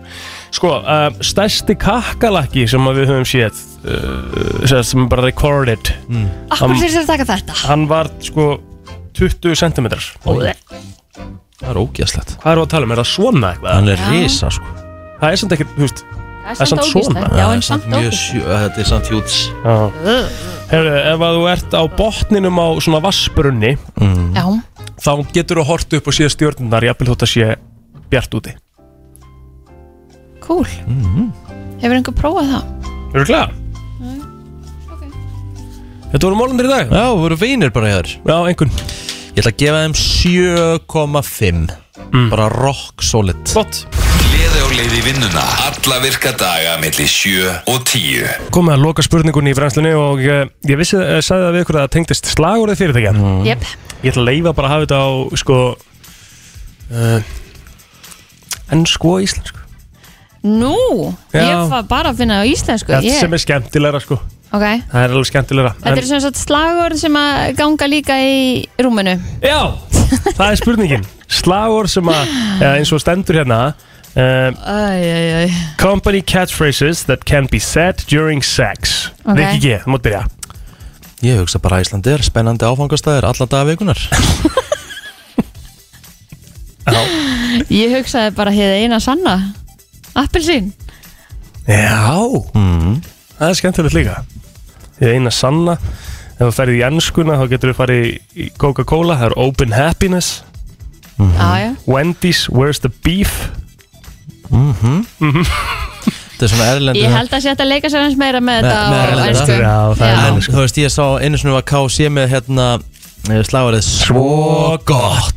Speaker 4: Sko, uh, stærsti kakkalakki sem að við höfum séð uh, sem- sem er bara recorded mm.
Speaker 3: akkur fyrir þér að taka þetta
Speaker 4: Hann var, sko, 20 cm Hvað
Speaker 1: Það er ógæslegt
Speaker 4: er að tala um, er það svona eitthvað?
Speaker 1: Hann er
Speaker 3: Já.
Speaker 1: risa sko
Speaker 4: Það er samt ekkert, þú veist
Speaker 3: Það er samt ógeðslegt. Já, en
Speaker 1: Það er
Speaker 3: samt
Speaker 1: mjög
Speaker 3: ógeðslegt.
Speaker 1: sjö, Þetta er samt hjúts
Speaker 4: Já. Herru, ef að þú ert á botninum á svona vassbrunni
Speaker 3: já,
Speaker 4: þá getur þú hort upp og séð stjörnunar jafnvel þótt að sé bjart úti
Speaker 3: cool hefur einhver prófað það?
Speaker 4: Eru glæða?
Speaker 3: Mm,
Speaker 4: Þetta voru mólundir í dag
Speaker 1: Já, við vorum vinir bara hér
Speaker 4: Já, einhvern
Speaker 1: Ég ætla að gefa þeim 7,5 Bara rock solid
Speaker 4: Flott
Speaker 2: Gleði og leiði vinnuna Alla virka daga millir 7 og 10
Speaker 4: Komið að loka spurningunni í brennslunni og uh, ég vissi, uh, sagði það við ykkur að það tengdist slagorðið fyrirtækja mm.
Speaker 3: Jep.
Speaker 4: Ég ætla að leifa bara að hafa þetta á sko uh, ennsku og sko íslensku
Speaker 3: nú,
Speaker 4: Já.
Speaker 3: ég var bara að finna það á íslensku
Speaker 4: Þetta
Speaker 3: Ég-
Speaker 4: sem er skemmtilegra sko
Speaker 3: ok,
Speaker 4: Það er alveg skemmtilegra
Speaker 3: þetta er sem sagt slagorð sem að ganga líka í rúminu
Speaker 4: Já, það er spurningin Slagorð sem að, uh, eins og stendur hérna uh,
Speaker 3: Æ, æ, æ.
Speaker 4: Company catchphrases that can be said during sex
Speaker 3: Ok.
Speaker 4: Rikki G, þú mátt byrja
Speaker 1: Ég hugsa bara Íslandi er spennandi áfangastæðir alla daga vikunar
Speaker 3: ég hugsaði bara hér eina sanna appelsín
Speaker 4: Já Mhm. Það er skemmtilegt líka Ég eina sanna Ef þú ferði í ennskuna þá getur þú farið í- í Coca-Cola Það er Open Happiness
Speaker 3: Aja.
Speaker 4: Wendy's, Where's the Beef
Speaker 1: Mhm. Þetta er svona erlendur
Speaker 3: ég held að sé hægt að leika sér eins meira með
Speaker 1: Me-
Speaker 3: þetta
Speaker 1: með
Speaker 3: og-
Speaker 1: erlenda.
Speaker 3: ensku.
Speaker 1: En þú veist, ég sá einu svona var KC með hérna slagarið Svo gott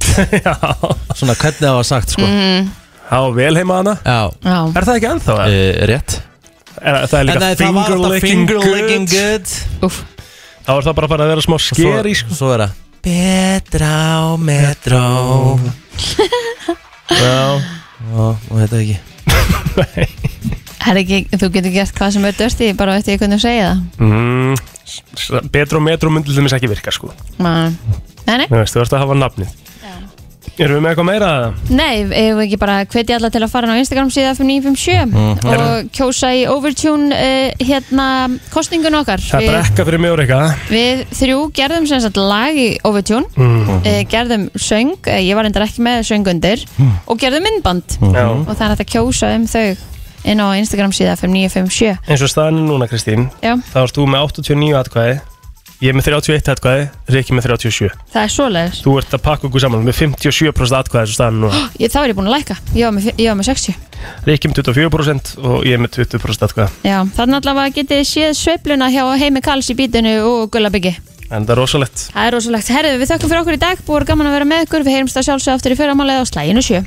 Speaker 1: Svona hvernig það var sagt sko
Speaker 3: Mhm.
Speaker 4: Já, vel heima hana
Speaker 1: Já
Speaker 3: Já.
Speaker 4: Er það ekki ennþá?
Speaker 1: e, Rétt
Speaker 4: er, Það er
Speaker 1: En
Speaker 4: líka
Speaker 1: nei, það var
Speaker 4: finger,
Speaker 1: alltaf
Speaker 4: licking
Speaker 1: finger
Speaker 4: good.
Speaker 1: licking good
Speaker 3: Úff.
Speaker 4: Þá er það bara að fara að vera smá skeri
Speaker 1: Svo, svo er það Betra á metró
Speaker 4: Já
Speaker 1: Og og þetta ekki
Speaker 3: Það er ekki, þú getur gert hvað sem er dörti bara eftir ég hvernig þú segja það
Speaker 4: mm, s- s- Betru og metru myndi þeim ekki virka sko
Speaker 3: Ma- Nei, nei,
Speaker 4: Þú veist, þú ert að hafa nafnið Erum við með eitthvað meira? eða?
Speaker 3: nei, eigum við ekki bara hvetja alla til að fara inn á Instagram síða 5957
Speaker 4: Mhm.
Speaker 3: og kjósa í Overtune uh, hérna kostningun okkar
Speaker 4: Það er brekka fyrir mig og Rikka
Speaker 3: við þrjú gerðum sem sagt lag í Overtune
Speaker 4: Mhm.
Speaker 3: eh, gerðum söng, eh, ég var endar ekki með söngundir og gerðum myndband
Speaker 4: Já.
Speaker 3: og það er hægt að kjósa um þau inn á Instagram síða 5957
Speaker 4: eins og staðan er núna Kristín
Speaker 3: Já.
Speaker 4: þá ert þú með 89 atkvæði ég er með 31 atkvæði, Rikki með 37
Speaker 3: það er svoleiðis
Speaker 4: þú ert að pakka okkur saman með 57% atkvæði eins og staðan er núna
Speaker 3: ég, þá er ég búin að læka, ég var með, ég var með 60
Speaker 4: Rikki með 24% og ég með 20% atkvæði
Speaker 3: Já, þannig allavega getið þið séð sveifluna hjá Heimi Karls í bítinu og Gullabyggi.
Speaker 4: en það er rosalegt
Speaker 3: Það er rosalegt. Herðu, við þökkum fyrir okkur í dag, búið gaman að vera með ykkur, við heyrumst að sjálfsög aftur í fyrramálið á slæginu sjö.